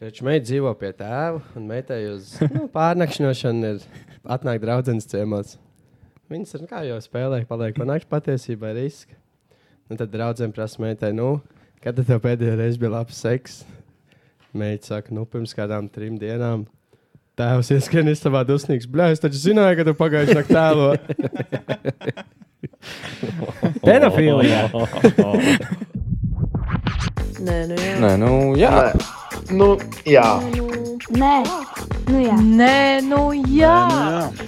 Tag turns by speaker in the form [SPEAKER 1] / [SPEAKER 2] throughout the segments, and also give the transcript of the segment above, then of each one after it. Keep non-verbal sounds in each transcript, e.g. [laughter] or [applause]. [SPEAKER 1] Taču meita dzīvo pie tēva, un meitai uz nu, pārnakšņošanu ir atnāk draudzenes ciemos. Viņas ir nu, kā jau spēlē, paliek panākt patiesībā riska. Un tad draudzene prasa meitai, nu, kad tad tev pēdējo reizi bija labs seks? Meita saka, nu, pirms kādām trim dienām. Tēvs ieskrien istabā dusmīgs. Bļā, es taču zināju, ka tu pagājušajā naktī tēlo.
[SPEAKER 2] [laughs]
[SPEAKER 3] Pedofīlijā. oh.
[SPEAKER 4] Nē, nu jā.
[SPEAKER 2] Nē, nu, jā.
[SPEAKER 5] Nu, jā.
[SPEAKER 6] Nē, nu jā.
[SPEAKER 4] Nē, nu jā.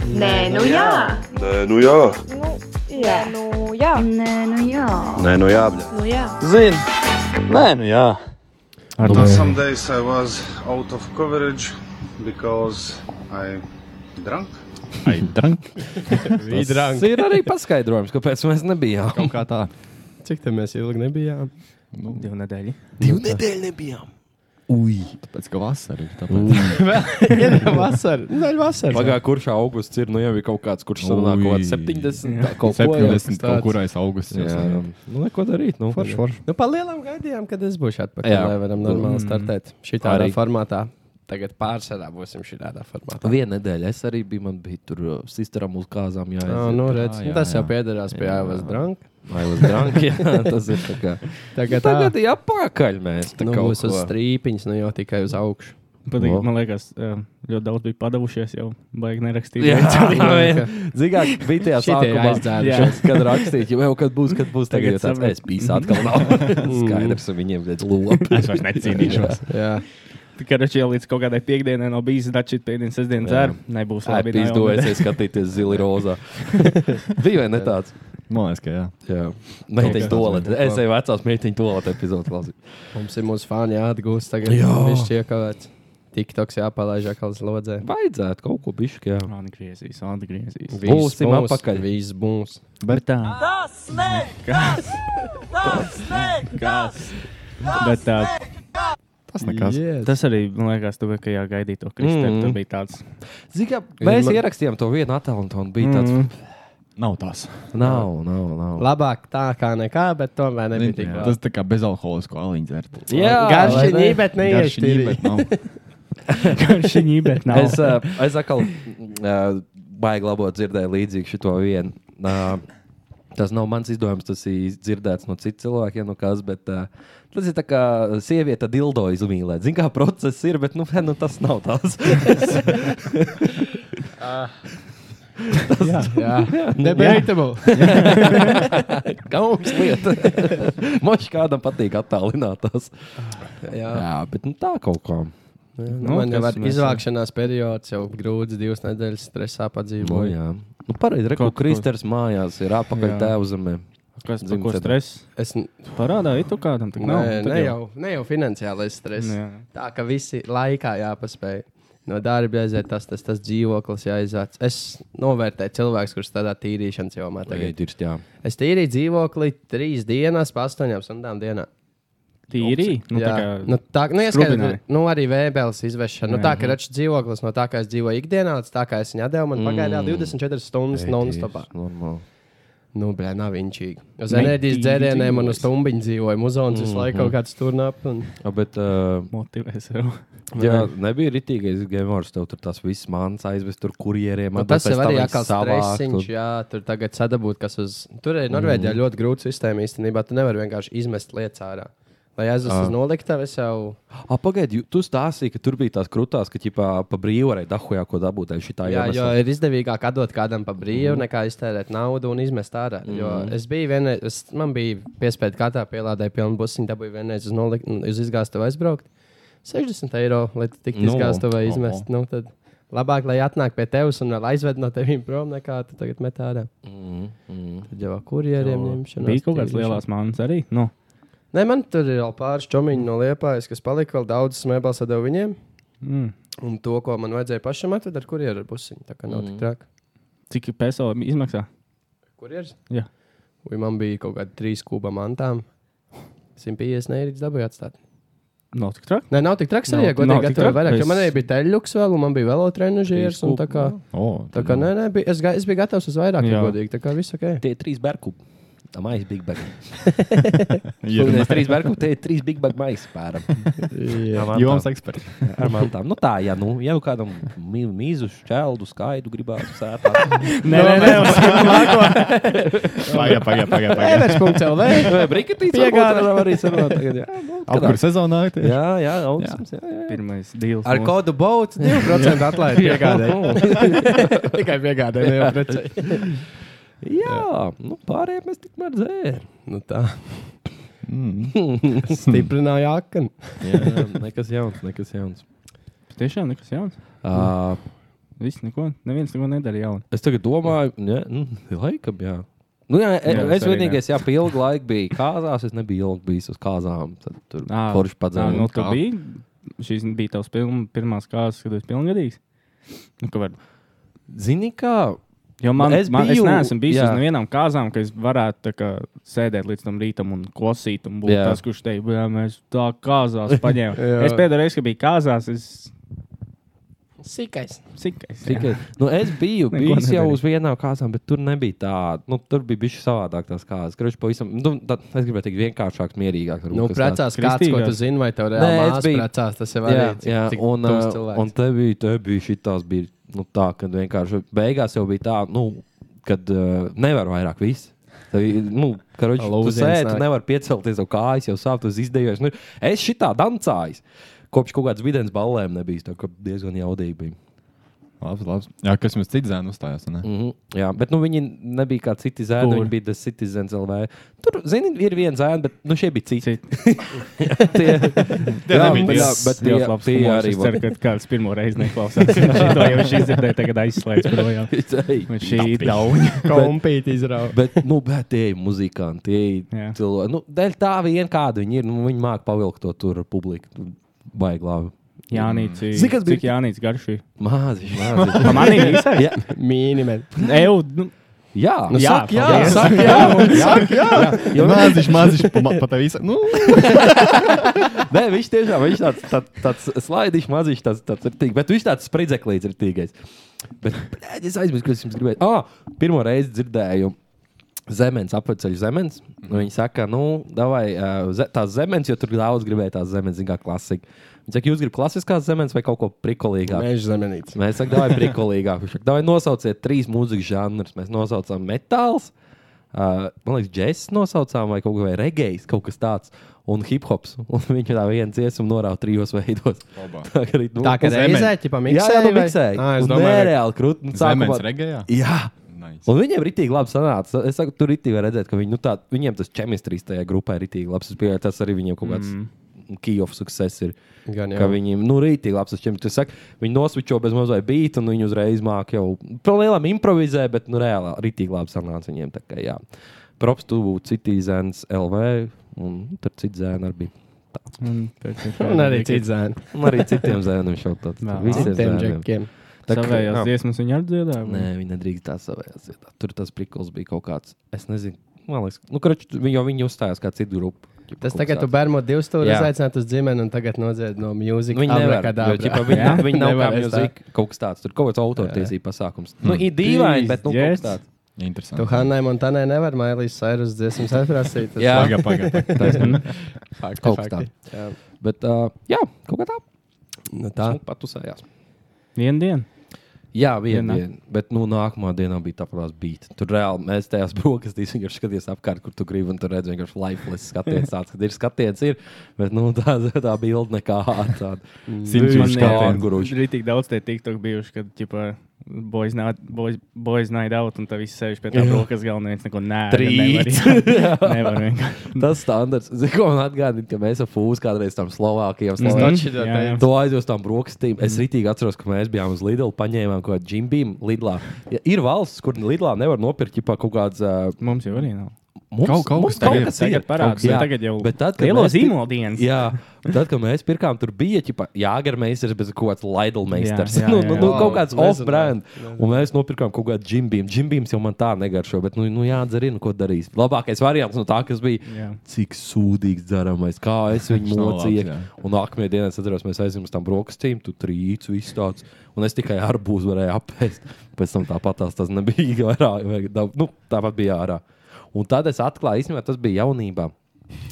[SPEAKER 7] Nē, nu jā.
[SPEAKER 8] Nē, nu jā.
[SPEAKER 4] Nē, nu jā.
[SPEAKER 6] Nē, nu jā.
[SPEAKER 8] Nē, nu jā.
[SPEAKER 4] Nu jā.
[SPEAKER 2] Zini. Nē, nu, jā.
[SPEAKER 3] Ar
[SPEAKER 9] But
[SPEAKER 3] to
[SPEAKER 9] some days I was out of coverage because I drank.
[SPEAKER 3] aizdrang.
[SPEAKER 1] Vidrāk.
[SPEAKER 2] Tas ir arī paskaidrojums, kāpēc mēs nebijām. Kaut kā tā.
[SPEAKER 1] Cik tam mēs ilgi
[SPEAKER 2] [laughs]
[SPEAKER 1] nebijām?
[SPEAKER 3] Divu nedēļu.
[SPEAKER 1] Nu,
[SPEAKER 2] Divu nedēļu nebijām. Ui.
[SPEAKER 10] Tāpēc, ka vasara ir tāda.
[SPEAKER 1] Vienā vasarā. Nu, daļa vasarā.
[SPEAKER 2] Pagājušā kurš augusts ir, nu jau bija kaut kāds, kurš sanāk kaut kāds
[SPEAKER 10] Ui.
[SPEAKER 2] 70. tā, Kaut ko jau.
[SPEAKER 10] 70. kaut kurais augusts.
[SPEAKER 2] Jā, jā. Nu, neko darīt. Nu,
[SPEAKER 10] Forši, forši.
[SPEAKER 1] Nu, Palielinām gaidījām, kad es būšu atpakaļ. Jā,
[SPEAKER 2] Jā.
[SPEAKER 1] lai varam normāli startēt šitā
[SPEAKER 2] Arī.
[SPEAKER 1] formātā. Tagad pārsvarā būsim šitā formātā.
[SPEAKER 2] Vienu nedēļu es arī biju, man bija tur uh, sisteram uz kāzām jāiet.
[SPEAKER 1] Jā, nu, redz,
[SPEAKER 2] jā,
[SPEAKER 1] tas
[SPEAKER 2] jā.
[SPEAKER 1] jau piederās pie
[SPEAKER 2] Jā.
[SPEAKER 1] Aivas Dranka.
[SPEAKER 2] Vai uz drāmām?
[SPEAKER 1] [laughs]
[SPEAKER 2] Jā, tas ir tā kā.
[SPEAKER 1] Tagad,
[SPEAKER 2] Nu, Tagad ir apakaļ mēs.
[SPEAKER 1] nu, būs uz strīpiņas, nu jau tikai uz augšu. [laughs]
[SPEAKER 2] Nu.
[SPEAKER 3] Man liekas, eh, ļoti daudz bija padavušies, jau baigi nerakstīt. [laughs]
[SPEAKER 2] Jā,
[SPEAKER 1] vien.
[SPEAKER 2] Zināk, bija tajā
[SPEAKER 1] Šitie
[SPEAKER 2] sākumā
[SPEAKER 1] aizdzērušies.
[SPEAKER 2] aizdzērušies, kad rakstīt, jau, jau kad būs, kad būs tagad
[SPEAKER 3] Tagad
[SPEAKER 2] jau tāds,
[SPEAKER 3] sapratu.
[SPEAKER 2] es biju atkal
[SPEAKER 1] [laughs]
[SPEAKER 2] nav. [laughs] Skaidrs, un viņiem ir lūpa.
[SPEAKER 3] Es vairs
[SPEAKER 2] [laughs]
[SPEAKER 3] necīnīšos.
[SPEAKER 1] Jā,
[SPEAKER 3] Tikai reči jau līdz kaut kādai piekdienai nav bijis, tad šī piekdiena, sestdiena
[SPEAKER 2] Jā.
[SPEAKER 3] dzēra. Nebūs
[SPEAKER 2] Labi,
[SPEAKER 3] labi. nav.
[SPEAKER 2] izdojies skatīties
[SPEAKER 1] [laughs]
[SPEAKER 2] zili rozā. Bija vai ne tāds?
[SPEAKER 10] Man liekas, ka jā.
[SPEAKER 2] Jā. Meiteņu
[SPEAKER 3] Kaut kas.
[SPEAKER 2] toalete. Es eju vecās meiteņu toalete epizodu klausīt.
[SPEAKER 1] mums ir mūsu fani jāatgūst. Tagad
[SPEAKER 2] Jā.
[SPEAKER 1] viņš ir iekavēts. Tik toks jāpalaiž atkal uz lodzē.
[SPEAKER 2] Vajadzētu kaut ko bišķi, jā.
[SPEAKER 3] Atgriezīs, atgriezīs.
[SPEAKER 1] Viss
[SPEAKER 2] Būsim
[SPEAKER 1] būs,
[SPEAKER 2] apakaļ.
[SPEAKER 1] Viss būs.
[SPEAKER 3] Bet tā. Tas nekas! Tas nekas!
[SPEAKER 10] Tas nekas.
[SPEAKER 3] Tas arī, man liekas, tu kā gaidīji to kristālu.
[SPEAKER 2] Mm.
[SPEAKER 3] Mm. Tur bija tāds
[SPEAKER 2] Zinām, mēs
[SPEAKER 1] man-
[SPEAKER 2] ierakstījām to vienu attēlu, un tā bija
[SPEAKER 3] Mm.
[SPEAKER 2] tāds.
[SPEAKER 10] Nav tās.
[SPEAKER 2] Nav, nav, nav.
[SPEAKER 1] Labāk tā kā nekā, bet tomēr nebija tik labi.
[SPEAKER 10] Tas tā kā bezalkoholisko aliņu dzert.
[SPEAKER 2] vai ne?
[SPEAKER 1] Garšīgi, bet
[SPEAKER 10] Garšīgi,
[SPEAKER 1] neiešķīri.
[SPEAKER 10] bet
[SPEAKER 2] [laughs]
[SPEAKER 10] nav.
[SPEAKER 3] garšīgi, bet nav.
[SPEAKER 2] Es, uh, es atkal uh, baigi labot dzirdēju līdzīgi šo vienu. Uh, tas nav mans izdevums, tas ir dzirdēts no citiem cilvēkiem, no kas, bet uh, tas ir tā kā sieviete dildo izmīlēt. Zini, kā process ir, bet nu, [laughs] nu, tas nav tās. [laughs]
[SPEAKER 1] Debatable.
[SPEAKER 2] Gauns lieta. [laughs] Man šķiet, kādam patīk attālinātās. Jā. Jā, bet nu, tā kaut kā.
[SPEAKER 1] Nu, man jau
[SPEAKER 3] kas
[SPEAKER 1] ir
[SPEAKER 3] mēs-
[SPEAKER 1] izvākšanās periods, jau grūts, divas nedēļas stresā
[SPEAKER 2] Nu,
[SPEAKER 1] padzīvoju.
[SPEAKER 2] jā. Nu, Pareizi,
[SPEAKER 3] Kaut
[SPEAKER 2] ka
[SPEAKER 3] ko.
[SPEAKER 2] Kristers mājās ir apakaļ
[SPEAKER 3] Jā.
[SPEAKER 2] tēvzemē.
[SPEAKER 3] kas
[SPEAKER 2] Zinu,
[SPEAKER 3] bija ko
[SPEAKER 2] tad-
[SPEAKER 3] stress.
[SPEAKER 1] Es n-
[SPEAKER 3] Parādā, ir tu kādam tā
[SPEAKER 1] Nē,
[SPEAKER 3] nav. Nu, Tad Nu,
[SPEAKER 1] ne jau, ne jau finansiālais stress.
[SPEAKER 3] Jā.
[SPEAKER 1] Tā ka visi laikā jāpaspēj. No darba jāiziet, tas, tas, tas dzīvoklis jāizvāc. Es novērtēju cilvēku, kurš tādā tīrīšanas jomā tagad.
[SPEAKER 2] Tagad ir jā.
[SPEAKER 1] Es tīrīju dzīvokli trīs dienas, pa astoņām stundām dienā.
[SPEAKER 3] Tīri. Nu,
[SPEAKER 1] Jā,
[SPEAKER 3] tā kā-
[SPEAKER 1] nu, tā nu, ieskaidro,
[SPEAKER 3] skrubināji. Mhm.
[SPEAKER 1] nu, arī vēbeles izvešana. Nu,
[SPEAKER 3] Jā.
[SPEAKER 1] tā kā rečs dzīvoklis no tā, kā es dzīvoju ikdienā, līdz tā kā es viņu devu, man
[SPEAKER 3] Mhm.
[SPEAKER 1] pagāja 24 stundas non-stopā.
[SPEAKER 2] Normāli.
[SPEAKER 1] Nu, blē, nav inčīgi. Uz
[SPEAKER 3] Mitīgi
[SPEAKER 1] enerģijas dzērieniem un uz
[SPEAKER 3] dzīvojas.
[SPEAKER 1] stumbiņu dzīvoju. Muzons visu laiku kaut kāds turnap. Un...
[SPEAKER 2] Jā, bet uh,
[SPEAKER 3] Motivē sev.
[SPEAKER 2] jā, nebija rītīgais gameovers. Tev tur tas viss mans aizvest tur kurjeriem.
[SPEAKER 1] Nu, tas jau arī atkal stresiņš, jā, tur tagad sadabūt, kas uz... Tur ir Norvēģijā mm. ļoti grūta sistēma īstenībā. Tu nevari vienkārši izmest lietas ārā. Lai aizvestu uz noliktavu, es jau...
[SPEAKER 2] Pagaidiet, tu stāstīji, ka tur bija tās krūtās, ka ķipā pa brīvu varēja dahojā ko dabūt. Ai, šitā
[SPEAKER 1] Jā, jo
[SPEAKER 2] iemesla.
[SPEAKER 1] ir izdevīgāk atdot kādam par brīvu,
[SPEAKER 3] Mhm.
[SPEAKER 1] nekā iztērēt naudu un izmest ārā. Mm. Jo es biju vienreiz, es, man bija piespēta katrā pielādē pilnu busiņu, dabūju vienreiz uz, nolik, uz izgāstu vai aizbraukt. 60 eiro, lai tu tiktu
[SPEAKER 2] Nu,
[SPEAKER 1] no. izgāstu vai
[SPEAKER 2] oho.
[SPEAKER 1] izmest. No. Nu, tad labāk, lai atnāk pie tevis un vēl aizved no tevis prom, nekā tu tagad met ārā.
[SPEAKER 2] Mm, mm.
[SPEAKER 1] Tad jau kurjeriem ņemšanā.
[SPEAKER 3] Mhm, Bija kaut kāds lielās mānas arī. Nu,
[SPEAKER 1] Nē, man tur ir vēl pāris čomiņi no liepājas, kas palika vēl daudz smēbās ar viņiem.
[SPEAKER 3] mm.
[SPEAKER 1] Un to, ko man vajadzēja pašam atvedēt, ar kurjeru ar busiņu. Tā kā nav
[SPEAKER 3] Mhm.
[SPEAKER 1] mm. tik traki.
[SPEAKER 3] Cik peso izmaksā?
[SPEAKER 1] Kurjeris?
[SPEAKER 3] Jā.
[SPEAKER 1] Vai man bija kaut kāda trīs kuba mantām? 150 eiro dabūja atstāt.
[SPEAKER 3] Nav tik
[SPEAKER 1] [laughs]
[SPEAKER 3] traki.
[SPEAKER 1] Nē, nav tik traks
[SPEAKER 3] Nav-
[SPEAKER 1] arī, ja
[SPEAKER 3] nav
[SPEAKER 1] godīgi
[SPEAKER 3] tik
[SPEAKER 1] gatavoju
[SPEAKER 3] traki.
[SPEAKER 1] vairāk.
[SPEAKER 3] Es-
[SPEAKER 1] Es... Man arī bija teļuks vēl, un man bija velotrenažieris. un Tā kā,
[SPEAKER 10] O,
[SPEAKER 1] tā kā nē, nē, bija, es, ga- es biju gatavs uz vairāk, ja
[SPEAKER 3] Jā. [laughs]
[SPEAKER 1] godīgi. Tā kā viss ok.
[SPEAKER 2] Tie trīs bērku. Tā maisa big
[SPEAKER 1] [laughs]
[SPEAKER 2] bag.
[SPEAKER 10] Ir
[SPEAKER 2] Tur bija trīs bērnu, te ir trīs big bag maisa pāri.
[SPEAKER 1] Jā,
[SPEAKER 10] joms
[SPEAKER 2] [laughs]
[SPEAKER 10] eksperts.
[SPEAKER 2] Ar mantām. Nu tā, ja, nu, jau kādam mī- mīzu, šķeldu, skaidu gribās
[SPEAKER 3] [laughs]
[SPEAKER 2] sēpāt.
[SPEAKER 3] Nē, nē, nē, uz
[SPEAKER 10] [laughs] Pagaidā, pagaidā, pagaidā.
[SPEAKER 1] Everest.CLV.
[SPEAKER 2] Vai briketīts?
[SPEAKER 1] Piegādā.
[SPEAKER 2] Piegādā arī sarunāt tagad. jā.
[SPEAKER 10] Apkur sezonā? tieši? [laughs]
[SPEAKER 2] Jā, jā, augstsums. Jā, jā.
[SPEAKER 3] pirmais deals.
[SPEAKER 1] Ar
[SPEAKER 3] mūsu.
[SPEAKER 1] kodu bauds 2% atlaidi piegādē. Tikai piegādē, ne jau precē.
[SPEAKER 2] [laughs] Jā, nu pārējiem mēs tikmēr dzēram.
[SPEAKER 1] Nu tā.
[SPEAKER 10] Mm.
[SPEAKER 1] Stiprināja akni.
[SPEAKER 2] Jā, nekas jauns, nekas jauns.
[SPEAKER 3] Tiešām nekas jauns.
[SPEAKER 2] Uh,
[SPEAKER 3] Viss neko, neviens neko nedara jaunu.
[SPEAKER 2] es tagad domāju, ne, nu, laikam, jā. Nu, jā, jā,
[SPEAKER 3] Jā,
[SPEAKER 2] es
[SPEAKER 3] es arī ne.
[SPEAKER 2] vienīgais, jā, pie ilga laika biju kāzās, es nebiju ilgi bijis uz kāzām. Tad tur
[SPEAKER 3] Ā,
[SPEAKER 2] forši
[SPEAKER 3] Tā,
[SPEAKER 2] padzēra.
[SPEAKER 3] nu, tu biji. Šīs bija tavs piln, pirmās kārtas, kad esi pilngadīgs. Nu, ka var
[SPEAKER 2] Zini, kā?
[SPEAKER 3] Jo man,
[SPEAKER 2] Nu, Es
[SPEAKER 3] es, man,
[SPEAKER 2] biju-
[SPEAKER 3] es neesmu bijis
[SPEAKER 2] jā.
[SPEAKER 3] jā. uz vienām kāzām, ka es varētu tā kā, sēdēt līdz tam rītam un klausīt, un būt jā.
[SPEAKER 2] Jā.
[SPEAKER 3] tas, kurš teica, jā, mēs tā
[SPEAKER 2] [laughs]
[SPEAKER 3] kāzās paņēmām.
[SPEAKER 1] Jā.
[SPEAKER 3] es pēdējo reizi, kad biju kāzās, es
[SPEAKER 1] Sikais.
[SPEAKER 3] sikais. jā.
[SPEAKER 2] Tikai, nu, es biju
[SPEAKER 3] Neko
[SPEAKER 2] bijis jau
[SPEAKER 3] nedarīju.
[SPEAKER 2] uz vienām kāzām, bet tur nebija tāda. Nu, tur bija bijusi savādāk tās kāzas. Kurš pavisam, nu, tā, es gribēju teikt, vienkāršāk, mierīgāk. varbūt,
[SPEAKER 1] Nu,
[SPEAKER 2] kas tās-
[SPEAKER 1] precās kāds, ko tu
[SPEAKER 3] Kristīgās.
[SPEAKER 1] zini, vai tev
[SPEAKER 2] Nē,
[SPEAKER 1] reāli
[SPEAKER 2] es
[SPEAKER 1] māsas
[SPEAKER 2] biju-
[SPEAKER 1] precās, tas jau
[SPEAKER 2] Jā,
[SPEAKER 1] arī
[SPEAKER 2] jā,
[SPEAKER 1] cik
[SPEAKER 2] un,
[SPEAKER 1] tuvs
[SPEAKER 2] uh,
[SPEAKER 1] cilvēks.
[SPEAKER 2] [laughs] un te bija, te bija šitās, bija nu, tā, ka vienkārši beigās jau bija tā, nu, kad uh, nevar vairāk viss. Tev ir, Nu, karoči, tu
[SPEAKER 1] Lūziens
[SPEAKER 2] sēdi, tu
[SPEAKER 1] nāk.
[SPEAKER 2] nevari piecelties, jau kājas jau sāp, tas izdevies. Nu, es šitā dancāju. Kopš kaut kādas videns ballēm nebija, tā kā diezgan jaudīgi bija.
[SPEAKER 10] Labs, labs. Jā, kas mums cits zēns uzstājās? vai ne?
[SPEAKER 2] Mm -hmm, jā, bet nu, viņi nebija kā citi zēni,
[SPEAKER 3] Kur?
[SPEAKER 2] viņi bija tas citizens LV. Tur, zini, ir viens zēns, bet nu, šie bija citi.
[SPEAKER 3] Citi. [laughs]
[SPEAKER 2] tie, [laughs] jā, bet,
[SPEAKER 10] nebija tie.
[SPEAKER 2] jā, bet tie,
[SPEAKER 3] Ļoti labs
[SPEAKER 2] tie
[SPEAKER 3] humors.
[SPEAKER 2] arī
[SPEAKER 3] Es ceru, ka kāds pirmo reizi
[SPEAKER 2] [laughs]
[SPEAKER 3] neklausās. to jau viņš izdzirdēja, tagad aizslēdz projām.
[SPEAKER 2] bija.
[SPEAKER 3] Un šī ir dauna.
[SPEAKER 1] [laughs] kompīti izrauga.
[SPEAKER 2] Bet, nu, bet tie ir muzikanti, tie ir
[SPEAKER 3] Jā.
[SPEAKER 2] cilvēki. Nu, dēļ tā viena, kāda viņi ir, nu, viņi māca pavilkt to tur publiku. Baigi labi.
[SPEAKER 3] Jānis.
[SPEAKER 2] Zini, kas bija-
[SPEAKER 3] Cik Jānis garšīgi?
[SPEAKER 2] Māzi,
[SPEAKER 3] [laughs]
[SPEAKER 2] māzi.
[SPEAKER 3] Man ir īsi.
[SPEAKER 2] jā,
[SPEAKER 1] Mīnimēs.
[SPEAKER 3] Eju, nu,
[SPEAKER 2] jā.
[SPEAKER 1] Nu,
[SPEAKER 3] Jā,
[SPEAKER 1] saka, jā,
[SPEAKER 3] paldies. [laughs]
[SPEAKER 1] saka, jā, saka, jā.
[SPEAKER 10] Jā, māziņš, māziņš, pa, ma- pa tevi visu. Nu,
[SPEAKER 2] Nē, viņš tiešām viņš tāds, tāds, tāds slaidiņš, maziņš, tāds, tāds ir tīgs. Bet viņš tāds spridzeklīts ir tīgais. Bet blēģ, es aizmirsu, kas jums gribēja. Ah, pirmo reizi dzirdēju. Zemes apceļš zemes. Viņa saka, nu, davai, uh, ze tās zemes, jo tur daudz gribēja tās zemes, zināmā klasika. Viņa saka, jūs gribat klasiskās zemes vai kaut ko prikolīgāku?
[SPEAKER 1] Mēģis zemenīts.
[SPEAKER 2] Mēs sakām, vai prikolīgāk. Viņš saka, vai nosauciet trīs mūzikas žanrus. Mēs nosaucām metāls, uh, man liekas, džeks nosaucām, vai kaut kā regejs, kaut kas tāds. Un hip hops. [laughs] Un viņš tā viena dziesma norāda trijos veidos. Tā kā arī nu,
[SPEAKER 1] Tā kā
[SPEAKER 10] Zemen.
[SPEAKER 1] reizē, ķipa,
[SPEAKER 2] Jā,
[SPEAKER 1] miksēja.
[SPEAKER 2] jā, nu,
[SPEAKER 1] vai-
[SPEAKER 2] miksēji.
[SPEAKER 1] Ā, Es
[SPEAKER 2] Un
[SPEAKER 1] domāju,
[SPEAKER 2] nereāli krūti. Nu,
[SPEAKER 10] Zemes
[SPEAKER 2] sākumā-
[SPEAKER 10] regējā.
[SPEAKER 2] Jā.
[SPEAKER 10] Nice.
[SPEAKER 2] Un viņiem ir rītīgi labi sanāca. Es saku, tur rītīgi var redzēt, ka viņi, nu, tā, viņiem tas čemistrijas tajā grupā ir rītīgi labs. Es pieļauju, tas arī viņiem kaut kāds mm. key of success ir.
[SPEAKER 1] Gan
[SPEAKER 2] Ka
[SPEAKER 1] jau.
[SPEAKER 2] viņiem, nu, rītīgi labs tas čempions. Saka, viņi nosvičo bez mazliet beigta, un viņi uzreiz māk jau par lielām improvizē, bet, nu, reāli rītīgi labi sanāca viņiem. tā Kā, jā. Props, tu būtu citizens LV, un tur cits zēns arī bija.
[SPEAKER 3] un pēc tam
[SPEAKER 1] Un arī cits zēns.
[SPEAKER 2] Un arī citiem [laughs] zēniem šādi tāds.
[SPEAKER 3] Jā.
[SPEAKER 2] Visiem
[SPEAKER 1] Citiem
[SPEAKER 2] zēniem.
[SPEAKER 1] džekiem.
[SPEAKER 2] Tā kā-
[SPEAKER 3] Savējās
[SPEAKER 2] jā.
[SPEAKER 3] dziesmas viņa atdziedāja.
[SPEAKER 2] Nē, viņi nedrīkst tā savējās. vietā. Tur tas priklis bija kaut kāds. Es nezinu, man liekas, nu, kurš jau viņi uzstājās kā citu grupu. Ķipa,
[SPEAKER 1] Tas
[SPEAKER 2] kaut
[SPEAKER 1] tagad
[SPEAKER 2] kas
[SPEAKER 1] tu
[SPEAKER 2] tāds.
[SPEAKER 1] bērnu divus tur
[SPEAKER 2] Jā.
[SPEAKER 1] aizaicināt uz ģimeni un tagad nodzied no mūzikas.
[SPEAKER 2] Viņi nevar, jo, ķipa, viņi nav- viņi nav kā
[SPEAKER 1] Nevar, es tā. Hmm.
[SPEAKER 2] mūzika, kaut kas tāds. Tur kaut kāds autortiesība pasākums. Nu, ir dīvaini, bet nu, kaut
[SPEAKER 3] Yes.
[SPEAKER 2] kas tāds.
[SPEAKER 1] Tu
[SPEAKER 10] Interesanti.
[SPEAKER 1] Hannai Montanai nevar mailīt sairus dziesmas atprasīt. Tas
[SPEAKER 2] Jā.
[SPEAKER 10] Pagaidā, pagaidā.
[SPEAKER 1] fakti,
[SPEAKER 2] Kaut kas
[SPEAKER 1] fakti.
[SPEAKER 2] tāds.
[SPEAKER 1] Jā.
[SPEAKER 2] Bet, uh, jā, kaut kā tā.
[SPEAKER 1] Nu tā.
[SPEAKER 2] Tā patusējās.
[SPEAKER 3] Vienu dienu.
[SPEAKER 2] Jā, viena
[SPEAKER 3] Vienā.
[SPEAKER 2] diena. Bet nu, nākamā dienā bija tā prātā bija. Tur reāli mēs tajās [laughs] brokastīs vienkārši skatījāmies apkārt, kur tu gribi. Un tur redzēja, ka lifeless skatiens tāds, kad ir skatiens. Ir, bet nu, tā, [laughs] tā bilde nekā tāda.
[SPEAKER 10] Simtšķīvi
[SPEAKER 2] Man jā.
[SPEAKER 10] skatiens.
[SPEAKER 2] Guruši.
[SPEAKER 3] Ir tik daudz tie tiktok bijuši, kad, ķipa, boys night, boys, boys night out, un tā viss sēž pie tā brokas galda, neviens neko nē.
[SPEAKER 2] Trīc. [laughs]
[SPEAKER 3] Nevar vienkārši.
[SPEAKER 2] Tas standarts. Zinu, ko man atgādina, ka mēs ar Fūzi kādreiz tam Slovākijam
[SPEAKER 3] Mhm.
[SPEAKER 2] slavējām.
[SPEAKER 3] Jā, jā.
[SPEAKER 2] To aizjūtu tam brokastīm. Es rītīgi atceros, ka mēs bijām uz Lidlā, paņēmām kaut kādu džimbīnu Lidlā. Ja ir valsts, kur Lidlā nevar nopirkt ķipā, kaut kādas uh,
[SPEAKER 3] Mums jau arī nav.
[SPEAKER 2] mums,
[SPEAKER 10] Kaut- kaut
[SPEAKER 2] mums
[SPEAKER 10] kas tagad-
[SPEAKER 3] Tagad parādās,
[SPEAKER 2] Jā,
[SPEAKER 3] tagad jau
[SPEAKER 2] bet tad, kad
[SPEAKER 3] lielo
[SPEAKER 2] mēs tik-
[SPEAKER 3] zīmolu dienas. [laughs]
[SPEAKER 2] Jā, tad, kad mēs pirkām, tur bija jāgarmeisters, bet kaut kāds laidelmeisters.
[SPEAKER 3] Jā, jā,
[SPEAKER 2] Nu,
[SPEAKER 3] jā.
[SPEAKER 2] nu, nu, kaut kāds
[SPEAKER 1] Nezinu,
[SPEAKER 2] off-brand. Un mēs nopirkām kaut kādu džimbīnu. Džimbīns jau man tā negaršo, bet, nu, nu jādzer, nu, ko darīs. Labākais variants no tā, kas bija.
[SPEAKER 3] Jā.
[SPEAKER 2] Cik sūdīgs dzeramais, kā es viņu
[SPEAKER 10] Viņš nav labs,
[SPEAKER 2] mocīju.
[SPEAKER 10] jā.
[SPEAKER 2] Un nākamajā dienā es atceros, mēs aizjām uz tām brokastīm, tu trīc, viss tāds. Un es tikai ar [laughs] būzu varēju apēst. Pēc tam tāpatās tas nebija garā. vai dab- Nu, tāpat bija ārā. Un tad es atklāju, īstenībā tas bija jaunībā.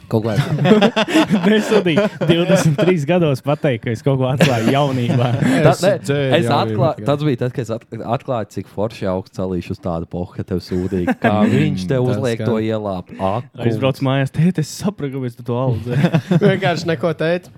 [SPEAKER 2] Kaut kā tāds
[SPEAKER 3] Nesūdīju 23 gados pateikt, ka es kaut ko atklāju jaunībā.
[SPEAKER 2] Tas, ne,
[SPEAKER 10] dzēru
[SPEAKER 2] es
[SPEAKER 10] jaunībā
[SPEAKER 2] atklāju,
[SPEAKER 10] tikai.
[SPEAKER 2] tas bija tas, kad es at- atklāju, cik forši augsts salīšu uz tādu pohu, ka tev sūdīja. Kā viņš tev
[SPEAKER 10] Tas
[SPEAKER 2] uzliek
[SPEAKER 10] gan.
[SPEAKER 2] to ielāpu. Ak,
[SPEAKER 3] Es braucu mājās, teicu, es sapratu, kāpēc tu to
[SPEAKER 2] [laughs]
[SPEAKER 3] audzēji.
[SPEAKER 1] Vienkārši neko teicu.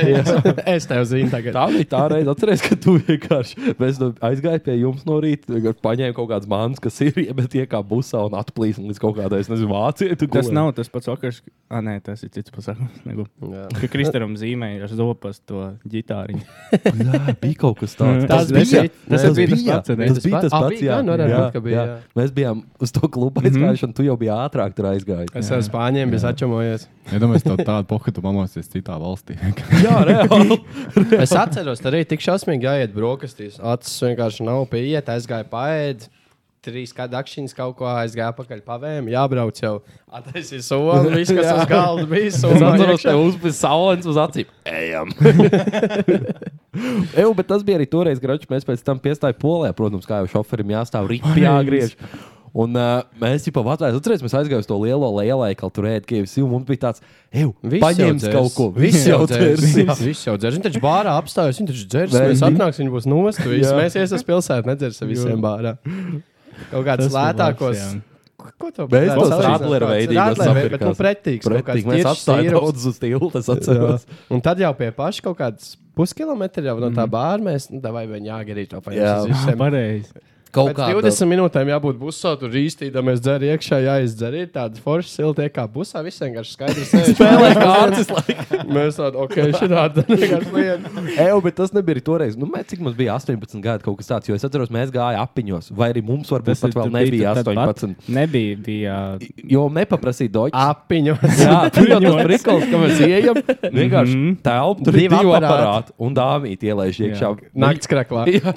[SPEAKER 1] [laughs] es tev zinu, tagad.
[SPEAKER 2] Tā bija tā reize, atceries, ka tu vienkārši mēs nu aizgāji pie jums no rīta, vienkārši paņēmi kaut kādas mantas, kas ir iemet iekā busā un atplīsa līdz kaut kādai, es nezinu, vācijai. tu
[SPEAKER 3] Tas
[SPEAKER 2] gulēji.
[SPEAKER 3] nav tas pats vakars. Ah, nē, tas ir cits pasākums. Negu.
[SPEAKER 1] Jā.
[SPEAKER 3] Ka Kristēram zīmēja ar zopas to ģitāriņu.
[SPEAKER 2] Jā, bija kaut kas tāds.
[SPEAKER 3] Tas
[SPEAKER 1] bija-
[SPEAKER 2] tas,
[SPEAKER 1] tas
[SPEAKER 2] bija
[SPEAKER 1] bija
[SPEAKER 2] tas
[SPEAKER 1] tas pats,
[SPEAKER 2] pats.
[SPEAKER 1] ne?
[SPEAKER 2] Tas bija tas
[SPEAKER 1] Ah,
[SPEAKER 2] pats.
[SPEAKER 1] bija, jā, nu, varētu būt, ka bija, jā.
[SPEAKER 2] Mēs bijām uz to klubu aizgājuši, un tu jau biji ātrāk tur
[SPEAKER 1] [laughs]
[SPEAKER 2] aizgājis.
[SPEAKER 1] Es ar spāņiem biju sačamojies.
[SPEAKER 10] [laughs] Es domāju, ka tādu pohuļu pamosies citā valstī. [laughs]
[SPEAKER 2] Jā, reāli.
[SPEAKER 1] Es atceros, tur arī tik šausmīgi gājiet brokastīs. Acis vienkārši nav pieiet, aizgāja paēd. Trīs kāda akšņas kaut ko aizgāja pakaļ pavēm, jābrauc jau. Attaisīja soli, viss, kas uz galda bija.
[SPEAKER 2] Es
[SPEAKER 1] somā
[SPEAKER 2] atceros,
[SPEAKER 1] iekšā.
[SPEAKER 2] tev uzbija saulēns uz [laughs] acīm. Ejam! Eju, bet tas bija arī toreiz, kad mēs pēc tam piestājām polijā. Protams, kā jau šoferim jāstāv rīpā, jāgriež. Un uh, mēs jau pavadījām, atcerieties, mēs aizgājām uz to lielo lielveikalu, tur ēdām KFC, un mums bija tāds, ej,
[SPEAKER 1] Viss
[SPEAKER 2] paņemt
[SPEAKER 1] jau dzers.
[SPEAKER 2] kaut
[SPEAKER 1] [laughs]
[SPEAKER 2] ko.
[SPEAKER 1] Viss jau dzers.
[SPEAKER 2] dzers, jā.
[SPEAKER 1] Viss jau dzers. Viņš taču bārā apstājas, viņš taču dzers.
[SPEAKER 2] Vai
[SPEAKER 1] Mēs
[SPEAKER 2] ne?
[SPEAKER 1] atnāksim, viņš būs
[SPEAKER 2] [laughs]
[SPEAKER 1] nost. Viss.
[SPEAKER 2] Jā.
[SPEAKER 1] Mēs iesim uz pilsētu, nedzersim visiem bārā. Kaut kāds lētākos. Ko- Ko tev
[SPEAKER 2] Mēs
[SPEAKER 1] patīk?
[SPEAKER 2] tos
[SPEAKER 1] Saucās
[SPEAKER 2] Radlera
[SPEAKER 1] kaut kāds-
[SPEAKER 2] veidīgos
[SPEAKER 1] Radlera veid- bet nu
[SPEAKER 2] sapirkās.
[SPEAKER 1] pretīgs. kaut kāds
[SPEAKER 2] Pretīgi, mēs
[SPEAKER 1] tiršs,
[SPEAKER 2] atstājām
[SPEAKER 1] tīrums.
[SPEAKER 2] daudz uz tiltu, es
[SPEAKER 1] Jā.
[SPEAKER 2] atceros.
[SPEAKER 1] Un tad jau pie paša kaut kādas puskilometra jau no tā bāra mēs nu, vai vien jāgarīt to
[SPEAKER 2] Mhm.
[SPEAKER 1] paņemt.
[SPEAKER 2] Jā.
[SPEAKER 1] uz
[SPEAKER 2] [laughs]
[SPEAKER 1] visiem.
[SPEAKER 3] Pareizi.
[SPEAKER 2] Kaut
[SPEAKER 1] Pēc 20 minūtēm jābūt busā, tur īstīdamies dzer iekšā, jāizdzer ir tāda forša silta, kā busā visiem garš
[SPEAKER 2] [laughs]
[SPEAKER 1] skaidrs.
[SPEAKER 2] spēlē kārtas,
[SPEAKER 1] Mēs tādu, ok, šī tāda vienkārši
[SPEAKER 2] [laughs]
[SPEAKER 1] lieta.
[SPEAKER 2] Eju, bet tas nebija arī toreiz. Nu, mēs, cik mums bija 18 gadi, kaut kas tāds. Jo es atceros, mēs gājām apiņos, vai arī mums varbūt pat vēl nebija 18.
[SPEAKER 3] Nebija, bija.
[SPEAKER 2] Jo nepaprasīja
[SPEAKER 1] Ah,
[SPEAKER 2] Deutsche.
[SPEAKER 1] Apiņos.
[SPEAKER 2] [laughs]
[SPEAKER 1] [laughs]
[SPEAKER 2] Jā, tur jau tas prikals, ka mēs ejam. Vienkārši
[SPEAKER 3] Mhm.
[SPEAKER 2] telpa, tur ir
[SPEAKER 1] Divi
[SPEAKER 2] divi
[SPEAKER 1] aparāti.
[SPEAKER 2] aparāti un dāmīti ielaiž iekšā.
[SPEAKER 1] Nakts kraklā.
[SPEAKER 2] [laughs] Jā,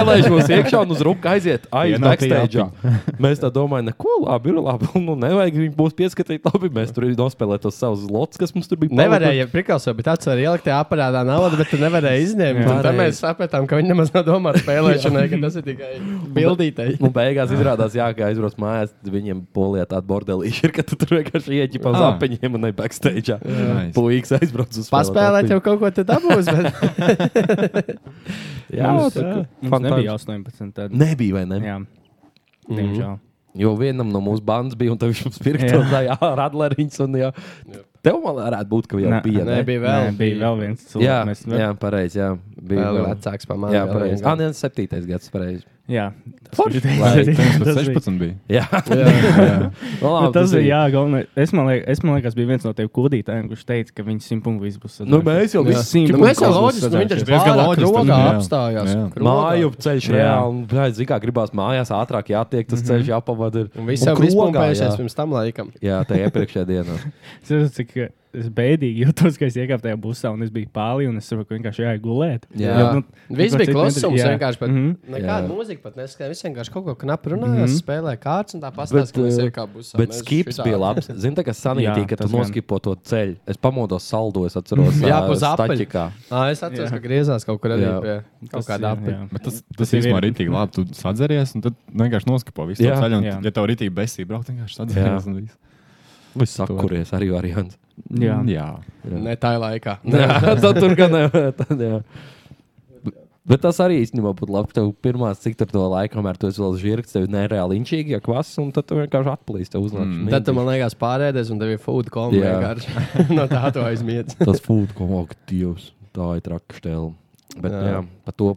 [SPEAKER 2] ielaiž mums iekšā un uz rūkā
[SPEAKER 1] [laughs]
[SPEAKER 2] aiziet. Aiz
[SPEAKER 10] Ienāk tajā
[SPEAKER 2] backstage. Mēs tā domājam, neko labi, ir labi. [laughs] Nu, nevajag viņu būs pieskatīt labi. Mēs tur nospēlējām tos savus lots, kas mums tur bija.
[SPEAKER 1] Nevarēja prikāsot, bet tāds var ielikt tajā aparātā naudu, bet tu nevarēji izņemt. Un Tad
[SPEAKER 2] Pareizi.
[SPEAKER 1] mēs sapratām, ka viņi nemaz nedomā ar spēlēšanai, ka tas ir tikai bildītei.
[SPEAKER 2] Un beigās izrādās, jā, ka aizbrauc mājās, viņiem polijā tāda bordelīša ir, ka tu tur vienkārši ieķipa uz
[SPEAKER 10] Ah.
[SPEAKER 2] apaņiem un ne backstage.
[SPEAKER 10] Nice.
[SPEAKER 2] Puikas aizbrauc uz
[SPEAKER 1] Paspēlēt jau kaut ko te dabūs, bet
[SPEAKER 2] uh, Jā,
[SPEAKER 3] Mums,
[SPEAKER 2] tā kā
[SPEAKER 3] Mums
[SPEAKER 2] fun
[SPEAKER 3] nebija
[SPEAKER 2] times.
[SPEAKER 3] 18. Tad.
[SPEAKER 2] Nebija, vai ne? Jā.
[SPEAKER 3] Jā, diemžēl.
[SPEAKER 2] Jo vienam no mūsu bandas bija, un tev viņš mums pirka to radleriņš. Tev man varētu būt, ka jau
[SPEAKER 3] Nē,
[SPEAKER 2] bija.
[SPEAKER 1] [laughs] nē,
[SPEAKER 2] ne?
[SPEAKER 1] bija
[SPEAKER 3] Nē,
[SPEAKER 1] vēl.
[SPEAKER 3] bija vēl viens
[SPEAKER 2] Jā,
[SPEAKER 3] cilvēks. Mēs-
[SPEAKER 2] jā pareizi. Jā, bija
[SPEAKER 1] Vēl
[SPEAKER 2] vēl.
[SPEAKER 1] vecāks par mani.
[SPEAKER 2] Jā,
[SPEAKER 1] vēl
[SPEAKER 2] pareizi.
[SPEAKER 1] viens
[SPEAKER 2] Ah,
[SPEAKER 1] gads.
[SPEAKER 2] nē, 7. gads, pareizi.
[SPEAKER 3] jā. Tas
[SPEAKER 2] Forši.
[SPEAKER 3] bija tas
[SPEAKER 2] Lai
[SPEAKER 3] arī. Tas bija-
[SPEAKER 10] 16
[SPEAKER 3] [laughs]
[SPEAKER 10] bija.
[SPEAKER 2] Jā, Nu,
[SPEAKER 3] Nu,
[SPEAKER 2] labi,
[SPEAKER 3] Tas bija jā, galvenais. Es man, liek, es man liekas, bija viens no tiem kūdītājiem, kurš teica, ka viņš simtpunktu viss būs.
[SPEAKER 2] Nu, mēs jau
[SPEAKER 3] Jā.
[SPEAKER 2] visi
[SPEAKER 3] Nu,
[SPEAKER 2] simt.
[SPEAKER 1] Nu, Mēs jau loģiski, nu, viņš taču
[SPEAKER 10] Diezgan
[SPEAKER 1] diezgan
[SPEAKER 10] loģiski,
[SPEAKER 1] loģiski
[SPEAKER 10] jā.
[SPEAKER 1] apstājās.
[SPEAKER 10] Jā.
[SPEAKER 1] krogā.
[SPEAKER 2] Māju ceļš,
[SPEAKER 3] Jā.
[SPEAKER 2] reāli. Jā, zinu, kā gribās mājās ātrāk jātiek, tas ceļš jāpavada. ir.
[SPEAKER 1] Mhm. Un viss jau
[SPEAKER 2] krogā,
[SPEAKER 1] bija izpumpējušies
[SPEAKER 2] jā. esmu.
[SPEAKER 1] pirms tam laikam.
[SPEAKER 2] Jā, tā iepriekšējā
[SPEAKER 1] [laughs]
[SPEAKER 2] dienā.
[SPEAKER 3] Es saprotu, cik eh, es bēdīgi jutos, ka es iekāpu tajā busā un es biju pāri un es saprotu, ka vienkārši jāiet gulēt.
[SPEAKER 2] Jā.
[SPEAKER 3] Jo, nu,
[SPEAKER 1] Viss
[SPEAKER 3] neko
[SPEAKER 1] bija
[SPEAKER 3] citu
[SPEAKER 1] klusums,
[SPEAKER 3] nedar- jā.
[SPEAKER 1] vienkārši. pat
[SPEAKER 3] Mhm.
[SPEAKER 1] Nekāda
[SPEAKER 2] Jā. Mhm.
[SPEAKER 1] mūzika pat neskatījās. Viņš vienkārši kaut ko knapi runāja, spēlēja kārtas un tā pastāstīja, ka mēs
[SPEAKER 2] eh,
[SPEAKER 1] iekāpām busā.
[SPEAKER 2] Bet
[SPEAKER 1] Mēs
[SPEAKER 2] skips
[SPEAKER 1] šitā-
[SPEAKER 2] bija labs. Zini, tā kā
[SPEAKER 3] [laughs]
[SPEAKER 2] sanītī,
[SPEAKER 3] Jā,
[SPEAKER 2] ka tu
[SPEAKER 3] tas gan.
[SPEAKER 2] noskipo to ceļu. Es pamodos saldo, es
[SPEAKER 1] [laughs]
[SPEAKER 2] atceros.
[SPEAKER 1] Jā,
[SPEAKER 2] ā,
[SPEAKER 1] pa zapaļu.
[SPEAKER 2] staķikā.
[SPEAKER 1] Ā, Es atceros, ka griezās kaut kur arī
[SPEAKER 2] Jā.
[SPEAKER 1] pie kaut
[SPEAKER 3] Tas
[SPEAKER 1] kāda
[SPEAKER 3] ir,
[SPEAKER 1] apgabalā.
[SPEAKER 3] jā.
[SPEAKER 10] Bet tas tas,
[SPEAKER 3] Tas
[SPEAKER 10] tas
[SPEAKER 3] ir
[SPEAKER 10] īstenībā
[SPEAKER 3] viena-
[SPEAKER 10] ir rītīgi labi. Tu sadzeries, un tad vienkārši noskapo visu to
[SPEAKER 2] Jā.
[SPEAKER 10] ceļu. un
[SPEAKER 3] Jā.
[SPEAKER 10] Ja tev rītīgi besī braukt, vienkārši sadzeries.
[SPEAKER 2] Jā.
[SPEAKER 10] un viss.
[SPEAKER 2] Vai sakuries arī
[SPEAKER 1] [laughs]
[SPEAKER 2] variants?
[SPEAKER 3] Jā.
[SPEAKER 10] Jā.
[SPEAKER 1] Ne tā laikā.
[SPEAKER 2] Jā, [laughs] tad tur gan nevar. Bet tas arī īstenībā būtu labi. Tev pirmā, cik tur to laiku, kamēr tu esi vēl žirgs, tev ir nereāli inčīgi, ja kvass, un tad tu vienkārši atplīsi tev uznāk.
[SPEAKER 10] Mm.
[SPEAKER 1] Tad tu man liekas pārēdies un tev ir food coma
[SPEAKER 2] Jā.
[SPEAKER 1] vienkārši. [laughs] no tā tu
[SPEAKER 2] [laughs]
[SPEAKER 1] aizmiedz.
[SPEAKER 2] tas food, ko māk Dievs, tā ir traka štēla. Bet jā,
[SPEAKER 1] Jā.
[SPEAKER 2] jā par to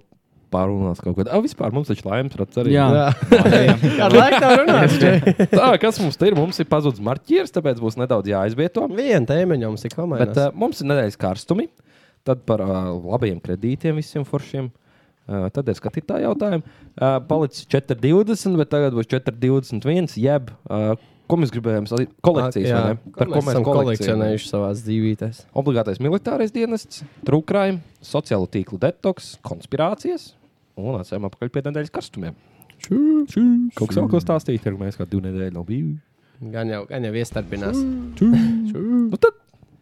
[SPEAKER 2] pārunās kaut kad. Ah, vispār mums taču laimes rats arī.
[SPEAKER 3] Jā.
[SPEAKER 1] Jā. Ar laiku tā runā.
[SPEAKER 2] [laughs] Tā, kas mums te ir? Mums ir pazudis marķieris, tāpēc būs nedaudz jāizvieto.
[SPEAKER 1] Viena tēmaņa mums ir komēdija.
[SPEAKER 2] Bet uh, mums ir nedēļas karstumi, tad par uh, labajiem kredītiem visiem foršiem. Uh, tad ir skatītāja jautājumi. Uh, palicis 4,20, bet tagad būs 4,21. Jeb, uh, ko mēs gribējām? sali- Kolekcijas, vai ne?
[SPEAKER 1] Par ko mēs esam
[SPEAKER 2] kolekcionējam?
[SPEAKER 1] kolekcionējuši savā dzīvē.
[SPEAKER 2] Obligātais militārais dienests, trūkrājumi, sociālo tīklu detoks, konspirācijas un atsēm apakaļ pie nedēļas karstumiem. Kaut kas vēl ko stāstīt, ir mēs kā divu nedēļu nav bijuši.
[SPEAKER 1] Gan jau, gan jau iestarpinās.
[SPEAKER 2] Nu tad,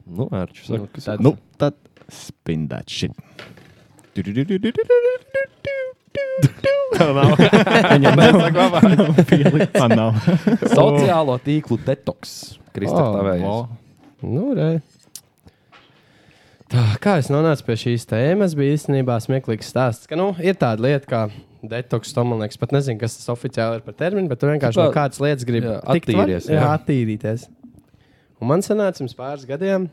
[SPEAKER 2] nu, ērču, saka.
[SPEAKER 1] Tad
[SPEAKER 10] Nu, tad spin that shit.
[SPEAKER 3] Tā nav. Viņam nav saglabāta.
[SPEAKER 10] Tā nav.
[SPEAKER 1] [laughs]
[SPEAKER 2] Sociālo tīklu detoks. Kristā,
[SPEAKER 1] O,
[SPEAKER 2] tā vēl
[SPEAKER 10] Vo.
[SPEAKER 1] Nu, re. Tā, kā es nonācu pie šīs tēmas, bija īstenībā smieklīgs stāsts. Ka, nu, ir tāda lieta, kā detoks, to man liekas, pat nezinu, kas tas oficiāli ir par terminu, bet tu vienkārši
[SPEAKER 2] Tā
[SPEAKER 1] no kādas lietas gribi
[SPEAKER 2] jā,
[SPEAKER 1] tikt var-
[SPEAKER 2] attīries, jā.
[SPEAKER 1] Jā, attīrīties. Un man sanāca pirms pāris gadiem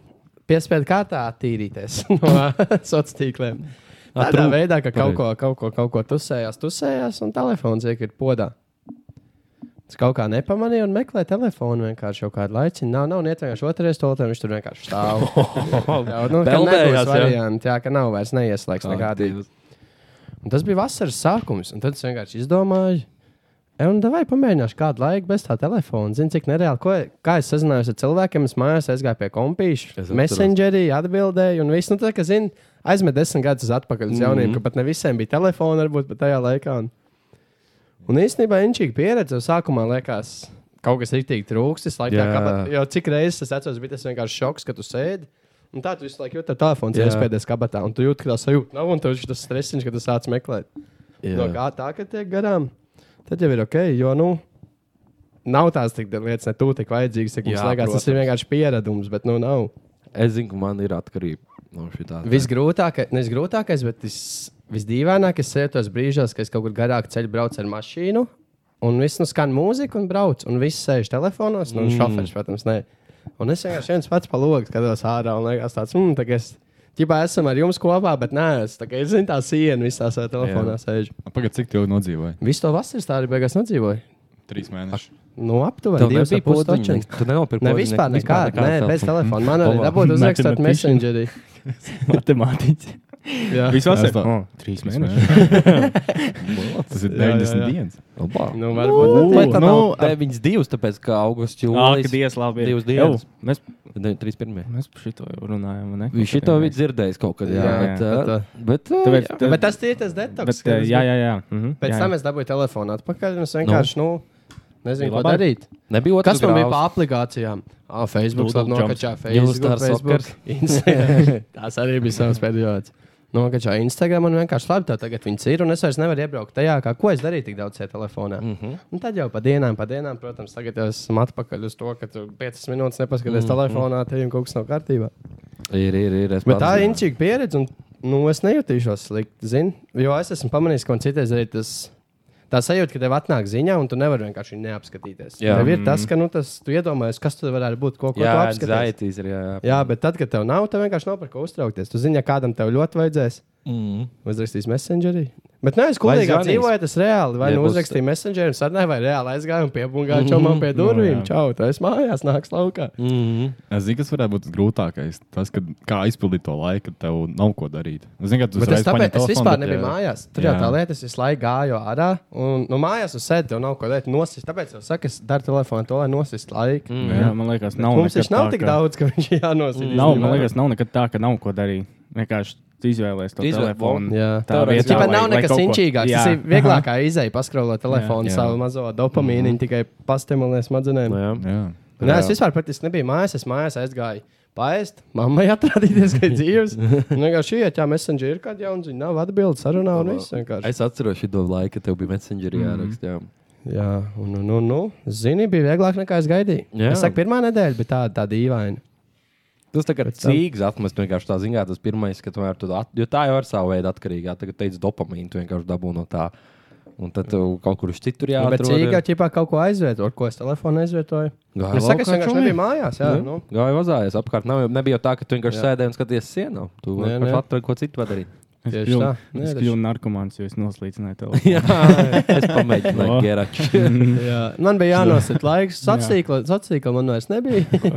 [SPEAKER 1] piespiedu kārtā attīrīties [laughs] no sociāliem tīkliem. Tādā
[SPEAKER 2] Atrū-
[SPEAKER 1] veidā, ka kaut
[SPEAKER 2] Pareizi.
[SPEAKER 1] ko, kaut ko, kaut ko tusējās, tusējās, un telefons iekļūt podā. Es kaut kā nepamanīju, un meklēju telefonu vienkārši jau kādu laiku. Nav, nav, nē, vienkārši otrais to lietu, viņš tur vienkārši
[SPEAKER 2] [laughs]
[SPEAKER 1] stāv. jā, nu, tā
[SPEAKER 2] Peldējās, jā.
[SPEAKER 1] nebūs varianti, jā, ka nav vairs neieslēgts nekādi.
[SPEAKER 2] Aktīvs.
[SPEAKER 1] Un tas bija vasaras sākums, un tad es vienkārši izdomāju. "E, Un vai pamēģināšu kādu laiku bez tā telefona? Zinu, cik nereāli. Ko, kā es sazinājos ar cilvēkiem, es mājās aizgāju pie
[SPEAKER 2] Es
[SPEAKER 1] kompīša,
[SPEAKER 2] atceros.
[SPEAKER 1] messengerī, atbildēju, un viss, nu, tā kā zinu, aizmet desmit gadus atpakaļ uz jauniem, mm -hmm.
[SPEAKER 2] Mhm.
[SPEAKER 1] ka pat ne visiem bija telefona, varbūt pat tajā laikā. Un, un īstenībā inčīga pieredze jau sākumā liekas, kaut kas rīktīgi trūkst. Es laikam,
[SPEAKER 2] Jā.
[SPEAKER 1] kāpēc, jo cik reizes es atceros, bija tas vienkārši šoks, ka tu sēdi. Un tā tu visu laiku jūti, ka telefons ir
[SPEAKER 2] Jā.
[SPEAKER 1] iespējas kabatā, un tu jūti, ka tā sajūta nav, un tev ir tas stresiņš, ka tu sāc meklēt.
[SPEAKER 2] Jā.
[SPEAKER 1] Nu, No kā tā, ka tiek garām, tad jau ir ok, jo, nu, nav tās tik lietas, ne tu tik vajadzīgas, cik mums
[SPEAKER 2] Jā,
[SPEAKER 1] liekas, tas ir vienkārši pieredums, bet, nu, nav.
[SPEAKER 2] Es zinu, ka man ir atkarība no šī tā.
[SPEAKER 1] Visgrūtākais, nevis grūtākais, bet vis, visdīvainākais sēžos brīžos, kad es kaut kur garāk ceļu braucu ar mašīnu. Un viss nu skan mūziku un brauc. Un viss sēž telefonos. Nu, mm. šoferis, protams, ne. Un es vienkārši viens pats palūgu, skatos ārā un liekas, tāds, mmm, tā es. Ķipā esam ar jums kopā, bet nē, es tā kā zinu, tā siena visā savā telefonā sēž.
[SPEAKER 10] Pagaid, cik tev nodzīvoja?
[SPEAKER 1] Visu to vasaru stāri beigās nodzīvoju.
[SPEAKER 10] Trīs mēnešus.
[SPEAKER 1] Nu, aptuveni,
[SPEAKER 2] Tev
[SPEAKER 1] divi bija
[SPEAKER 2] nebija podziņa.
[SPEAKER 1] pusotri.
[SPEAKER 2] ne- Tu nenopirki
[SPEAKER 1] Ne,
[SPEAKER 2] podziņa,
[SPEAKER 1] vispār nekāda. Nē, bez
[SPEAKER 2] telefona.
[SPEAKER 1] telefona. Man arī
[SPEAKER 2] Labā.
[SPEAKER 1] [laughs] dabūtu uzrakstot
[SPEAKER 3] Matematiķi.
[SPEAKER 1] messengerī.
[SPEAKER 3] Matemātiķi.
[SPEAKER 1] Jā.
[SPEAKER 3] Visos
[SPEAKER 10] tā.
[SPEAKER 3] ir. Trīs mēnešus. [laughs]
[SPEAKER 10] Tas ir
[SPEAKER 1] Jā, jā,
[SPEAKER 10] 90
[SPEAKER 1] jā.
[SPEAKER 10] dienas.
[SPEAKER 2] Labā.
[SPEAKER 1] Nu, varbūt.
[SPEAKER 3] Nu,
[SPEAKER 2] Bet tā
[SPEAKER 3] nu,
[SPEAKER 2] nav 92, tāpēc ka
[SPEAKER 3] Ak,
[SPEAKER 2] augusts jūlijas
[SPEAKER 3] Dievs, labi. ir.
[SPEAKER 2] divas dienas.
[SPEAKER 3] Jau, Mēs,
[SPEAKER 2] Ne, 31.
[SPEAKER 3] mēs par šito jau runājam, vai ne?
[SPEAKER 2] Viņš šito bija dzirdējis kaut kad, jā,
[SPEAKER 1] Jā,
[SPEAKER 2] bet,
[SPEAKER 1] jā,
[SPEAKER 2] jā, bet, bet,
[SPEAKER 3] Tāpēc,
[SPEAKER 2] jā.
[SPEAKER 3] tā,
[SPEAKER 1] Bet eh, tas ir tas detoks.
[SPEAKER 3] bet, eh,
[SPEAKER 1] ka tas
[SPEAKER 3] jā, jā, jā. mhm,
[SPEAKER 1] Pēc
[SPEAKER 3] jā,
[SPEAKER 1] tam
[SPEAKER 3] jā.
[SPEAKER 1] es dabūju telefonu atpakaļ. un Es vienkārši nu. nezinu,
[SPEAKER 3] Bija
[SPEAKER 1] ko
[SPEAKER 3] labāk?
[SPEAKER 1] darīt.
[SPEAKER 2] nebija otrs
[SPEAKER 1] Kas man bija
[SPEAKER 2] grāvs.
[SPEAKER 1] par aplikācijām? Ah, Facebook,
[SPEAKER 3] Doodle
[SPEAKER 1] labi, nokačā
[SPEAKER 2] Jums tā
[SPEAKER 1] Facebook,
[SPEAKER 2] ir
[SPEAKER 1] Facebook, [laughs] Instagram. [laughs] Tās arī bija savas pēdējās. Nokačā Instagram un vienkārši labi, tā tagad viņas ir. Un es vairs nevaru iebraukt tajā, kā ko es darīju tik daudz šajā telefonā. Mm -hmm. Un tad jau pa dienām, pa dienām, protams, tagad jau esmu atpakaļ uz to, ka tu 5 minūtes nepaskaties mm -hmm. telefonā, tev jau kaut kas nav kārtībā.
[SPEAKER 2] Ir, ir, ir. es
[SPEAKER 1] Bet tā ir
[SPEAKER 2] pārzinu.
[SPEAKER 1] inčīga pieredze, un nu, es nejūtīšos slikti. Zin? Jo es esmu pamanījis, ka man citreiz arī tas tā sajūta, ka tev atnāk ziņā, un tu nevari vienkārši neapskatīties. Jā,
[SPEAKER 2] Jā. Mm-hmm.
[SPEAKER 1] tev ir tas, ka nu, tas, tu iedomājies, kas tur varētu būt, ko, ko tu
[SPEAKER 2] Jā,
[SPEAKER 1] apskatīsi.
[SPEAKER 2] zaitīs ir, jā, jā.
[SPEAKER 1] Jā, bet tad, kad tev nav, tev vienkārši nav par ko uztraukties. Tu zini, ja kādam tev ļoti vajadzēs,
[SPEAKER 2] Mm.
[SPEAKER 1] uzrakstīs messengerī. Bet nē, es
[SPEAKER 2] Vai
[SPEAKER 1] kolēģi
[SPEAKER 2] zvanīs?
[SPEAKER 1] dzīvoju, tas reāli. Vai
[SPEAKER 2] Ja
[SPEAKER 1] nu
[SPEAKER 2] būs-
[SPEAKER 1] uzrakstīju messengeriem, sarunāju, vai reāli aizgāju un piebungāju čomam
[SPEAKER 2] Mm-hmm.
[SPEAKER 1] pie durvīm. Čau, tas mājās nāks laukā.
[SPEAKER 2] Mm.
[SPEAKER 10] Es zinu, kas varētu būt tas grūtākais. Tas, kad, kā izpildīt to laiku, kad tev nav ko darīt. Es zinu, ka tu
[SPEAKER 1] Bet es
[SPEAKER 10] uzreiz paņem
[SPEAKER 1] tāpēc es
[SPEAKER 10] telefonu,
[SPEAKER 1] vispār
[SPEAKER 10] bet,
[SPEAKER 1] nebiju
[SPEAKER 10] jā.
[SPEAKER 1] mājās. Tur jau
[SPEAKER 10] Jā.
[SPEAKER 1] tā lieta, es visu laiku gāju ārā. Un no mājās uz sēdi tev nav ko darīt. Nosist, tāpēc es saku, es daru telefonu to, lai nosistu laiku. Mm.
[SPEAKER 3] Jā, man liekas, nav.
[SPEAKER 1] Mums
[SPEAKER 3] nekad
[SPEAKER 1] viņš nav
[SPEAKER 3] tā,
[SPEAKER 1] tik
[SPEAKER 3] ka-
[SPEAKER 1] daudz, ka viņš jānosita.
[SPEAKER 3] Nav, man liekas, nav nekad tā, ka nav ko darīt. Vienkārši tu izvēlējies to
[SPEAKER 2] Izvēl-
[SPEAKER 3] telefonu.
[SPEAKER 1] Jā.
[SPEAKER 3] Tā
[SPEAKER 1] Tas
[SPEAKER 3] vietā,
[SPEAKER 1] jau
[SPEAKER 3] lai-
[SPEAKER 1] nav
[SPEAKER 3] lai
[SPEAKER 1] nekas
[SPEAKER 3] kaut ko-
[SPEAKER 1] inčīgāks.
[SPEAKER 3] Jā.
[SPEAKER 1] Tas ir vieglākā izēja paskrāvot telefonu,
[SPEAKER 10] Jā.
[SPEAKER 1] savu mazo dopamīnu, mm -hmm. tikai pastimulēt smadzenēm.
[SPEAKER 2] Nu, Jā.
[SPEAKER 10] Jā.
[SPEAKER 1] Nē, es vispār patiesībā nebiju mājās. Es mājās aizgāju. Paēst, mammai [laughs] atrādīties, ka ir dzīves. Viņa vienkārši ieteica, messengeri ir kāda jauna ziņa, nav atbildes, sarunā un viss vienkārši.
[SPEAKER 2] Es atceros šo laiku, kad tev bija Messengerī jāraksta. Jā.
[SPEAKER 1] Jā, un, un, un, un zini, bija vieglāk nekā es gaidīju.
[SPEAKER 2] Jā.
[SPEAKER 1] Jā. Es saku, pirmā nedēļa bija tāda tā dīvaina.
[SPEAKER 2] Tas tā kā cīgs atmest vienkārši tā ziņā, tas pirmais, ka tomēr tu at... jo tā jau ir sava veida atkarīga. Tagad teica dopamīnu, tu vienkārši dabū no tā. Un tad tev kaut kur uz citur
[SPEAKER 1] Jā, Nu, bet
[SPEAKER 2] jāatrod.
[SPEAKER 1] cīņā ķipā kaut ko aizvietoju, ko es telefonu aizvietoju.
[SPEAKER 2] Gāja
[SPEAKER 1] Es saku, es
[SPEAKER 2] laukā
[SPEAKER 1] vienkārši
[SPEAKER 2] čomī.
[SPEAKER 1] nebiju mājās. Jā,
[SPEAKER 2] Jā,
[SPEAKER 1] nu.
[SPEAKER 2] Gāja mazājies apkārt. Nav, jau- nebija jau tā, ka tu vienkārši sēdēji un skaties sienā. Tu
[SPEAKER 1] Nē,
[SPEAKER 2] vienkārši
[SPEAKER 1] nē.
[SPEAKER 2] atradi, ko citu [laughs] darīt.
[SPEAKER 3] Es
[SPEAKER 1] Tieši
[SPEAKER 3] kļuvu-
[SPEAKER 1] tā. Nē,
[SPEAKER 3] Es
[SPEAKER 1] tas-
[SPEAKER 3] kļuvu narkomāns, jo es noslīcināju tev.
[SPEAKER 2] Jā, es pamēģināju
[SPEAKER 3] No.
[SPEAKER 2] geraču.
[SPEAKER 1] Jā. Man bija jānosaka laiks, sociāla sociāla man vairs nebija.
[SPEAKER 10] [laughs]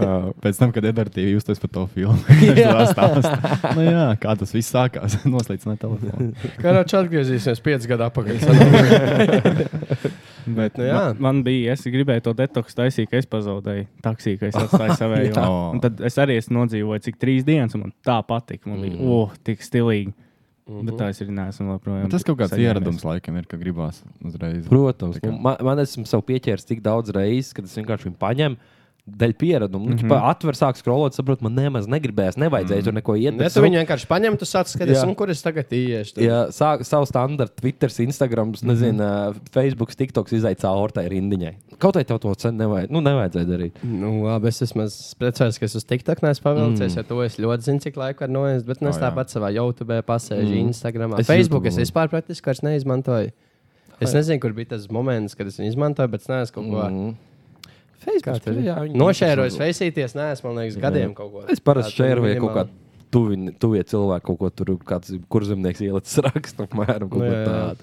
[SPEAKER 10] Pēc tam, kad Edvards bija uztais par to filmu, [laughs] viņš tā stāsta. Nu jā, kā tas viss sākās. [laughs]
[SPEAKER 1] [laughs]
[SPEAKER 10] Noslīdināja telefonu.
[SPEAKER 1] [laughs] Karoči atgriezīsies piecus gadus [laughs] atpakaļ.
[SPEAKER 10] Bet,
[SPEAKER 1] Nu, jā.
[SPEAKER 3] [laughs] Man, man bija, es gribēju to detoksu taisīt, ka es pazaudēju taksiju, ka es atstāju
[SPEAKER 10] [laughs]
[SPEAKER 3] savējo.
[SPEAKER 10] Jā.
[SPEAKER 3] Un tad es arī es nodzīvoju, cik trīs dienas, un man tā patika. Man bija, oh, tik stilīgi. Bet tā es arī neesmu joprojām.
[SPEAKER 10] tas kaut kāds
[SPEAKER 3] saņēmies.
[SPEAKER 10] ieradums laikam ir, ka gribās uzreiz.
[SPEAKER 2] Protams,
[SPEAKER 10] Tā kā-
[SPEAKER 2] nu, man, man esmu sev pieķēries tik daudz reizes, kad es vienkārši viņu paņemu. Dēļ piereduma.
[SPEAKER 10] Mhm.
[SPEAKER 2] Mm -hmm. nu, Atver, sāk skrolot, saprot, man nemaz negribējās, nevajadzēja mm. tur neko iet.
[SPEAKER 1] Nē,
[SPEAKER 2] bet
[SPEAKER 1] tu
[SPEAKER 2] nu-
[SPEAKER 1] viņu vienkārši paņem, tu sāc skatīties,
[SPEAKER 2] Jā.
[SPEAKER 1] un kur es tagad iešu. tad-
[SPEAKER 2] Ja sā, savu standartu, Twitter, Instagram, nezinu,
[SPEAKER 10] Mhm.
[SPEAKER 2] mm. Facebook, TikTok izaicinājums caur tai rindiņai. Kaut vai tev to cenu nevajag, nu, nevajadzēja darīt.
[SPEAKER 1] Nu, labi, es esmu priecājos, ka es uz TikTok neesmu pavilcies, mm. jo to es ļoti zinu, cik laika var noiest. Bet nu, es
[SPEAKER 10] jā.
[SPEAKER 1] tāpat savā YouTube, pasēžu, mm. Instagram,
[SPEAKER 2] Es
[SPEAKER 1] Facebook.
[SPEAKER 2] YouTube
[SPEAKER 1] Es vispār praktiski vairs neizmantoju. Es nezinu, kur bija tas moments, kad es viņu izmantoju, bet es neesmu kaut ko. Mm.
[SPEAKER 2] Facebook, tur, Mhm. jā, viņi-
[SPEAKER 1] Nošērojis, veisīties, neesmu, man liekas, gadiem kaut ko.
[SPEAKER 2] Es parasti
[SPEAKER 1] Tā, tad
[SPEAKER 2] šēru vai kaut kā
[SPEAKER 1] minimāli.
[SPEAKER 2] tuvini, tuvie cilvēki, kaut ko tur, kāds kurzemnieks ielicis rakstu, apmēram, kaut
[SPEAKER 1] Nu,
[SPEAKER 2] ko
[SPEAKER 1] jā, jā.
[SPEAKER 2] tādu.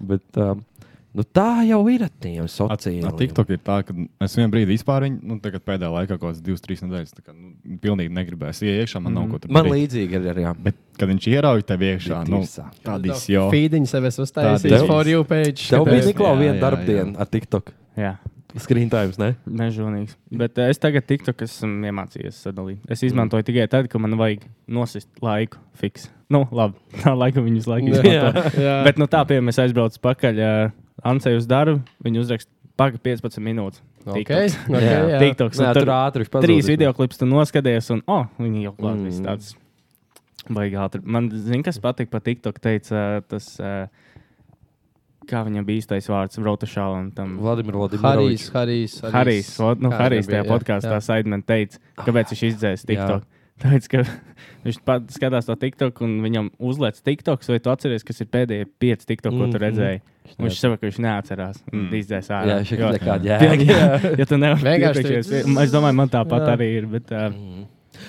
[SPEAKER 2] Bet, um, nu, tā jau ir ar tiem sociālajiem.
[SPEAKER 10] TikTok ir tā, ka es vienā brīdī vispār, viņu, nu, tagad pēdējā laikā kaut kādas divas, trīs nedēļas, tā kā nu, pilnīgi negribēju. Es iekšā, man
[SPEAKER 1] Mm.
[SPEAKER 10] nav ko tur
[SPEAKER 2] Man
[SPEAKER 10] darīt.
[SPEAKER 2] līdzīgi ir arī. jā.
[SPEAKER 10] Bet, kad viņš ierauj tev iekšā,
[SPEAKER 2] Bija
[SPEAKER 10] nu,
[SPEAKER 2] tirsā.
[SPEAKER 10] tādas jau
[SPEAKER 1] Feediņš sev es uztaisīju
[SPEAKER 10] tev-
[SPEAKER 1] for you page.
[SPEAKER 2] Tev bija
[SPEAKER 1] tāpēc-
[SPEAKER 2] Niklaus
[SPEAKER 10] jā,
[SPEAKER 2] viena
[SPEAKER 10] jā,
[SPEAKER 2] darba
[SPEAKER 10] jā.
[SPEAKER 2] diena ar TikTok.
[SPEAKER 3] Jā,
[SPEAKER 2] Screen times, ne?
[SPEAKER 3] mežonīgs. Bet eh, es tagad tiktu, kas esmu iemācījies sadalīt. Es izmantoju tikai tad, kad man vajag nosist laiku fiks. Nu, labi, [laughs] tā laika viņus laiku izmantoju.
[SPEAKER 1] [laughs] Jā.
[SPEAKER 3] Bet, nu, tā piemēram, es aizbraucu pakaļ uh, Ansei uz darbu. Viņa uzrakst pagaidi 15 minūtes.
[SPEAKER 1] Okay,
[SPEAKER 3] TikToks.
[SPEAKER 1] okay,
[SPEAKER 2] Jā.
[SPEAKER 1] jā.
[SPEAKER 3] TikToks, un
[SPEAKER 2] Nē,
[SPEAKER 3] tur
[SPEAKER 2] tur ātri viņš
[SPEAKER 3] Trīs
[SPEAKER 2] pazudis.
[SPEAKER 3] video klips tu noskaties, un oh, viņi jau klāta.
[SPEAKER 2] Mm.
[SPEAKER 3] Mm. Tāds baigi ātri. Man, zini, kas patīk par TikTok, teica tas, eh, kā viņam bija īstais vārds, Rotašā un tam.
[SPEAKER 2] Vladimir Vladimirovičs.
[SPEAKER 1] Harijs, Harijs,
[SPEAKER 3] Harijs, o, nu,
[SPEAKER 1] Kā
[SPEAKER 3] Harijs
[SPEAKER 1] nebija,
[SPEAKER 3] tajā
[SPEAKER 1] jā,
[SPEAKER 3] podkāstā
[SPEAKER 1] jā.
[SPEAKER 3] Saidman teica, kāpēc viņš izdzēs TikTok. Tāpēc, ka [laughs] viņš pat skatās to TikTok un viņam uzliek TikTok, vai tu atceries, kas ir pēdējie pieci TikTok, ko tu redzēji. Un Viņš saka, ka viņš neatcerās. Mhm. Mm. Izdzēs ārā.
[SPEAKER 2] Jā, šī
[SPEAKER 3] Jo-
[SPEAKER 2] ir kāda
[SPEAKER 3] [laughs] Pilnīgi,
[SPEAKER 2] jēga. [laughs]
[SPEAKER 3] jā. ja tu nevari
[SPEAKER 1] Vienkārši tu-
[SPEAKER 3] iepriekšējos pie- es domāju, man tāpat
[SPEAKER 1] Jā.
[SPEAKER 3] arī ir. Bet, uh,
[SPEAKER 1] Mm.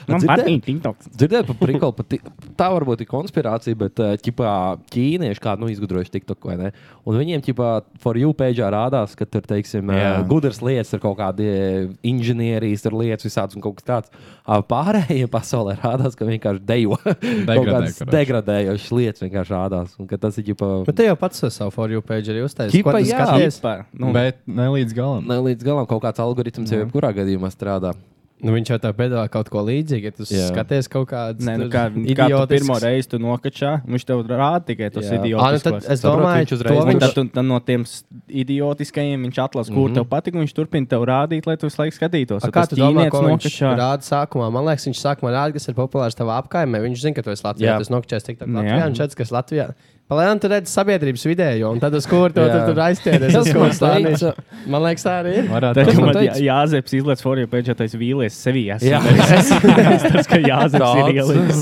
[SPEAKER 3] man
[SPEAKER 2] Dzirdē-
[SPEAKER 3] patīk TikToks.
[SPEAKER 2] Dzirdēt par prikolu, pat ti- tā varbūt ir konspirācija, bet eh, ķipā, ķīnieši kādu nu, izgudrojuši TikTok vai ne. Un viņiem, ķipā, for you page rādās, ka tur, teiksim, eh,
[SPEAKER 10] Jā.
[SPEAKER 2] gudras lietas, ir kaut kādi eh, inženierijas tur lietas, visāds un kaut kas tāds. Ah, Pārējiem pasaulē rādās, ka vienkārši dejo [laughs] kaut
[SPEAKER 10] Degradē,
[SPEAKER 2] kādas
[SPEAKER 10] korrekt.
[SPEAKER 2] degradējošas lietas vienkārši rādās. Un ka tas ir
[SPEAKER 1] Bet
[SPEAKER 2] ģipā.
[SPEAKER 1] Nu, te jau pats ar savu for you page arī uztaisīji.
[SPEAKER 2] Ķipa, jā.
[SPEAKER 3] Vispār,
[SPEAKER 10] nu,
[SPEAKER 3] Nu,
[SPEAKER 10] bet ne līdz galam.
[SPEAKER 2] Ne līdz galam kaut kāds algoritms jau jebkurā gadījumā strādā.
[SPEAKER 1] Nu, viņš jau tā piedāvā kaut ko līdzīgu. Ja tu
[SPEAKER 2] Jā.
[SPEAKER 1] jā. skaties kaut kādu
[SPEAKER 3] Nē, nu, kā, kā tu pirmo reizi tu nokačā, viņš tev rāda tikai tos
[SPEAKER 2] Jā.
[SPEAKER 1] Anu, nu Ah, tad
[SPEAKER 3] idiotiskos.
[SPEAKER 1] es
[SPEAKER 2] Saprotu,
[SPEAKER 1] domāju,
[SPEAKER 2] viņš
[SPEAKER 1] ka
[SPEAKER 2] uzreiz
[SPEAKER 1] to
[SPEAKER 3] Un tad
[SPEAKER 1] viņš
[SPEAKER 3] tu, tad no tiem s- idiotiskajiem viņš atlasa, kur mm -hmm. tev patīk. un Viņš turpina tev rādīt, lai tu visu laiku skatītos.
[SPEAKER 1] Mhm. A,
[SPEAKER 3] Un
[SPEAKER 1] Kā
[SPEAKER 3] tas
[SPEAKER 1] tu domā,
[SPEAKER 3] ķīnietis
[SPEAKER 1] ko viņš
[SPEAKER 3] nokačā.
[SPEAKER 1] rāda sākumā? Man liekas, viņš sākumā rāda, kas ir populārs tavā apkaimē. Viņš zina, ka tu esi Latvijā.
[SPEAKER 2] Jā.
[SPEAKER 1] Tas nokļuvies tik tālu
[SPEAKER 3] Nu, Jā.
[SPEAKER 1] Latvijā. Viņš redz, kas Latvijā. Palēnām tu redz sabiedrības vidējo, un tad uz kur to
[SPEAKER 2] Jā.
[SPEAKER 1] tu tur aizties.
[SPEAKER 2] Tas, ko es teicu.
[SPEAKER 1] Man liekas, tā arī ir.
[SPEAKER 10] Varētu
[SPEAKER 3] Tad,
[SPEAKER 10] tā
[SPEAKER 3] kad
[SPEAKER 2] man
[SPEAKER 3] man jā,
[SPEAKER 2] teica?
[SPEAKER 3] Jāzeps izlaiž formu, pēdējā taisa vīlies sevī. Es
[SPEAKER 2] Jā. [laughs]
[SPEAKER 3] tas, ka Jāzeps ir
[SPEAKER 2] Tāds. [laughs]
[SPEAKER 3] ielīdzis.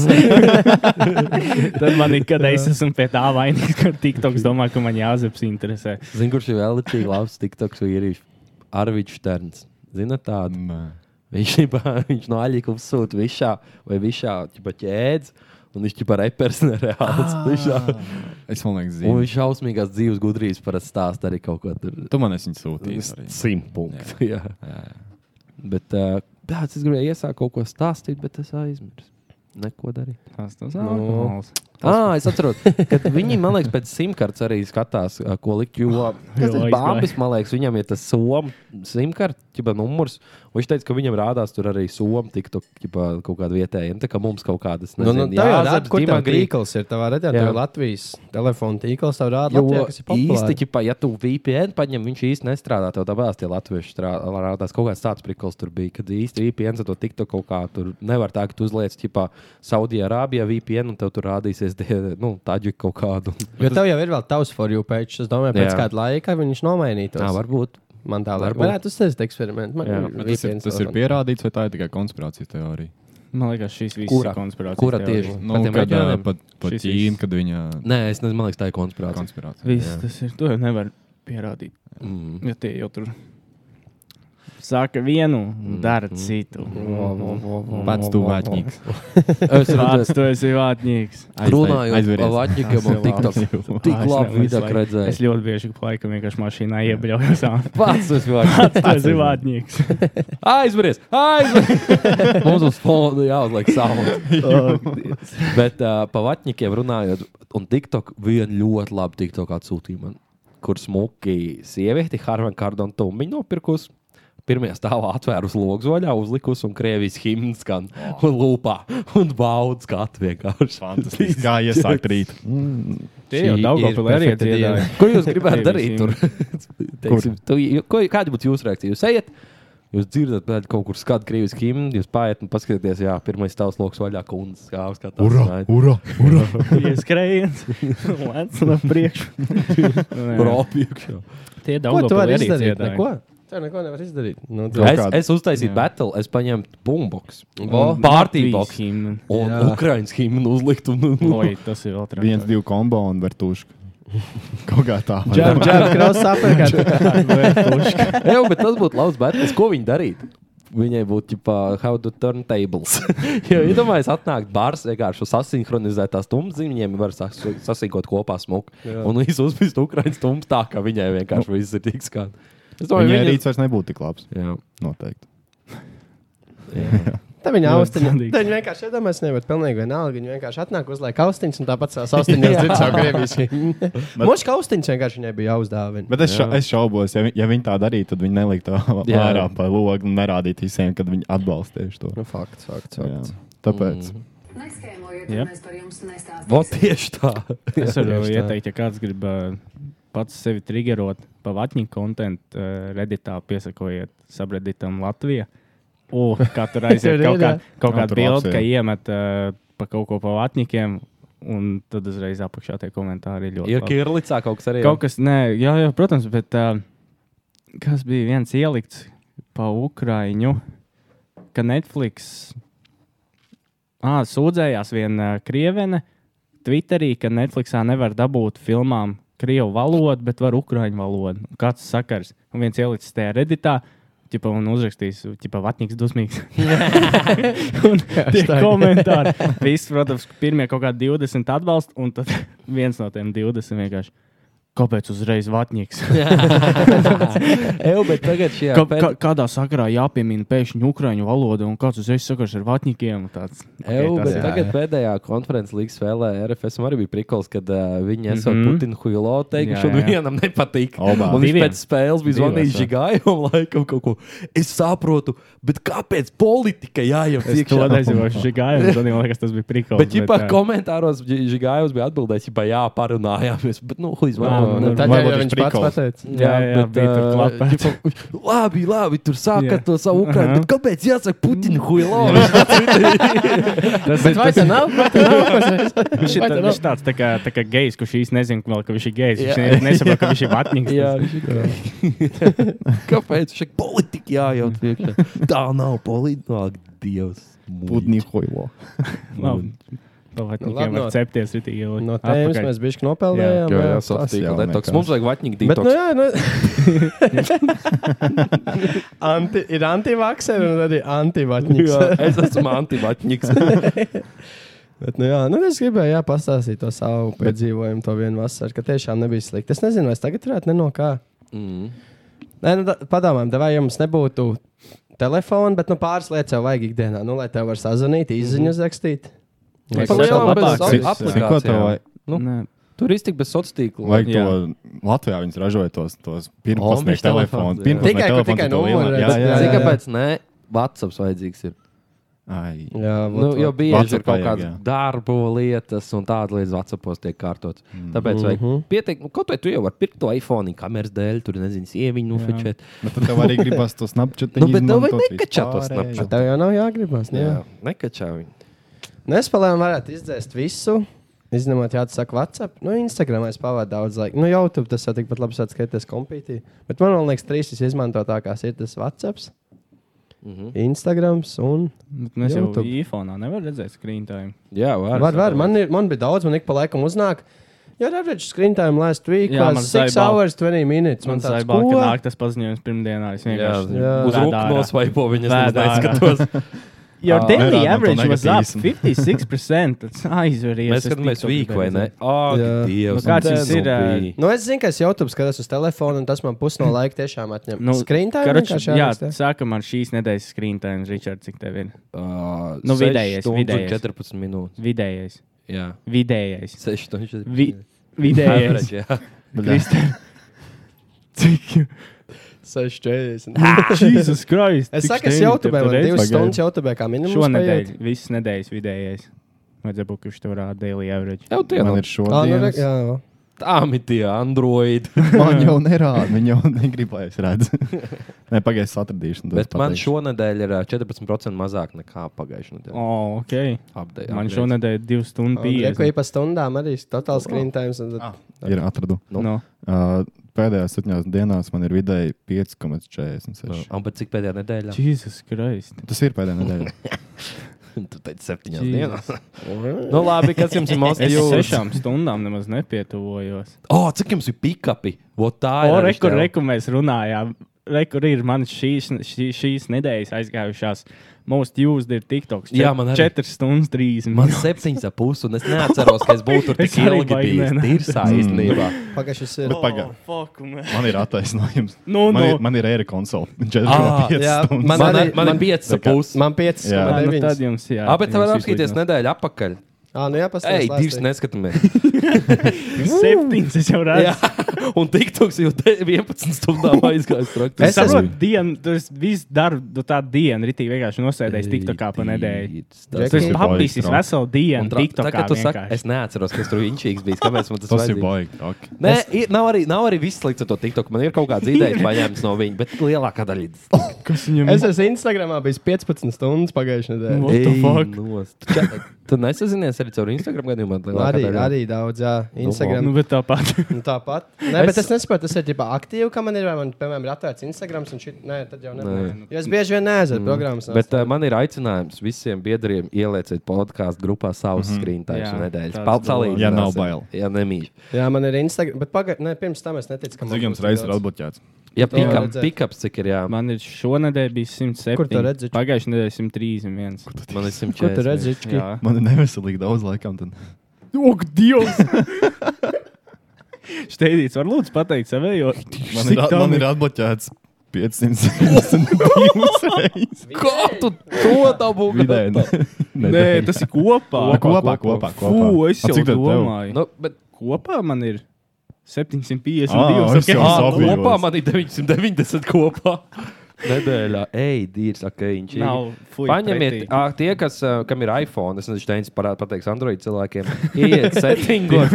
[SPEAKER 3] Tad man ir, kad es esmu pie tā vainīgs, ka TikToks domā, ka man Jāzeps interesē.
[SPEAKER 2] Zinu, kurš ir vēl tik labs TikToks vīrišķis. Arvids Šterns. Zina tādu.
[SPEAKER 10] Nē.
[SPEAKER 2] Viņš, ķipā, viņš no aļģikas sūta visā, vai visā ķipā, ķēdes, un viņš ir reperis nereāls. Visā.
[SPEAKER 10] Es man liekas,
[SPEAKER 2] Un
[SPEAKER 10] zinu.
[SPEAKER 2] viņš šausmīgās dzīves gudrības parasti stāsta arī kaut ko tur.
[SPEAKER 10] Tu man esi viņu sūtījis. arī.
[SPEAKER 2] Simtpunkts. [laughs] Jā. Jā. Bet uh, jā, es gribēju iesākt kaut ko stāstīt, bet es aizmirsu. Neko darīt.
[SPEAKER 3] Tas tas
[SPEAKER 2] Nu.
[SPEAKER 3] alkohols.
[SPEAKER 2] Ah, es saprotu, ka viņi, man liekas, pēc simtkartes arī skatās, ā, ko likt.
[SPEAKER 1] [laughs]
[SPEAKER 2] Jo tas ir
[SPEAKER 3] aizgāja.
[SPEAKER 2] bābis, man liekas, viņam ir tas somu simtkartes numurs. un Viņš teica, ka viņam rādās tur arī somu tiktu kaut kāda vietējā. Tā kā mums kaut kādas
[SPEAKER 1] Nu, nu, tā jau rāda, kur tā
[SPEAKER 2] grīka.
[SPEAKER 1] grīkls ir. Tavā redzē, tev
[SPEAKER 2] Jā.
[SPEAKER 1] ir Latvijas telefona tīkls, tev rāda,
[SPEAKER 2] Jo
[SPEAKER 1] Latvijā, kas ir
[SPEAKER 2] īsti,
[SPEAKER 1] populārs.
[SPEAKER 2] ķipa, ja tu VPN paņem, viņš īsti nestrādā. Tev dabās tie latvieši strādā. Rādās kaut kāds tāds priklis tur bija, kad īsti VPN to tiktu kaut kā tur. Nevar tā, ka tu uzliec, ķipā, Saudijā-Arābijā VPN un tev tur rādīsies tie, nu, tāģi kaut kādu.
[SPEAKER 1] Jo tev jau ir vēl tavs for you page. Es domāju, pēc
[SPEAKER 2] Jā.
[SPEAKER 1] kāda laika viņš nomainītos.
[SPEAKER 2] Jā, varbūt.
[SPEAKER 1] Man tā liekas,
[SPEAKER 2] Varbūt.
[SPEAKER 1] varētu uztaisīt eksperimentu. Man
[SPEAKER 2] Jā.
[SPEAKER 1] ir
[SPEAKER 10] Bet Tas ir,
[SPEAKER 1] VPN
[SPEAKER 10] tas ir
[SPEAKER 1] telefons.
[SPEAKER 10] pierādīts, vai tā ir tikai konspirācijas teorija?
[SPEAKER 3] Man liekas, šīs visas
[SPEAKER 2] Kura?
[SPEAKER 3] ir konspirācijas.
[SPEAKER 2] Kura
[SPEAKER 3] teorijas.
[SPEAKER 2] tieši?
[SPEAKER 10] Nu,
[SPEAKER 2] Par tiem
[SPEAKER 10] kad ā,
[SPEAKER 2] reģioniem?
[SPEAKER 10] pat pat
[SPEAKER 3] Šis
[SPEAKER 10] Ķīna,
[SPEAKER 3] viss.
[SPEAKER 10] kad viņa
[SPEAKER 2] Nē, es nezinu, man liekas, tā ir konspirācija.
[SPEAKER 10] konspirācija.
[SPEAKER 3] Viss tas ir. To jau nevar pierādīt.
[SPEAKER 2] Mm.
[SPEAKER 3] Ja tie jau tur saka vienu, dara
[SPEAKER 2] Mhm.
[SPEAKER 3] citu.
[SPEAKER 10] Pats tu vērtnieks.
[SPEAKER 2] Es
[SPEAKER 3] Vārds, tu esi vātnieks.
[SPEAKER 2] runāju par Latvijas
[SPEAKER 3] Tas ir
[SPEAKER 2] monētu. Tik
[SPEAKER 3] Ai,
[SPEAKER 2] labi
[SPEAKER 3] es
[SPEAKER 2] video
[SPEAKER 3] nevaru Es
[SPEAKER 2] redzēju.
[SPEAKER 3] ļoti bieži laikam vienkārši mašīnā iebļaujos.
[SPEAKER 2] [laughs] Pats
[SPEAKER 3] Pats
[SPEAKER 2] tas bija.
[SPEAKER 3] [laughs] tas ir vārdnieks.
[SPEAKER 2] Aizveries! Aizveries! Mums uz fona jāuzliek savs. Bet uh, par vatņikiem runājot, un TikTok vien ļoti labi TikTok atsūtīja man, kur smuki sievieti Harvan Kardon Tumiņu nopirkus. Pirmajā stāvā atvērus logs vaļā, uzlikus un krievijas himnu skan un lūpā un baudas skatu vienkārši.
[SPEAKER 10] Fantastiski.
[SPEAKER 2] [laughs]
[SPEAKER 10] Kā iesākt rīt?
[SPEAKER 3] Tie jau
[SPEAKER 1] Šī
[SPEAKER 3] Daugavpilī
[SPEAKER 1] ir
[SPEAKER 3] arī
[SPEAKER 1] perfekta
[SPEAKER 3] dziedāja. [laughs]
[SPEAKER 1] diena.
[SPEAKER 2] Ko jūs
[SPEAKER 3] Krievijas
[SPEAKER 2] gribētu [laughs] darīt tur? Teiksim, tu, ko, kāda būtu jūsu reakcija? Jūs ejat, Jūs dzirdat, kad kaut kur skatāt krievis himnu, jūs paiet un paskatieties, jā, pirmais tavs lokus vaļā kundzes kā skatās.
[SPEAKER 10] Ura, ura, ura.
[SPEAKER 1] [laughs]
[SPEAKER 3] Ieskrējiens, lēns no priekšu.
[SPEAKER 2] Ropiekšā.
[SPEAKER 3] Tie
[SPEAKER 1] Ko
[SPEAKER 3] daudz
[SPEAKER 1] tu vari izdarīt? Neko. Tu neko nevar izdarīt. Nu, tu...
[SPEAKER 2] Es,
[SPEAKER 10] kādu-
[SPEAKER 2] es uztaisīju battle, es paņēmu bumbuļs,
[SPEAKER 1] Bo-
[SPEAKER 2] pārtīk box
[SPEAKER 3] himnu.
[SPEAKER 2] un
[SPEAKER 1] Jā.
[SPEAKER 2] ukraiņas himnu uzlikt. Un, un, un.
[SPEAKER 3] Oi, tas ir vēl
[SPEAKER 10] Viens,
[SPEAKER 3] traks.
[SPEAKER 10] divi kombo
[SPEAKER 2] [laughs]
[SPEAKER 10] un vertuška. Kaut kā tā. vai
[SPEAKER 1] Džem,
[SPEAKER 10] ne?
[SPEAKER 1] džem, kraus
[SPEAKER 3] [laughs]
[SPEAKER 1] apakā.
[SPEAKER 2] Jā, bet tas būtu labs battles, ko viņi darītu. Viņai būtu tipā how to turn tables. [laughs] jo, iedomājieties, atnākt bars, vienkārši sasinhronizēt tās tumbas, viņiem var sas- sasinkot kopā smuku. Un viņš uzspīst Ukraiņas tumbas tā, ka viņai vienkārši viss ir tik skaisti. Es
[SPEAKER 10] Viņai
[SPEAKER 2] viņas-
[SPEAKER 10] rīts vairs nebūtu tik labs.
[SPEAKER 2] Jā.
[SPEAKER 10] Noteikti.
[SPEAKER 1] Tā viņa austiņa.
[SPEAKER 3] smadīgi.
[SPEAKER 1] Viņa vienkārši iedomājās, nevar pilnīgi vienalga. Viņa vienkārši atnāk, uzliek austiņas un tāpat savas austiņas dzird
[SPEAKER 3] [laughs]
[SPEAKER 1] savu griebīšu. Mums kā austiņas vienkārši viņai bija jāuzdāvina.
[SPEAKER 10] Bet es, ša, es šaubos, ja, vi- ja viņi tā darītu, tad viņi neliktu to
[SPEAKER 2] Jā.
[SPEAKER 10] ārā pa logu un nerādītu visiem, kad viņi atbalsta tieši to.
[SPEAKER 1] Nu, fakts, fakts,
[SPEAKER 10] Jā.
[SPEAKER 1] fakts.
[SPEAKER 10] Tāpēc mm.
[SPEAKER 3] Ja?
[SPEAKER 2] Vot tieši tā.
[SPEAKER 3] Es varu
[SPEAKER 1] tieši tā.
[SPEAKER 3] ieteikt, ja kāds grib uh, pats sevi triggerot, pavatņu kontentu uh, redītā piesakojiet sabreditam Latvijā. O, kā tur
[SPEAKER 1] [laughs]
[SPEAKER 3] aiziet
[SPEAKER 1] Tur
[SPEAKER 3] kaut
[SPEAKER 1] ir, jā.
[SPEAKER 3] kāda kaut
[SPEAKER 10] Jā,
[SPEAKER 3] kāda
[SPEAKER 10] tur
[SPEAKER 3] bilde,
[SPEAKER 10] labs,
[SPEAKER 3] ka
[SPEAKER 10] jā.
[SPEAKER 3] iemet uh, pa kaut ko pavatņikiem, un tad uzreiz apakšā tie komentāri ir ļoti
[SPEAKER 2] Ir
[SPEAKER 3] labi.
[SPEAKER 2] kirlicā kaut kas arī. [laughs]
[SPEAKER 3] Kaut kas, nē, jā, jā, protams, bet uh, kas bija viens ielikts pa Ukraiņu, ka Netflix à, sūdzējās viena krievene Twitterī, ka Netflixā nevar dabūt filmām krievu valodu, bet var ukraiņu valodu. Un Kāds sakars? Un viens ielicis tajā reditā. Čipa, un uzrakstīs, ka Vatnīgs ir dusmīgs. un tie komentāri. Visi, protams, pirmie kaut kādi 20 atbalsta, un tad [laughs] viens no tiem 20 vienkārši. Kāpēc uzreiz Vatnīgs?
[SPEAKER 1] [laughs]
[SPEAKER 2] Eju, bet tagad šajā
[SPEAKER 3] Kā,
[SPEAKER 2] pēd-
[SPEAKER 3] kā, kādā sakarā jāpiemina pēkšņi ukraiņu valoda un kāds uzreiz sakars ar vatņiem? Tāds
[SPEAKER 2] Eju,
[SPEAKER 3] Ok,
[SPEAKER 2] bet
[SPEAKER 3] tas-
[SPEAKER 2] tagad pēdējā konferences līnijas spēlē RFS arī bija prikals, kad uh, viņi esot mm
[SPEAKER 3] Mhm.
[SPEAKER 2] -hmm. Putina huilo teikuši,
[SPEAKER 3] Jā,
[SPEAKER 2] un
[SPEAKER 3] jā.
[SPEAKER 2] vienam nepatīk.
[SPEAKER 10] Obā.
[SPEAKER 2] Un viņš
[SPEAKER 3] Diviem.
[SPEAKER 2] pēc spēles bija
[SPEAKER 10] Divas,
[SPEAKER 2] zvanījis žigājumam, laikam kaut ko. Es saprotu, bet kāpēc politika jāiet
[SPEAKER 3] Es to
[SPEAKER 2] iekšā?
[SPEAKER 3] nezinu, vai šī gājuma tad man liekas, tas bija prikals.
[SPEAKER 2] Bet, ja par
[SPEAKER 3] jā.
[SPEAKER 2] komentāros Ži- žigājums bija atbildējis, ja jā, parunājāmies, bet, nu, huiz,
[SPEAKER 3] Nav,
[SPEAKER 2] man
[SPEAKER 1] Nu,
[SPEAKER 3] nu,
[SPEAKER 1] Tad
[SPEAKER 10] varbūt
[SPEAKER 1] jau
[SPEAKER 10] viņš
[SPEAKER 1] viņš pats
[SPEAKER 10] prikols.
[SPEAKER 1] pateica.
[SPEAKER 3] Jā, jā, bija tur klapēts. [laughs]
[SPEAKER 2] ģipa, labi, labi, tur sākat
[SPEAKER 3] Jā.
[SPEAKER 2] to
[SPEAKER 3] Aha.
[SPEAKER 2] savu
[SPEAKER 3] Mm.
[SPEAKER 2] ukrainu, bet kāpēc jāsaka Putina huilo?
[SPEAKER 3] tas
[SPEAKER 1] Bet
[SPEAKER 3] [laughs]
[SPEAKER 1] vai tas nav? Vai tas nav?
[SPEAKER 3] Viņš ir
[SPEAKER 1] Vai
[SPEAKER 3] tā-
[SPEAKER 1] tu
[SPEAKER 3] viņš tāds tā kā, tā kā gejs, kurš īsti nezina, vēl, ka viņš ir gejs. Viņš ne, nesaprot, ka viņš ir vatņīgs.
[SPEAKER 2] Jā, Kāpēc šeit politika jājaut iekšā? Tā nav politika. Ak, Dievs.
[SPEAKER 10] putni hoilo.
[SPEAKER 3] Labi. Pa vatņikiem
[SPEAKER 1] Nu, Labi,
[SPEAKER 3] var
[SPEAKER 1] no-
[SPEAKER 3] cepties ritīgi. ilgi.
[SPEAKER 1] No tēmas
[SPEAKER 3] Atpakaļ.
[SPEAKER 1] mēs bišķi nopelnījām.
[SPEAKER 2] Jā,
[SPEAKER 1] jā.
[SPEAKER 2] jā,
[SPEAKER 10] tas
[SPEAKER 2] sastīk,
[SPEAKER 10] jau
[SPEAKER 2] detoks.
[SPEAKER 10] nekas.
[SPEAKER 2] Mums vajag vatņīgi
[SPEAKER 1] Bet, nu,
[SPEAKER 2] detoks.
[SPEAKER 1] jā, nu,
[SPEAKER 2] [laughs]
[SPEAKER 1] anti, ir antivakcīna un arī
[SPEAKER 2] Jā,
[SPEAKER 1] antivatņiks.
[SPEAKER 2] es esmu antivatņīgs.
[SPEAKER 3] [laughs]
[SPEAKER 1] Bet, nu, jā, nu, es gribēju jā, pastāstīt to savu piedzīvojumu, to vienu vasaru, ka tiešām nebija slikti. Es nezinu, vai es tagad varētu nenokā.
[SPEAKER 2] Mm.
[SPEAKER 1] Nē, nu, da- padomājam, vai ja mums nebūtu telefona, bet nu, pāris lietas jau vajag ikdienā. Nu, lai tev var sazvanīt,
[SPEAKER 2] Mhm.
[SPEAKER 1] izziņas rakstīt.
[SPEAKER 3] Vai
[SPEAKER 1] Pa
[SPEAKER 3] kaut kas
[SPEAKER 1] lielam bez
[SPEAKER 3] labāks?
[SPEAKER 1] so-
[SPEAKER 10] Cik-
[SPEAKER 2] aplikācijām.
[SPEAKER 10] cik ko tev vajag?
[SPEAKER 2] Nu,
[SPEAKER 3] Nē.
[SPEAKER 2] Tur iztika bez sociālās tīkla.
[SPEAKER 10] Vajag to Latvijā viņi ražoja tos, tos pirmos
[SPEAKER 2] Omniš
[SPEAKER 10] telefonus.
[SPEAKER 2] telefons, jā.
[SPEAKER 10] Pirmos
[SPEAKER 1] Tikai, kur tikai numuri
[SPEAKER 10] Jā,
[SPEAKER 1] redz,
[SPEAKER 10] jā,
[SPEAKER 2] Zini,
[SPEAKER 10] jā.
[SPEAKER 2] kāpēc? Nē, Vatsaps vajadzīgs ir.
[SPEAKER 10] Ai.
[SPEAKER 1] Jā,
[SPEAKER 2] Nu,
[SPEAKER 1] vot,
[SPEAKER 2] jo
[SPEAKER 1] vot.
[SPEAKER 2] bieži ir
[SPEAKER 10] WhatsApp
[SPEAKER 2] kaut
[SPEAKER 10] vajag,
[SPEAKER 2] kādas
[SPEAKER 10] jā.
[SPEAKER 2] darba lietas un tādas lietas Vatsapos tiek kārtotas.
[SPEAKER 10] Mm.
[SPEAKER 2] Tāpēc vajag
[SPEAKER 1] Mhm.
[SPEAKER 2] pietiek, nu, kaut vai tu jau vari pirkt to iPhone, kameras dēļ, tur nezinu, ieviņu nofečēt.
[SPEAKER 10] Bet tad tev arī gribas to snapchat.
[SPEAKER 2] Nu, bet tev vajag nekačāt to Snapchat.
[SPEAKER 1] Tev jau nav jāgribas. Nu, jā.
[SPEAKER 2] Jā, nekačā viņu.
[SPEAKER 1] Nespēlējām, varētu izdzēst visu. Izņemot, ja atsaka WhatsApp, nu, Instagram es pavadu daudz laika. Nu, YouTube tas jau tikpat labi atskaities kompītī. Bet man liekas, trīs izmantotākās ir tas WhatsApp,
[SPEAKER 2] Mhm.
[SPEAKER 1] Instagrams un.
[SPEAKER 3] Bet nu, Mēs jau
[SPEAKER 1] YouTube.
[SPEAKER 3] iPhone nevaram redzēt skrīntājumu.
[SPEAKER 2] Jā, var.
[SPEAKER 1] Var, var. Man, ir, man bija daudz, man ik pa laikam uznāk. Your average screen time last week
[SPEAKER 3] Jā,
[SPEAKER 1] jā,
[SPEAKER 3] man
[SPEAKER 1] was 6
[SPEAKER 3] saibā.
[SPEAKER 1] hours 20 minutes.
[SPEAKER 3] Man
[SPEAKER 1] Man tāds,
[SPEAKER 3] saistībā, ka
[SPEAKER 1] ko?
[SPEAKER 3] nāk tas paziņojums pirmdienā. Es
[SPEAKER 2] Jā,
[SPEAKER 3] vienkārši
[SPEAKER 2] jā.
[SPEAKER 1] Jā.
[SPEAKER 2] Uz
[SPEAKER 3] Vēdā
[SPEAKER 2] rūkā
[SPEAKER 3] ārā.
[SPEAKER 2] nosvaipo viņas.
[SPEAKER 3] Vēdā
[SPEAKER 2] Es
[SPEAKER 3] ārā.
[SPEAKER 2] skatos,
[SPEAKER 10] [laughs]
[SPEAKER 3] Your
[SPEAKER 2] Ah,
[SPEAKER 3] daily
[SPEAKER 10] nerāda to
[SPEAKER 3] average was up [laughs]
[SPEAKER 10] negativismu.
[SPEAKER 3] 56%. Tas aizveries.
[SPEAKER 2] mēs skatāmies vīku vai ne? Ak,
[SPEAKER 1] Jā.
[SPEAKER 2] Dievs.
[SPEAKER 3] Nu, kāds
[SPEAKER 2] un
[SPEAKER 3] jums ir,
[SPEAKER 2] tas
[SPEAKER 3] ā,
[SPEAKER 2] bija.
[SPEAKER 1] Nu, es zinu, ka es YouTube skatos uz telefonu, un tas man pusi no laika tiešām atņem.
[SPEAKER 3] Nu,
[SPEAKER 1] Nu, screen time
[SPEAKER 3] Karoč,
[SPEAKER 1] vienkārši
[SPEAKER 3] jā,
[SPEAKER 1] jāraksta.
[SPEAKER 3] sākam ar šīs nedēļas screen time, Ričard, cik tev ir?
[SPEAKER 2] Ā,
[SPEAKER 3] Nu,
[SPEAKER 2] seši
[SPEAKER 3] vidējais,
[SPEAKER 2] stundas un
[SPEAKER 3] vidējais.
[SPEAKER 2] 14 minūtes.
[SPEAKER 3] Vidējais.
[SPEAKER 2] Jā,
[SPEAKER 3] Vidējais.
[SPEAKER 2] 6 stundas. 14
[SPEAKER 3] Vi,
[SPEAKER 2] minūtes.
[SPEAKER 1] [laughs]
[SPEAKER 3] vidējais.
[SPEAKER 2] Average, jā. [laughs]
[SPEAKER 3] Kristēn. Cik?
[SPEAKER 1] 6.40.
[SPEAKER 3] Jesus Christ.
[SPEAKER 1] Es
[SPEAKER 3] cik
[SPEAKER 1] saku, es
[SPEAKER 3] šteini
[SPEAKER 1] YouTube,
[SPEAKER 3] tev
[SPEAKER 1] man
[SPEAKER 3] tur
[SPEAKER 1] divas
[SPEAKER 3] reiz?
[SPEAKER 1] stundas YouTube kā minimums. Nu, paiet.
[SPEAKER 3] Šonadēļ, visas nedēļas vidējais. Vajadzēja būt, ka viņš tev rāda daily average.
[SPEAKER 2] Tev tie
[SPEAKER 10] Man
[SPEAKER 2] nav.
[SPEAKER 1] Ā, nu,
[SPEAKER 10] ir
[SPEAKER 1] re,
[SPEAKER 10] [laughs] šodien.
[SPEAKER 1] jā, jā.
[SPEAKER 2] Tā ir tie Android.
[SPEAKER 10] [laughs]
[SPEAKER 2] [laughs]
[SPEAKER 10] Man jau nerāda, viņi jau negribēja redzēt. Nē, pagaidi, es atradīšu. un tad es
[SPEAKER 2] Bet man
[SPEAKER 10] pateikšu.
[SPEAKER 2] šonadēļ ir ā, 14% mazāk nekā pagājušajā nedēļā.
[SPEAKER 3] Oh, okay.
[SPEAKER 2] Update,
[SPEAKER 3] Man
[SPEAKER 2] upgrades.
[SPEAKER 3] šonadēļ ir 2 stundas
[SPEAKER 1] Reikot
[SPEAKER 3] 50.
[SPEAKER 1] pa stundām arī totāls screen time.
[SPEAKER 10] ir atradu.
[SPEAKER 2] Nu.
[SPEAKER 3] No.
[SPEAKER 10] Uh, pēdējās septiņās dienās man ir vidēji 5,46.
[SPEAKER 2] Un pēc cik pēdējā nedēļā?
[SPEAKER 3] Jesus Christ.
[SPEAKER 10] Tas ir pēdējā nedēļa.
[SPEAKER 2] [laughs] Tu teici, septiņās
[SPEAKER 3] Jesus.
[SPEAKER 2] dienās. [laughs] nu, labi, kas jums ir most
[SPEAKER 3] Es
[SPEAKER 2] jūs?
[SPEAKER 3] jau sešām stundām nemaz nepietuvojos.
[SPEAKER 2] O, oh, cik jums ir pikapi? O, tā
[SPEAKER 3] O,
[SPEAKER 2] ir. arī
[SPEAKER 3] rekur,
[SPEAKER 2] šķēl.
[SPEAKER 3] rekur mēs runājām. Rekur ir man šīs, šī, šīs nedēļas aizgājušās. Most used ir TikToks.
[SPEAKER 2] Jā, man arī.
[SPEAKER 3] 4 stundas Nu, 30.
[SPEAKER 2] Man ir septiņas ap pusi, un es neatceros, ka es būtu tur
[SPEAKER 3] [laughs] Es
[SPEAKER 2] tik
[SPEAKER 3] arī
[SPEAKER 2] ilgi
[SPEAKER 3] baigi Hmm. nē,
[SPEAKER 2] bijis.
[SPEAKER 3] nē.
[SPEAKER 2] Ir saistībā.
[SPEAKER 1] Pagājušas ir.
[SPEAKER 10] Bet pagaidi,
[SPEAKER 3] fuck, man.
[SPEAKER 10] man ir
[SPEAKER 1] [laughs]
[SPEAKER 10] attaisnojums.
[SPEAKER 3] Nu,
[SPEAKER 10] man,
[SPEAKER 3] nu.
[SPEAKER 10] ir, man ir aira konsole. [laughs]
[SPEAKER 2] Ah,
[SPEAKER 10] 4,5.
[SPEAKER 1] jā,
[SPEAKER 10] stundas.
[SPEAKER 1] man
[SPEAKER 2] Man,
[SPEAKER 1] arī-
[SPEAKER 2] ar- man ir piecas ap pusi.
[SPEAKER 1] Man 5,
[SPEAKER 10] Jā.
[SPEAKER 3] Ah,
[SPEAKER 1] man
[SPEAKER 3] nu tad
[SPEAKER 1] 9.
[SPEAKER 3] jums jā.
[SPEAKER 2] Abi tev var
[SPEAKER 3] jums
[SPEAKER 2] apskatīties
[SPEAKER 3] izlīdzinās.
[SPEAKER 2] nedēļu apakaļ.
[SPEAKER 1] Ah, nu jā,
[SPEAKER 2] Ej,
[SPEAKER 1] pastāstiet.
[SPEAKER 2] divas neskatāmies.
[SPEAKER 3] Septiņas es jau redzu.
[SPEAKER 2] Jā, [laughs] un TikToks jau te- 11
[SPEAKER 10] [laughs]
[SPEAKER 2] stundām aizgājis.
[SPEAKER 3] Es
[SPEAKER 1] Es
[SPEAKER 2] traktus.
[SPEAKER 3] saprotu, dienu, tas viss darbs, tā diena, rītī vienkārši nosēdēs TikTokā pa nedēļu.
[SPEAKER 2] Tas
[SPEAKER 3] Tas
[SPEAKER 1] ir
[SPEAKER 3] ir papīsis
[SPEAKER 10] boys,
[SPEAKER 3] veselu dienu,
[SPEAKER 2] Un tra-
[SPEAKER 3] TikTokā.
[SPEAKER 2] tā, ka tu saki,
[SPEAKER 3] vienkārši.
[SPEAKER 2] es neatceros, kas tur inčīgs bija. Kāpēc man tas,
[SPEAKER 10] Tas ir
[SPEAKER 2] vajadzīgs?
[SPEAKER 10] baigi. traki.
[SPEAKER 2] Nē, ir, nav, arī, nav arī viss slikts ar to TikTok. Man ir kaut
[SPEAKER 3] [laughs]
[SPEAKER 2] kāda ideja paņemta no viņa, bet lielākā daļa ir.
[SPEAKER 1] Es esmu Instagramā bijis 15 stundas pagājušajā nedēļā.
[SPEAKER 2] Nu,
[SPEAKER 1] Nu,
[SPEAKER 3] What the fuck?
[SPEAKER 2] fuck? Tu nesazinies arī caur Instagram gadījumā. lielākā
[SPEAKER 1] Arī,
[SPEAKER 2] daļa?
[SPEAKER 1] arī daudz, jā, Instagram.
[SPEAKER 3] Nu, bet tāpat.
[SPEAKER 1] [laughs] Nu, tāpat. Nē, es... bet
[SPEAKER 2] Es-
[SPEAKER 1] es nesaprotu, tas ir tipā aktīvi, ka man ir, vai man, piemēram, ir atvērts Instagram, un šī, nē, tad jau nemanā. Jo es bieži vien neesmu programmas.
[SPEAKER 2] Bet uh, man ir aicinājums visiem biedriem ielieciet podkāstu grupā savus mm -hmm. screen times
[SPEAKER 3] Mhm. Jā,
[SPEAKER 2] un nedēļas.
[SPEAKER 3] tāds
[SPEAKER 2] Paldies!
[SPEAKER 10] Ja nav bail.
[SPEAKER 2] Ja nemīļ.
[SPEAKER 1] Jā, man ir Instagram, bet paga... nē, pirms tam es neticu, ka man
[SPEAKER 10] Cik jums
[SPEAKER 1] būs
[SPEAKER 10] reizes ir
[SPEAKER 1] daudz.
[SPEAKER 10] atbloķēts?
[SPEAKER 2] Ja
[SPEAKER 1] To var
[SPEAKER 2] pikap-
[SPEAKER 1] redzēt.
[SPEAKER 2] pikaps, cik ir jā, man,
[SPEAKER 3] Man ir šonadēļ bija 107.
[SPEAKER 1] Kur tu redzi?
[SPEAKER 3] Pagājušajā nedēļā 131.
[SPEAKER 2] man ir 140.
[SPEAKER 1] Ko tu redzi? Čiki?
[SPEAKER 3] Jā.
[SPEAKER 10] Man ir neveselīgi daudz laikam. Tad.
[SPEAKER 3] Ak, Dievs! [laughs] Steidīts, var lūdzu pateikt savējo.
[SPEAKER 10] Man ir,
[SPEAKER 3] Cik
[SPEAKER 10] man
[SPEAKER 3] tam
[SPEAKER 10] ir atbloķēts
[SPEAKER 2] [laughs]
[SPEAKER 10] 572 reizes.
[SPEAKER 2] Ko tu to dabūji?
[SPEAKER 10] Vidēji. ne- ne-
[SPEAKER 3] Nē, tas ir kopā.
[SPEAKER 10] Kopā, kopā, kopā. kopā.
[SPEAKER 3] Fū, es
[SPEAKER 10] A,
[SPEAKER 3] jau
[SPEAKER 10] cik tad tev?
[SPEAKER 3] domāju.
[SPEAKER 2] Nu, bet
[SPEAKER 3] Kopā man ir
[SPEAKER 10] Ah,
[SPEAKER 3] 752.
[SPEAKER 10] es jau
[SPEAKER 3] Ah,
[SPEAKER 2] Ā,
[SPEAKER 10] Sapņos.
[SPEAKER 2] kopā man ir 990 kopā. Nedēļā, ej, dīrs, ok, viņš ir.
[SPEAKER 3] Ah, Nav, fuj,
[SPEAKER 2] Paņemiet,
[SPEAKER 3] pretī.
[SPEAKER 2] ā, tie, kas, ā, kam ir iPhone, es nezinu, Steins parāda, pateiks Android cilvēkiem, ieiet settingos,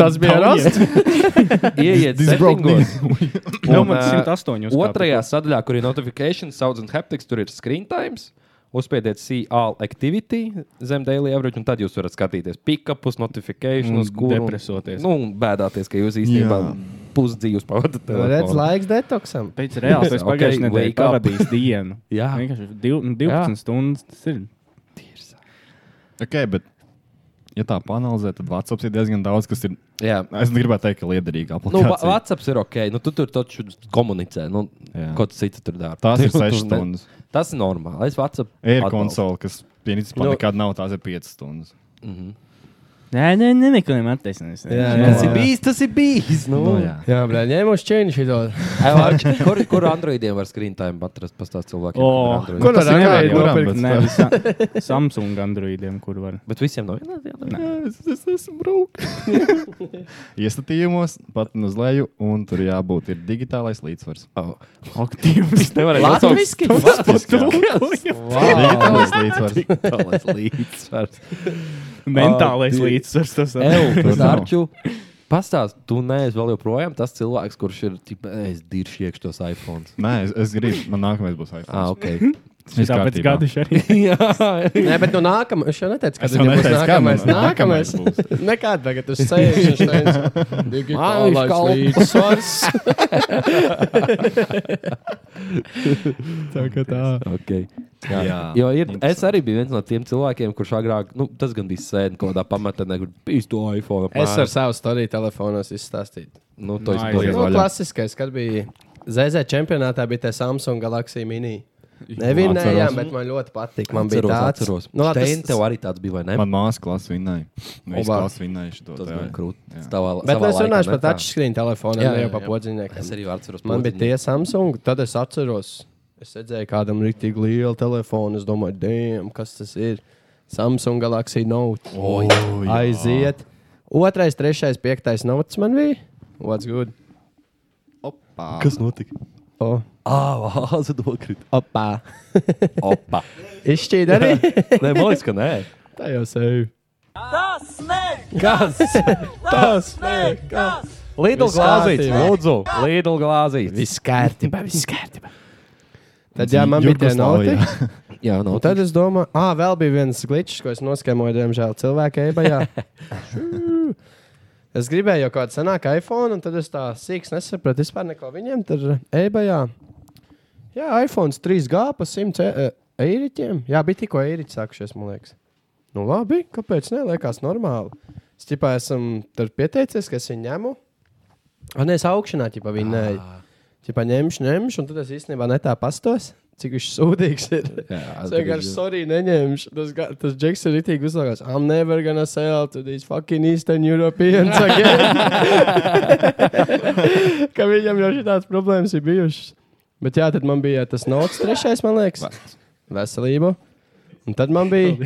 [SPEAKER 1] Tas bija
[SPEAKER 3] Tauniem.
[SPEAKER 1] rasts.
[SPEAKER 2] ieiet
[SPEAKER 10] This broke
[SPEAKER 2] settingos.
[SPEAKER 3] Jau
[SPEAKER 2] Un,
[SPEAKER 3] man
[SPEAKER 2] ā,
[SPEAKER 3] 108. uzkāpa.
[SPEAKER 2] Otrajā sadaļā, kur ir notifications, sounds and haptics, tur ir screen times. Uzspiediet see all activity zem daily average, un tad jūs varat skatīties pick-upus, notifications,
[SPEAKER 3] Un
[SPEAKER 2] kur. un-
[SPEAKER 3] depresēties.
[SPEAKER 2] Nu, un bēdāties, ka jūs īstenībā
[SPEAKER 10] Jā.
[SPEAKER 2] pusdzīvus pavadat.
[SPEAKER 1] Redz, laiks detoksam.
[SPEAKER 3] Pēc reāls [laughs] es
[SPEAKER 2] Okay,
[SPEAKER 3] pagājušajā nedēļā
[SPEAKER 2] wake up. Ah.
[SPEAKER 3] pavadīju dienu.
[SPEAKER 2] Jā.
[SPEAKER 3] vienkārši div- nu, 12 stundas tas ir.
[SPEAKER 10] [laughs] Ok, bet, ja tā panalizē, tad Vatsaps ir diezgan daudz, kas ir.
[SPEAKER 2] Jā,
[SPEAKER 10] Es gribētu teikt, ka liederīga
[SPEAKER 2] Nu,
[SPEAKER 10] aplikācija.
[SPEAKER 2] va- Vatsaps ir ok, nu, tu tur taču komunicē. Nu,
[SPEAKER 10] Jā.
[SPEAKER 2] ko tu citu tur dara?
[SPEAKER 10] Tās ir
[SPEAKER 2] Tu- tu-
[SPEAKER 10] 6
[SPEAKER 2] ne-
[SPEAKER 10] stundas.
[SPEAKER 2] Tas ir normāli. Es Vatsapu
[SPEAKER 10] Ir
[SPEAKER 2] atbalstu.
[SPEAKER 10] konsole, kas principā
[SPEAKER 2] Nu.
[SPEAKER 10] nekad nav, tās ir 5 stundas.
[SPEAKER 3] Nē, nē, nē, neko netaisnīgs.
[SPEAKER 2] Tas ir bijis, tas ir bijis. Nu.
[SPEAKER 10] jā.
[SPEAKER 1] Jā, blē, ņēmuši čēniņu šito.
[SPEAKER 2] Ai, Vārč, [laughs] kur, kur Androidiem var screen time atrast? Pastāst cilvēkiem.
[SPEAKER 3] O,
[SPEAKER 2] Oh.
[SPEAKER 1] Kur
[SPEAKER 10] Tas
[SPEAKER 1] var
[SPEAKER 10] ir
[SPEAKER 1] Android
[SPEAKER 10] nevar kuram,
[SPEAKER 1] nopirkt?
[SPEAKER 10] bet-
[SPEAKER 3] Nē, sa Samsung Androidiem, kur var.
[SPEAKER 2] Bet visiem no vienas dienas.
[SPEAKER 10] Jā, Es, es esmu brūks. [laughs] Iestatījumos, pat uz leju, un tur jābūt ir digitālais līdzsvars.
[SPEAKER 2] Oh.
[SPEAKER 3] Aktīvs. [laughs]
[SPEAKER 2] Nevarēja
[SPEAKER 1] Latviski?
[SPEAKER 10] Digitālais līdzsvars.
[SPEAKER 2] Tālais līdzsvars.
[SPEAKER 3] Mentālais
[SPEAKER 2] Ak,
[SPEAKER 3] līdzsvars tas
[SPEAKER 2] Eju,
[SPEAKER 10] Tur nav.
[SPEAKER 2] Zārču, pastāst, tu neesi vēl joprojām tas cilvēks, kurš ir, tipo, "Ē, es diršu iekš tos iPhones.
[SPEAKER 10] Nē, es, es gribu, man nākamais būs iPhone.
[SPEAKER 2] Ah, ok. [laughs]
[SPEAKER 10] Viss
[SPEAKER 3] Tāpēc
[SPEAKER 10] kārtībā.
[SPEAKER 3] gadi arī.
[SPEAKER 2] Jā,
[SPEAKER 1] Nē, bet nu nākamais. Es jau neteicu, ka tas
[SPEAKER 10] Es jau
[SPEAKER 1] būs
[SPEAKER 10] neteicu, kā
[SPEAKER 1] nākamais.
[SPEAKER 10] man
[SPEAKER 1] Nākamais.
[SPEAKER 10] nākamais
[SPEAKER 1] [laughs]
[SPEAKER 10] būs.
[SPEAKER 1] Nekāda tagad uz sēžu.
[SPEAKER 2] Ai, kalp.
[SPEAKER 1] līdzsvars.
[SPEAKER 10] Tā kā tā.
[SPEAKER 2] Okay. Jā, jā.
[SPEAKER 10] Jā.
[SPEAKER 2] Jo ir, es arī biju viens no tiem cilvēkiem, kurš agrāk, nu, tas gan bija sēdējis kaut kādā pamatnē, kur bija to iPhone.
[SPEAKER 1] [laughs] Es ar savu storiju telefonos izstāstīju.
[SPEAKER 2] nu, to
[SPEAKER 3] Nice.
[SPEAKER 2] izdarīju.
[SPEAKER 1] Nu,
[SPEAKER 10] Vaļā.
[SPEAKER 1] klasiskais, kad bija ZZ čempionātā, bija tā Samsung Galaxy mini. Nevinējām,
[SPEAKER 10] Atceros.
[SPEAKER 1] bet man ļoti patīk. Man bija tāds,
[SPEAKER 2] atceros.
[SPEAKER 1] Nu, labi,
[SPEAKER 2] Stein,
[SPEAKER 1] tas-
[SPEAKER 2] tev arī tāds bija, vai ne?
[SPEAKER 10] Man māsas klasa vinnēja. Viņa
[SPEAKER 1] Oba.
[SPEAKER 10] klasa vinnēja šo
[SPEAKER 2] tas
[SPEAKER 10] tā.
[SPEAKER 2] bija krūti.
[SPEAKER 10] Jā.
[SPEAKER 2] Tavā,
[SPEAKER 1] Bet
[SPEAKER 2] savā
[SPEAKER 1] mēs
[SPEAKER 2] laikā,
[SPEAKER 1] runājam
[SPEAKER 2] ne?
[SPEAKER 1] par
[SPEAKER 2] Tā.
[SPEAKER 1] touchscreen telefonu,
[SPEAKER 2] Jā, jā,
[SPEAKER 1] ne jau par
[SPEAKER 2] jā.
[SPEAKER 1] podziņnieku.
[SPEAKER 2] Es arī atceros,
[SPEAKER 1] Man bija tie Samsung, tad es atceros, es redzēju kādam rīktīgi lielu telefonu. Es domāju, dēm, kas tas ir? Samsung Galaxy Note.
[SPEAKER 10] O, jā.
[SPEAKER 1] Aiziet. Otrais, trešais, piektais notes man bija. What's good?
[SPEAKER 2] Kas notika?
[SPEAKER 1] O,
[SPEAKER 2] Ah, vāze nokrita.
[SPEAKER 1] opā.
[SPEAKER 2] [laughs] Opa.
[SPEAKER 1] Izšķīd arī. [laughs]
[SPEAKER 2] Nē, man liekas, ka nē.
[SPEAKER 1] Tā jau sevi.
[SPEAKER 2] Kas? Tas nekas. Lidl glāzīts,
[SPEAKER 1] kārtībā.
[SPEAKER 2] lūdzu. Lidl glāzīts.
[SPEAKER 1] Viss kārtībā, viss kārtībā. Tad, jā, man bija tā
[SPEAKER 10] Jugoslavijā.
[SPEAKER 1] notic.
[SPEAKER 2] Jā, nu, no
[SPEAKER 1] Un tad es domāju, ah, vēl bija viens glitčs, ko es noskaņoju, diemžēl, cilvēka ebajā. es gribēju jau kādu senāku iPhone, un tad es tā sīkā nesapratu vispār neko. Viņiem tur ebajā. Jā, iPhone 3G pa 100 e- e- eiriķiem. Jā, bija tikko eiriķi sākušies, man liekas. Nu labi, kāpēc ne? Liekas normāli. Es tipā esmu tur pieteicies, ka es viņu ņemu. Un es augšanā tipā viņu nē. Tipā ņemšu, ņemšu, un tad es īstenībā ne tā pastos, cik viņš sūdīgs ir.
[SPEAKER 2] Jā,
[SPEAKER 1] Es vienkārši sorry, neņemšu. Tas, ga- tas Džeks ir itī uzlāgās. I'm never gonna sell to these fucking Eastern Europeans
[SPEAKER 2] [laughs]
[SPEAKER 1] again. Ka viņam jau šādas problēmas ir bijušas. Bet jā, tad man bija tas nots trešais, man liekas. Veselību. Un tad man bija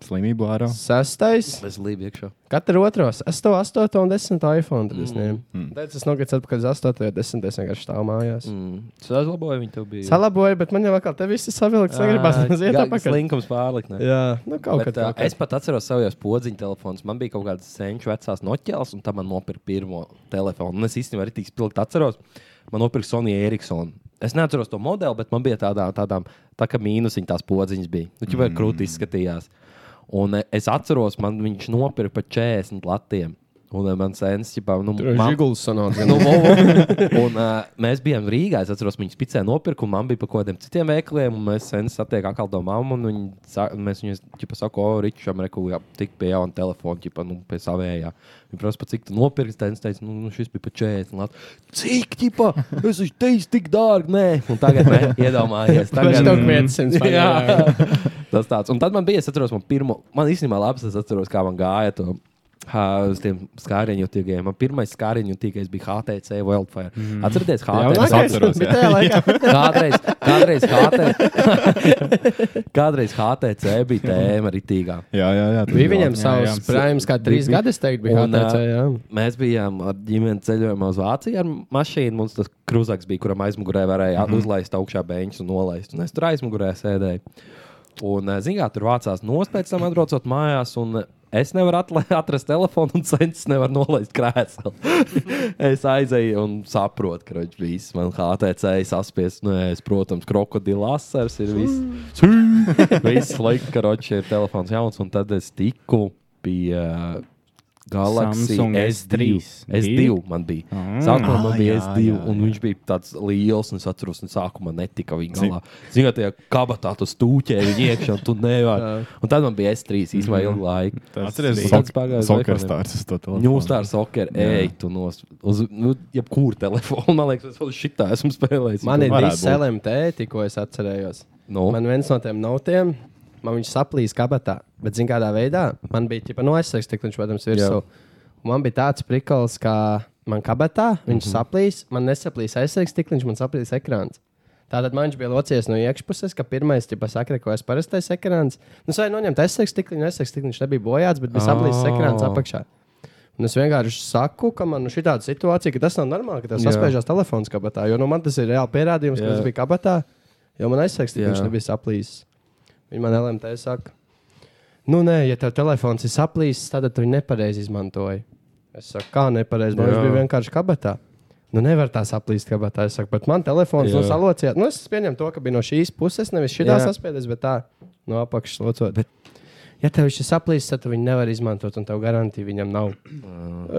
[SPEAKER 10] Slimību ārā.
[SPEAKER 1] sastais.
[SPEAKER 2] Es lību iekšā.
[SPEAKER 1] Katru otro, asto, astoto un desmito iPhone. Tad
[SPEAKER 2] Mm.
[SPEAKER 1] es ņēmu. Tad es nogriezos atpakaļ uz astoto, jo desmito es vienkārši stāvu mājās.
[SPEAKER 2] Mm. Sazlaboju viņu, tev bija.
[SPEAKER 1] Salaboju, bet man jau atkal te viss ir savilkts. Negribas aiziet apakaļ.
[SPEAKER 2] Slinkums pārlikt. ne?
[SPEAKER 1] Jā, nu kaut kā
[SPEAKER 2] Bet, uh,
[SPEAKER 1] tā.
[SPEAKER 2] es pat atceros savus podziņu telefonus. Man bija kaut kāds senčs, vecās noķēles, un tā man nopirka pirmo telefonu. Un es īstenībā arī tik spilgti atceros, man nopirka Sony Ericsson. Es neatceros to modeli, bet man bija tādā, tādām, tā kā mīnusiņa tās podziņas bija. Nu, Viņu mm. krūti izskatījās. Un e, es atceros, man viņš nopirka par 40 latiem. Un e, man sēnes, jau nu, man-
[SPEAKER 1] Žiguls
[SPEAKER 10] [laughs]
[SPEAKER 1] sanāca.
[SPEAKER 2] [laughs] Nu, vo, vo. un, uh, mēs bijām Rīgā. Es atceros, viņas picē nopirku, un man bija pa kaut kādiem citiem veikaliem. un Mēs sen satiekām atkal to mammu, un viņi, sa- mēs viņai ķipa sakām, o, Ričam, reku, jā, tik pie jauna telefona, ķipa, nu, pie savējā. Viņa prasa, pa cik tu nopirksi, tad es teicu, nu, nu, šis bija pa 40. lat." Cik, ķipa, es viņš teicu, tik dārgi, nē. Un tagad, nē,
[SPEAKER 1] Viņš
[SPEAKER 2] iedomājies. Tagad,
[SPEAKER 1] kaut kāds simts.
[SPEAKER 10] [laughs]
[SPEAKER 2] [laughs] tas tāds. Un tad man bija, es atceros, man pirmo, man īstenībā labs, es atceros, kā man gāja to. Ha, uz tiem skārienjutīgajiem. Man pirmā skārienjutīgais bija HTC Wildfire. Mm. Atcerieties, HTC.
[SPEAKER 10] atceros, jā.
[SPEAKER 2] Kādreiz, kādreiz, HTC, [laughs] kādreiz HTC bija tēma ritīgā.
[SPEAKER 10] Jā, jā, [laughs] jā. tur
[SPEAKER 1] Bija
[SPEAKER 10] jau
[SPEAKER 1] viņam
[SPEAKER 10] atceros.
[SPEAKER 1] savs prāms, kā trīs
[SPEAKER 2] bija-
[SPEAKER 1] gadus teikt, bija
[SPEAKER 2] Un,
[SPEAKER 1] HTC. jā.
[SPEAKER 2] Mēs bijām ar ģimeni ceļojumā uz Vāciju ar mašīnu. Mums tas kruzaks bija, kuram aizmugurē varēja mm -hmm. uzlaist augšā beņķus un nolaist. Un es tur aizmugurē sēdēju. Un, zinām, tur vācās nost pēc tam atbraucot mājās. Un, Es nevaru atla- [laughs] atrast telefonu, un centus nevaru nolaist krēslu. [laughs] es aizēju un saprotu, ka viņš viss man HTC saspies. Nē, es, protams, krokodila asars ir viss. Mm. [laughs] viss laiks, ka roķis ir telefons jauns, un tad es tiku pie uh, Galaxy
[SPEAKER 3] Samsung
[SPEAKER 2] S3.
[SPEAKER 3] S3.
[SPEAKER 2] S2 man bija.
[SPEAKER 3] Mm.
[SPEAKER 2] Sākumā man
[SPEAKER 10] Ah,
[SPEAKER 2] bija
[SPEAKER 10] jā,
[SPEAKER 2] S2,
[SPEAKER 10] jā,
[SPEAKER 2] un
[SPEAKER 10] jā.
[SPEAKER 2] viņš bija tāds liels, un es atceros, ka sākumā netika viņa galā. Ziniet, tajā kabatā tu stūķēji viņu iekšā, un tu nevari. Un tad man bija S3 īstenībā ilgu laiku.
[SPEAKER 10] Atceries,
[SPEAKER 2] bija-
[SPEAKER 10] sok-
[SPEAKER 2] pagājis
[SPEAKER 10] Soccer
[SPEAKER 2] laikam.
[SPEAKER 10] Stars uz to telefonu.
[SPEAKER 2] Ņūstāra sokera,
[SPEAKER 10] Jā.
[SPEAKER 2] ej, tu nos, uz nu, jebkuru telefonu. [laughs] Man liekas, es vēl šitā esmu spēlējis. Nu.
[SPEAKER 1] Man ir
[SPEAKER 10] varētu
[SPEAKER 1] viss
[SPEAKER 10] būt.
[SPEAKER 1] LMT, ko es atcerējos.
[SPEAKER 2] no.
[SPEAKER 1] Man viens no tiem notiem, man viņš saplīs kabatā, bet zin kādā veidā. Man bija tipa no aizsargs tikliņš, protams, virsū. Un Man bija tāds prikals, kā man kabatā viņš
[SPEAKER 2] Mhm.
[SPEAKER 1] saplīs, man nesaplīs aizsargs tikliņš, man saplīs ekrāns. Tātad man viņš bija locies no iekšpuses, ka pirmais tipa sakrikojas parastais ekrāns. Nu, vai noņemt aizsargs tikliņu, aizsargs tikliņš nebija bojāts, bet bija saplīsis
[SPEAKER 2] Ā.
[SPEAKER 1] ekrāns apakšā. Un es vienkārši saku, ka man ir šī tāda situācija, ka tas nav normāli, ka tas
[SPEAKER 2] Jā.
[SPEAKER 1] saspiežās telefons kabatā. Jo nu, man tas ir reāli pierādījums, ka
[SPEAKER 2] Jā.
[SPEAKER 1] tas bija kabatā. Jo man aizsaka, ka
[SPEAKER 2] Jā.
[SPEAKER 1] viņš nebija saplīsis. Viņa man LMT saka, nu nē, ja tev telefons ir saplīsis, tad tu viņu nepareizi izmantoji. Es saku, kā nepareizi, man viņš
[SPEAKER 2] Jā.
[SPEAKER 1] bija vienkārši kabatā. Nu, nevar tā saplīst kabatā. Es saku, bet man telefons
[SPEAKER 2] Jā.
[SPEAKER 1] no salocījās. Nu, es pieņemu to, ka bija no šīs puses, nevis šī tā
[SPEAKER 2] Jā.
[SPEAKER 1] saspiedies, bet tā no apakšas locot. Bet... Ja tev viņš ir saplīsis, tad tu viņu nevar izmantot, un tev garantija viņam nav.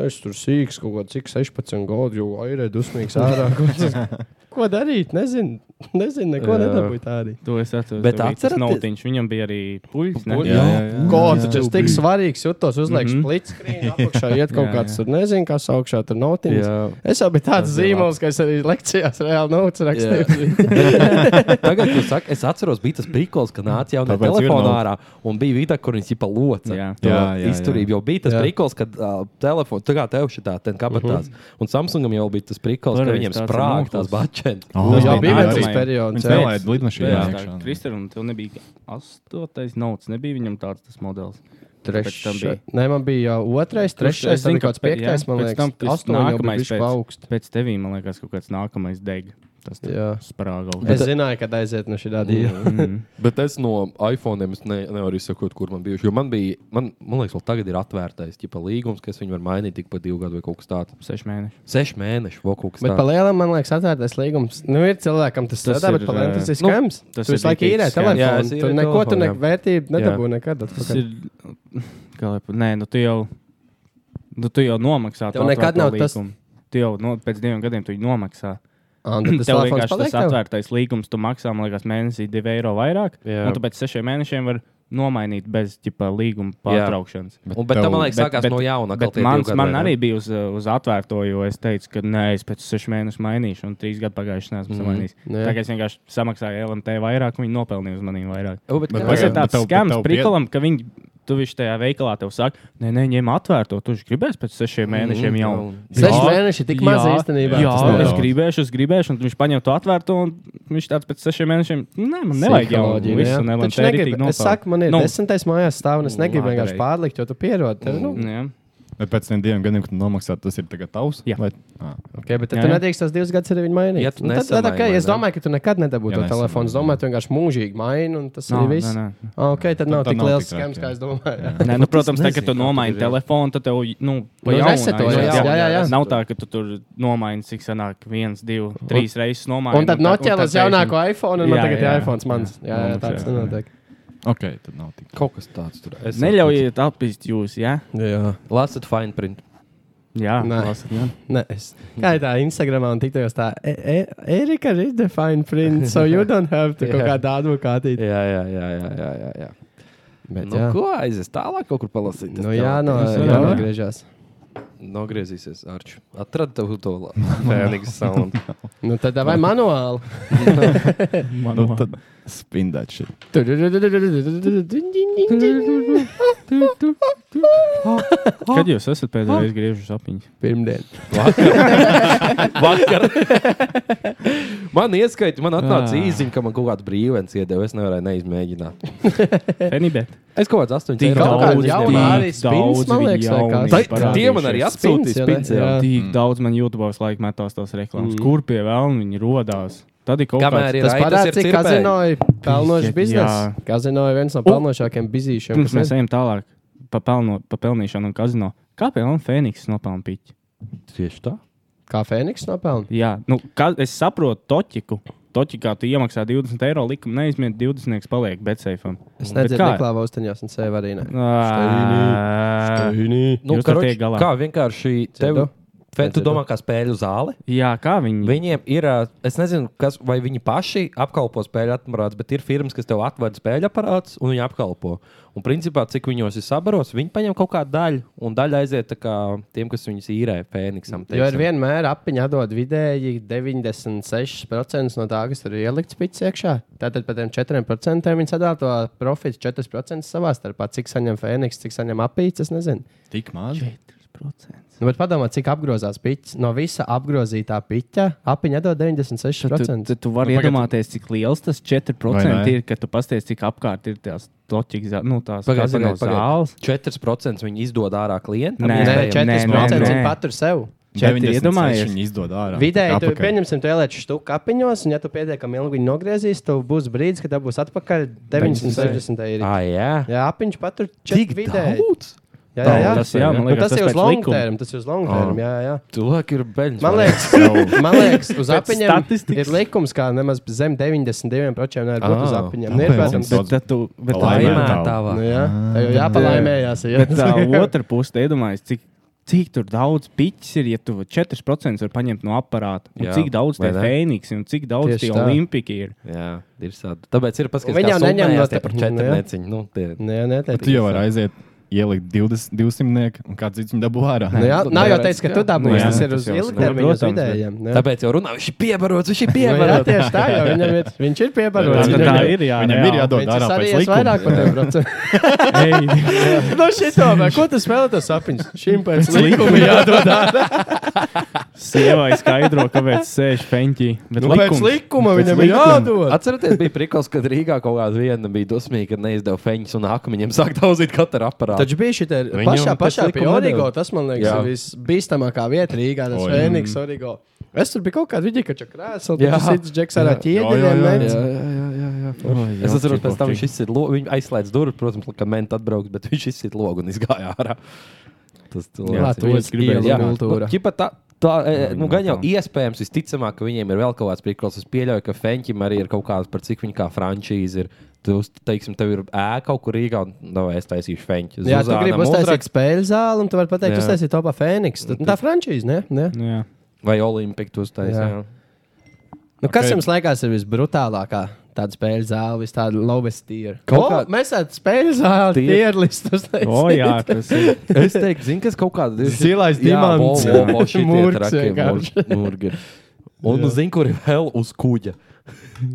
[SPEAKER 1] Es tur sīkā kaut kādā cik 16 gadu, jau airē dusmīgs ārā. Ko
[SPEAKER 3] [laughs]
[SPEAKER 1] tas- Ko darīt? Nezinu, nezinu neko
[SPEAKER 2] Jā.
[SPEAKER 1] nedabūju tā arī.
[SPEAKER 3] [laughs] To es atceros.
[SPEAKER 2] Bet
[SPEAKER 3] Bet atceros, ka
[SPEAKER 2] atceraties-
[SPEAKER 3] Nautiņš viņam bija arī puļķis. ne?
[SPEAKER 10] Jā, jā, jā.
[SPEAKER 1] Kāds tas tik svarīgs, jūtos uzliekas
[SPEAKER 3] Mhm.
[SPEAKER 1] plīts, apakšā iet kaut
[SPEAKER 3] [laughs] Jā,
[SPEAKER 1] kāds,
[SPEAKER 3] jā.
[SPEAKER 1] tur nezinu, kas augšā tur notiek. [laughs]
[SPEAKER 2] Jā.
[SPEAKER 1] Es jau biju tāds
[SPEAKER 2] Tas ir
[SPEAKER 1] zīmols, ka es arī lekcijās reāli noticu
[SPEAKER 3] [laughs]
[SPEAKER 1] rakstīju.
[SPEAKER 2] Tagad, kad saka, es atceros, bija tas brīnums, ka nāca jau no
[SPEAKER 10] Tāpēc ir
[SPEAKER 2] telefona
[SPEAKER 10] nav.
[SPEAKER 2] ārā un bija vieta, kur viņš bija locis.
[SPEAKER 3] Jā.
[SPEAKER 10] Jā, jā, jā.
[SPEAKER 2] Izturība jau bija tas
[SPEAKER 1] Jā.
[SPEAKER 2] brīnums, kad uh, telefons tā kā tev šitā ten kabatās. Un Samsungam jau bija tas brīnums, ka
[SPEAKER 3] Toreiz
[SPEAKER 2] viņiem
[SPEAKER 3] tāds
[SPEAKER 2] sprāg
[SPEAKER 3] noklis.
[SPEAKER 2] tās bačenes.
[SPEAKER 10] Oh,
[SPEAKER 1] jā, bija
[SPEAKER 10] jā,
[SPEAKER 1] viens
[SPEAKER 10] jā.
[SPEAKER 1] tas periods,
[SPEAKER 10] Viņš
[SPEAKER 1] jā.
[SPEAKER 10] nelaida lidmašīnu
[SPEAKER 3] Jā,
[SPEAKER 10] iekšā.
[SPEAKER 3] Kristēns, un tev nebija astotais nauts, nebija viņam tāds tas modelis. Pēc tam bija.
[SPEAKER 1] Nē, man bija jau otrais, trešais,
[SPEAKER 3] Es zinu,
[SPEAKER 1] tad bija
[SPEAKER 3] ka
[SPEAKER 1] kāds
[SPEAKER 3] pē- jā,
[SPEAKER 1] piektais, man
[SPEAKER 3] pēc
[SPEAKER 1] liekas.
[SPEAKER 3] tam tas
[SPEAKER 1] Astoņi jau bija
[SPEAKER 3] nākamais
[SPEAKER 1] bišķi
[SPEAKER 3] pēc-
[SPEAKER 1] paaugst.
[SPEAKER 3] Pēc tevī, man liekas, kaut kāds nākamais deg. Tas
[SPEAKER 1] Jā.
[SPEAKER 3] sprāga
[SPEAKER 1] Es zināju, kad aiziet no šī dīļa.
[SPEAKER 2] Bet es no iPhone es ne, nevaru izsakoties, kur man bija. Jo man bija, man, man liekas, vēl tagad ir atvērtais ģipa, līgums, kas viņu var mainīt tik pa divu gadu vai kaut kas tāds.
[SPEAKER 3] sešu mēnešu.
[SPEAKER 2] Sešu mēnešu vēl kaut kas
[SPEAKER 1] Bet par
[SPEAKER 2] tāds.
[SPEAKER 1] lielu man liekas, atvērtais līgums. Nu, ir cilvēkam tas
[SPEAKER 3] Tas
[SPEAKER 1] strādā,
[SPEAKER 3] ir,
[SPEAKER 1] bet par lielu tas ir
[SPEAKER 3] nu,
[SPEAKER 1] skams.
[SPEAKER 3] tas
[SPEAKER 1] Tas tu
[SPEAKER 3] ir
[SPEAKER 1] visu laiku
[SPEAKER 3] rītīgs
[SPEAKER 1] īrē
[SPEAKER 3] skams.
[SPEAKER 1] telefonu.
[SPEAKER 2] Jā, es
[SPEAKER 1] tu
[SPEAKER 2] īrēju
[SPEAKER 1] neko
[SPEAKER 2] telefonu,
[SPEAKER 1] tur
[SPEAKER 2] jā.
[SPEAKER 1] neko vērtību nedabū nekad.
[SPEAKER 3] Tas
[SPEAKER 1] atpakaļ.
[SPEAKER 3] ir. Kā lai pat. Nē, nu tu jau. Nu, tu jau nomaksā.
[SPEAKER 1] Tev
[SPEAKER 3] to
[SPEAKER 1] nekad
[SPEAKER 3] atvērto
[SPEAKER 1] nav tas-
[SPEAKER 3] līgumu. Tu jau no, pēc diviem gadiem tu viņu nomaksā.
[SPEAKER 1] Ā, un tad tas
[SPEAKER 3] [clears throat] tev
[SPEAKER 1] telefons
[SPEAKER 3] vienkārši
[SPEAKER 1] paliek
[SPEAKER 3] tas
[SPEAKER 1] tev?
[SPEAKER 3] atvērtais līgums, tu maksā, man liekas, mēnesī 2 eiro vairāk.
[SPEAKER 2] Jā.
[SPEAKER 3] Un tu pēc 6 mēnešiem vari nomainīt bez ģipa, līguma pārtraukšanas.
[SPEAKER 2] Un, bet tam, man liekas,
[SPEAKER 3] Bet-
[SPEAKER 2] sākās
[SPEAKER 3] bet-
[SPEAKER 2] no jauna.
[SPEAKER 3] Bet mans, man arī bija uz, uh, uz atvērto, jo es teicu, ka nē, es pēc sešu mēnešu mainīšu, un trīs gadu pagājuši nesmu mm. samainījis.
[SPEAKER 1] Mhm. Jā.
[SPEAKER 3] Tagad es vienkārši samaksāju LMT vairāk, un viņi nopelnīja uz maniem vairāk.
[SPEAKER 10] Bet
[SPEAKER 3] Tas
[SPEAKER 10] Pagaid,
[SPEAKER 3] ir tāds
[SPEAKER 10] bet tev- bet
[SPEAKER 3] skams
[SPEAKER 10] tev pie-
[SPEAKER 3] prikolam, ka viņi. Tu viņš tajā veikalā tev saka, nē, nē, ņem atvērto. Tu viņš gribēs pēc sešiem
[SPEAKER 10] Mm,
[SPEAKER 3] mēnešiem jau.
[SPEAKER 1] Seši
[SPEAKER 3] Jā,
[SPEAKER 1] mēneši ir tik maz
[SPEAKER 3] jā,
[SPEAKER 1] īstenībā.
[SPEAKER 3] Jā,
[SPEAKER 1] Tas nav
[SPEAKER 3] es
[SPEAKER 10] daudz.
[SPEAKER 3] gribēšu, es gribēšu, un viņš paņem to atvērto. un Viņš tāds pēc sešiem mēnešiem, nē, man nevajag jau
[SPEAKER 1] Psiholoģija,
[SPEAKER 3] visu,
[SPEAKER 1] jā.
[SPEAKER 3] un LMT
[SPEAKER 1] Taču negribu-
[SPEAKER 3] ritīgi
[SPEAKER 1] Es saku, man ir
[SPEAKER 3] Nu.
[SPEAKER 1] desmitais mājās stāv, un es negribu
[SPEAKER 3] Labi.
[SPEAKER 1] vienkārši pārlikt, jo tu pierod. Tev, nu,
[SPEAKER 3] Jā.
[SPEAKER 10] Bet pēc tam diviem gadiem, kad nomaksā, tas ir tagad tavs.
[SPEAKER 3] Jā.
[SPEAKER 10] Vai... Ah,
[SPEAKER 1] Okay, bet tad
[SPEAKER 3] Jā,
[SPEAKER 1] tu
[SPEAKER 3] jā.
[SPEAKER 1] nedrīkst tos divus gadus arī viņu mainīt.
[SPEAKER 2] Ja tu
[SPEAKER 1] Nu, tad- tad
[SPEAKER 2] nesamaini,
[SPEAKER 1] okay,
[SPEAKER 2] vai
[SPEAKER 1] es
[SPEAKER 2] ne?
[SPEAKER 1] domāju, ka tu nekad nedabūji
[SPEAKER 10] Ja
[SPEAKER 1] to
[SPEAKER 10] nesamaini,
[SPEAKER 1] telefonu. Es
[SPEAKER 10] jā.
[SPEAKER 1] domāju, tu vienkārši mūžīgi maini, un tas
[SPEAKER 3] Nā,
[SPEAKER 1] arī
[SPEAKER 3] nā,
[SPEAKER 1] viss. [laughs]
[SPEAKER 3] nā.
[SPEAKER 1] Ah, Okay, tad nav
[SPEAKER 10] tad
[SPEAKER 1] tik
[SPEAKER 10] nav
[SPEAKER 1] liels
[SPEAKER 10] tik traki,
[SPEAKER 1] skams, kā
[SPEAKER 10] jā.
[SPEAKER 1] es domāju.
[SPEAKER 3] Nē, nu, protams, tā, ka
[SPEAKER 2] nezinu,
[SPEAKER 3] tu
[SPEAKER 2] kā
[SPEAKER 3] nomaini
[SPEAKER 2] tur ir, jā.
[SPEAKER 3] telefonu, tad tev nu, pa
[SPEAKER 1] Nu,
[SPEAKER 3] jaunu
[SPEAKER 1] reseto,
[SPEAKER 3] aiziet.
[SPEAKER 2] jā, jā, jā.
[SPEAKER 3] Nav tā, ka tu tur nomaini, cik sanāk, viens, divi, trīs reizes nomaini.
[SPEAKER 1] Un tad noķēla uz jaunāko iPhone, un man
[SPEAKER 3] Jā,
[SPEAKER 1] tagad
[SPEAKER 3] jā.
[SPEAKER 1] ir iPhone mans. Jā, jā,
[SPEAKER 3] Mums,
[SPEAKER 1] tāds
[SPEAKER 3] jā.
[SPEAKER 1] nenotiek.
[SPEAKER 10] ok, tad nav tik.
[SPEAKER 2] Kaut kas tāds tur ir.
[SPEAKER 3] Neļaujiet atpīst jūs, jā?
[SPEAKER 1] Jā,
[SPEAKER 2] Lasat fine print.
[SPEAKER 3] Jā,
[SPEAKER 1] Nē.
[SPEAKER 3] lasat, jā.
[SPEAKER 1] Nē, es. Kā ir tā Instagramā un tiktojos tā, "E- E- Erika ir the fine print, so you don't have
[SPEAKER 2] [laughs]
[SPEAKER 1] to kaut
[SPEAKER 2] Jā.
[SPEAKER 1] kādā advokātī.
[SPEAKER 2] Jā, jā, jā, jā, jā. jā, jā.
[SPEAKER 1] Bet,
[SPEAKER 2] Nu,
[SPEAKER 1] jā.
[SPEAKER 2] ko aizies tālāk, kaut kur palasīt?
[SPEAKER 1] Nu, jā, no,
[SPEAKER 2] Tas
[SPEAKER 1] jā,
[SPEAKER 2] tev-
[SPEAKER 1] jā, atgriežās.
[SPEAKER 2] Nogriezīsies, Arčs. Atradu tev to [laughs] la- Fēniks sound.
[SPEAKER 1] Nu, tad vai manuāli?
[SPEAKER 10] Nu, tad spindēt šeit.
[SPEAKER 3] Kad jūs esat pēdējo reizi griežus apiņus?
[SPEAKER 1] Pirmdien.
[SPEAKER 2] [laughs] Vakar. [laughs] man ieskaita, man atnāca īziņa, ka man kaut kāda brīvens iedeva. Es nevarēju neizmēģināt.
[SPEAKER 3] Fenibet.
[SPEAKER 2] Es kaut kāds astoņi
[SPEAKER 3] Tik
[SPEAKER 1] E,
[SPEAKER 2] eiro
[SPEAKER 1] Kaut kāda
[SPEAKER 3] daudz,
[SPEAKER 2] atpakaļ
[SPEAKER 1] jauna arī spins, man
[SPEAKER 3] tik daudz
[SPEAKER 2] izņēmu.
[SPEAKER 3] viņa
[SPEAKER 1] liekas,
[SPEAKER 3] jaunas
[SPEAKER 1] vai
[SPEAKER 2] Tai-
[SPEAKER 1] kā.
[SPEAKER 3] parādījušies.
[SPEAKER 2] Tie man arī atsūtīja
[SPEAKER 1] Spins, jā,
[SPEAKER 2] spīdzi.
[SPEAKER 1] jā.
[SPEAKER 3] Tik daudz man YouTube laik metās tās
[SPEAKER 1] Mm.
[SPEAKER 3] reklāmas. Kur pie vēlna viņi rodās? Tad ir kaut
[SPEAKER 2] Kamēr
[SPEAKER 3] kāds...
[SPEAKER 2] ir
[SPEAKER 1] Tas parāds, cik kazino ir pelnošs
[SPEAKER 3] Piziet,
[SPEAKER 1] biznesa.
[SPEAKER 3] jā.
[SPEAKER 1] Kazino ir viens no pelnošākajiem bizīšiem.
[SPEAKER 3] Pirms
[SPEAKER 1] kas
[SPEAKER 3] mēs
[SPEAKER 1] ir.
[SPEAKER 3] ejam tālāk pa, pelno, pa pelnīšanu un kazino. Kāpēc man Fēniks nopelna piķi?
[SPEAKER 2] Tieši tā.
[SPEAKER 1] Kā Fēniks nopelna.
[SPEAKER 3] Jā, nu, kā, es saprotu, toķiku. Toķikā tu iemaksā 20 eiro likumu, neizmiet 20 paliek betseifam.
[SPEAKER 1] Es nedzirdu neklāvu austiņās un sevi arī ne.
[SPEAKER 3] Ā,
[SPEAKER 2] Nu,
[SPEAKER 3] Jūs ar
[SPEAKER 2] karoči,
[SPEAKER 3] tiek galā.
[SPEAKER 2] kā vienkārši tev.
[SPEAKER 1] Dzirdu.
[SPEAKER 2] Fe, tu
[SPEAKER 1] Nedzirdu.
[SPEAKER 2] domā, kā spēļu zāle?
[SPEAKER 3] Jā, kā viņi.
[SPEAKER 2] Viņiem ir, ā, es nezinu, kas, vai viņi paši apkalpo spēļu aparātus, bet ir firmas, kas tev atved spēļu aparātus un viņi apkalpo. Un principā, cik viņos ir sabaros, viņi paņem kaut kādu daļu, un daļa aiziet tā kā tiem, kas viņus īrē Fēniksam.
[SPEAKER 1] Jo ir
[SPEAKER 2] teiksim.
[SPEAKER 1] vienmēr apiņā dod vidēji 96% no tā, kas tur ir ielikts pits iekšā. Tātad par tiem 4% viņi sadala to profitu 4% savā starpā. Cik saņem Fēniks, cik saņem apīts, es nezinu.
[SPEAKER 10] Tik maz.
[SPEAKER 1] Nu, bet padomā, cik apgrozās pits. No visa apgrozītā pita apiņā dod 96%.
[SPEAKER 3] Tu, tu vari
[SPEAKER 10] Pagad-
[SPEAKER 3] iedomāties, cik liels tas 4%
[SPEAKER 10] Vai ne?
[SPEAKER 3] ir, kad tu pasties, cik apkārt ir tās toķikas, zā- nu, tās
[SPEAKER 2] Pagaid,
[SPEAKER 3] kazino
[SPEAKER 2] pagaid, pagaid.
[SPEAKER 3] zāles.
[SPEAKER 2] 4% viņi izdod ārā klientam.
[SPEAKER 3] Nē,
[SPEAKER 1] Nē,
[SPEAKER 3] nē,
[SPEAKER 1] 4%
[SPEAKER 3] nē.
[SPEAKER 1] viņi patur sev.
[SPEAKER 3] Četri,
[SPEAKER 10] 96
[SPEAKER 3] iedomājies.
[SPEAKER 10] Viņi izdod ārā.
[SPEAKER 1] Vidēji, tu,
[SPEAKER 10] Apakaļ.
[SPEAKER 1] pieņemsim, tu ieliec štuku kapiņos, un, ja tu pietiekami ilgi viņu nogriezīs, tad būs brīdis, kad tā būs atpakaļ 960 eiro.
[SPEAKER 2] Ah, jā.
[SPEAKER 1] Jā, apiņš patur
[SPEAKER 2] Tik
[SPEAKER 1] 4 vidēji.
[SPEAKER 2] daudz.
[SPEAKER 1] Jā, jā, jā.
[SPEAKER 3] Tas, jā, man
[SPEAKER 1] Nu,
[SPEAKER 3] liekas,
[SPEAKER 1] tas
[SPEAKER 3] tas
[SPEAKER 1] ir uz
[SPEAKER 3] pēc
[SPEAKER 1] long
[SPEAKER 3] likuma. Ah.
[SPEAKER 1] term. Tas ir uz long term. Jā, jā.
[SPEAKER 2] Cilvēki ir beļķi.
[SPEAKER 1] Man liekas, [laughs] man liekas, uz
[SPEAKER 3] Pēc
[SPEAKER 1] apiņiem
[SPEAKER 3] statistikas. Ah.
[SPEAKER 1] ir likums, ka nemaz zem 92% nevar būt
[SPEAKER 2] Ā,
[SPEAKER 1] uz
[SPEAKER 3] Nu,
[SPEAKER 1] apiņiem. Nē,
[SPEAKER 10] tāpēc.
[SPEAKER 1] protams,
[SPEAKER 3] Bet,
[SPEAKER 10] Daudz.
[SPEAKER 3] tad tu, bet tā ir.
[SPEAKER 10] Laimē.
[SPEAKER 1] nu,
[SPEAKER 2] Laimētā.
[SPEAKER 1] jā, tā jau jāpalaimējās. Jā.
[SPEAKER 3] Ah. Bet
[SPEAKER 1] [laughs]
[SPEAKER 3] tā otra puse, te iedomājies, cik, cik tur daudz piķis ir, ja tu 4% var paņemt no aparāta. Un jā,
[SPEAKER 2] Jā,
[SPEAKER 3] cik daudz
[SPEAKER 2] vai
[SPEAKER 3] tie
[SPEAKER 2] ne?
[SPEAKER 3] fēniks un cik daudz
[SPEAKER 1] Tieši
[SPEAKER 3] tie
[SPEAKER 1] tā.
[SPEAKER 3] olimpiki ir.
[SPEAKER 2] Jā, ir sādi. Tāpēc ir paskatās,
[SPEAKER 1] Viņi
[SPEAKER 2] kā
[SPEAKER 1] jau neņem
[SPEAKER 2] sūpējās
[SPEAKER 1] no te-
[SPEAKER 2] tie par
[SPEAKER 1] nu, [laughs]
[SPEAKER 2] četri
[SPEAKER 1] jā.
[SPEAKER 2] neciņu. Nu, tie-
[SPEAKER 1] Nē, nē, tā
[SPEAKER 10] Bet tu jau vari aiziet, ielikt 20, 200 mnieku, un kāds cits viņu dabū ārā.
[SPEAKER 1] Nu, jā,
[SPEAKER 2] Nu,
[SPEAKER 1] nav jau
[SPEAKER 2] tāpēc,
[SPEAKER 1] teicis, ka tu
[SPEAKER 3] Nu,
[SPEAKER 1] dabūji.
[SPEAKER 3] jā,
[SPEAKER 1] Tas ir
[SPEAKER 2] tas
[SPEAKER 1] uz
[SPEAKER 2] jau
[SPEAKER 1] ilgtermiņa, uz
[SPEAKER 3] saprot, Nu, protams,
[SPEAKER 1] vidējiem. jā.
[SPEAKER 2] Tāpēc jau runā, viņš ir piebarots, viņš
[SPEAKER 1] Nu,
[SPEAKER 2] ir
[SPEAKER 1] jā,
[SPEAKER 2] piebarots.
[SPEAKER 1] tieši tā, jo viņam ir, viņš ir
[SPEAKER 3] Tā,
[SPEAKER 1] piebarots.
[SPEAKER 3] tā,
[SPEAKER 1] Viņam
[SPEAKER 3] tā
[SPEAKER 1] ir-
[SPEAKER 3] ir jā.
[SPEAKER 10] Viņam ir jādod
[SPEAKER 1] Viņš ir
[SPEAKER 10] ārā pēc
[SPEAKER 1] sarījies
[SPEAKER 10] likuma.
[SPEAKER 1] vairāk par
[SPEAKER 3] [laughs]
[SPEAKER 1] Nu, 10%.
[SPEAKER 3] jāatzīst.
[SPEAKER 1] No šito, vai ko tu spēlē tas sapņus? Šim pēc likuma jādod.
[SPEAKER 3] Sievai skaidro, kāpēc sēž feņķī. Bet
[SPEAKER 1] Nu, pēc
[SPEAKER 3] likums-
[SPEAKER 1] likuma
[SPEAKER 3] pēc
[SPEAKER 1] viņam ir
[SPEAKER 3] likuma.
[SPEAKER 1] jādod.
[SPEAKER 2] Atcerieties, bija prikals, kad Rīgā kaut kāda viena bija dusmīga, kad neizdeva feņus un akmeņiem sāk daudzīt katru aparātu.
[SPEAKER 1] Taču bija šī tā
[SPEAKER 2] Viņam
[SPEAKER 1] pašā,
[SPEAKER 2] pēc
[SPEAKER 1] pašā pie
[SPEAKER 2] likuma
[SPEAKER 1] Origo.
[SPEAKER 2] nedod.
[SPEAKER 1] Tas man liekas,
[SPEAKER 2] Jā.
[SPEAKER 1] ir visbīstamākā vieta Rīgā. Tas
[SPEAKER 10] Oi.
[SPEAKER 1] Fēniks, Origo. Es tur biju kaut kādā vidī, ka čakrēsā.
[SPEAKER 2] Jā.
[SPEAKER 1] Jā, tas ir Džeks ar
[SPEAKER 10] Jā, jā, jā,
[SPEAKER 1] ķieģeļiem.
[SPEAKER 2] Jā, jā, jā, jā, jā. Es atceros, pēc tam viņš izsita logu. Viņš aizslēdz durvis, protams, ka mentā atbrauks, bet viņš izsita logu un izgāja ārā. Tas
[SPEAKER 1] Jā,
[SPEAKER 2] cilvēks
[SPEAKER 1] to es gribēju.
[SPEAKER 2] Jā,
[SPEAKER 1] Jā, kultūra.
[SPEAKER 2] nu, ķipa tā, tā, e, nu,
[SPEAKER 10] no
[SPEAKER 2] gan jau
[SPEAKER 10] tā.
[SPEAKER 2] iespējams, visticamāk, ka viņiem ir vēl kaut kāds priklis. Es pieļauju, ka Fenčim arī ir kaut kāds par cik viņa kā frančīze ir. Tu, uz- teiksim, tev ir ēka kaut kur Rīgā, un no, es taisīšu Fenču.
[SPEAKER 1] Jā, tu gribi uztaisīt spēļu zāli, un tu vari pateikt,
[SPEAKER 2] Jā.
[SPEAKER 1] kas tas ir topā Fēniks. Tad- nu, Tā frančīze, ne? ne?
[SPEAKER 3] Nu jā.
[SPEAKER 2] vai Olimpiku tu uztaisīsi.
[SPEAKER 1] Jā.
[SPEAKER 2] jā.
[SPEAKER 1] Nu, kas
[SPEAKER 10] Ok.
[SPEAKER 1] jums liekas ir visbrutālākā? Tāda spēļu zāle, vis tāda lowest tier.
[SPEAKER 2] Kaut
[SPEAKER 1] Kaut kā
[SPEAKER 2] kā-
[SPEAKER 1] mēs esam spēļu zāli,
[SPEAKER 2] Tier.
[SPEAKER 1] tier [laughs] listas.
[SPEAKER 3] O, jā, tas ir.
[SPEAKER 2] Es teiktu, zini, kas kaut kāda
[SPEAKER 1] Zilais dimants. [laughs] Murgs vienkārši.
[SPEAKER 2] Mūrgi. Un zini, kur ir vēl uz kuģa.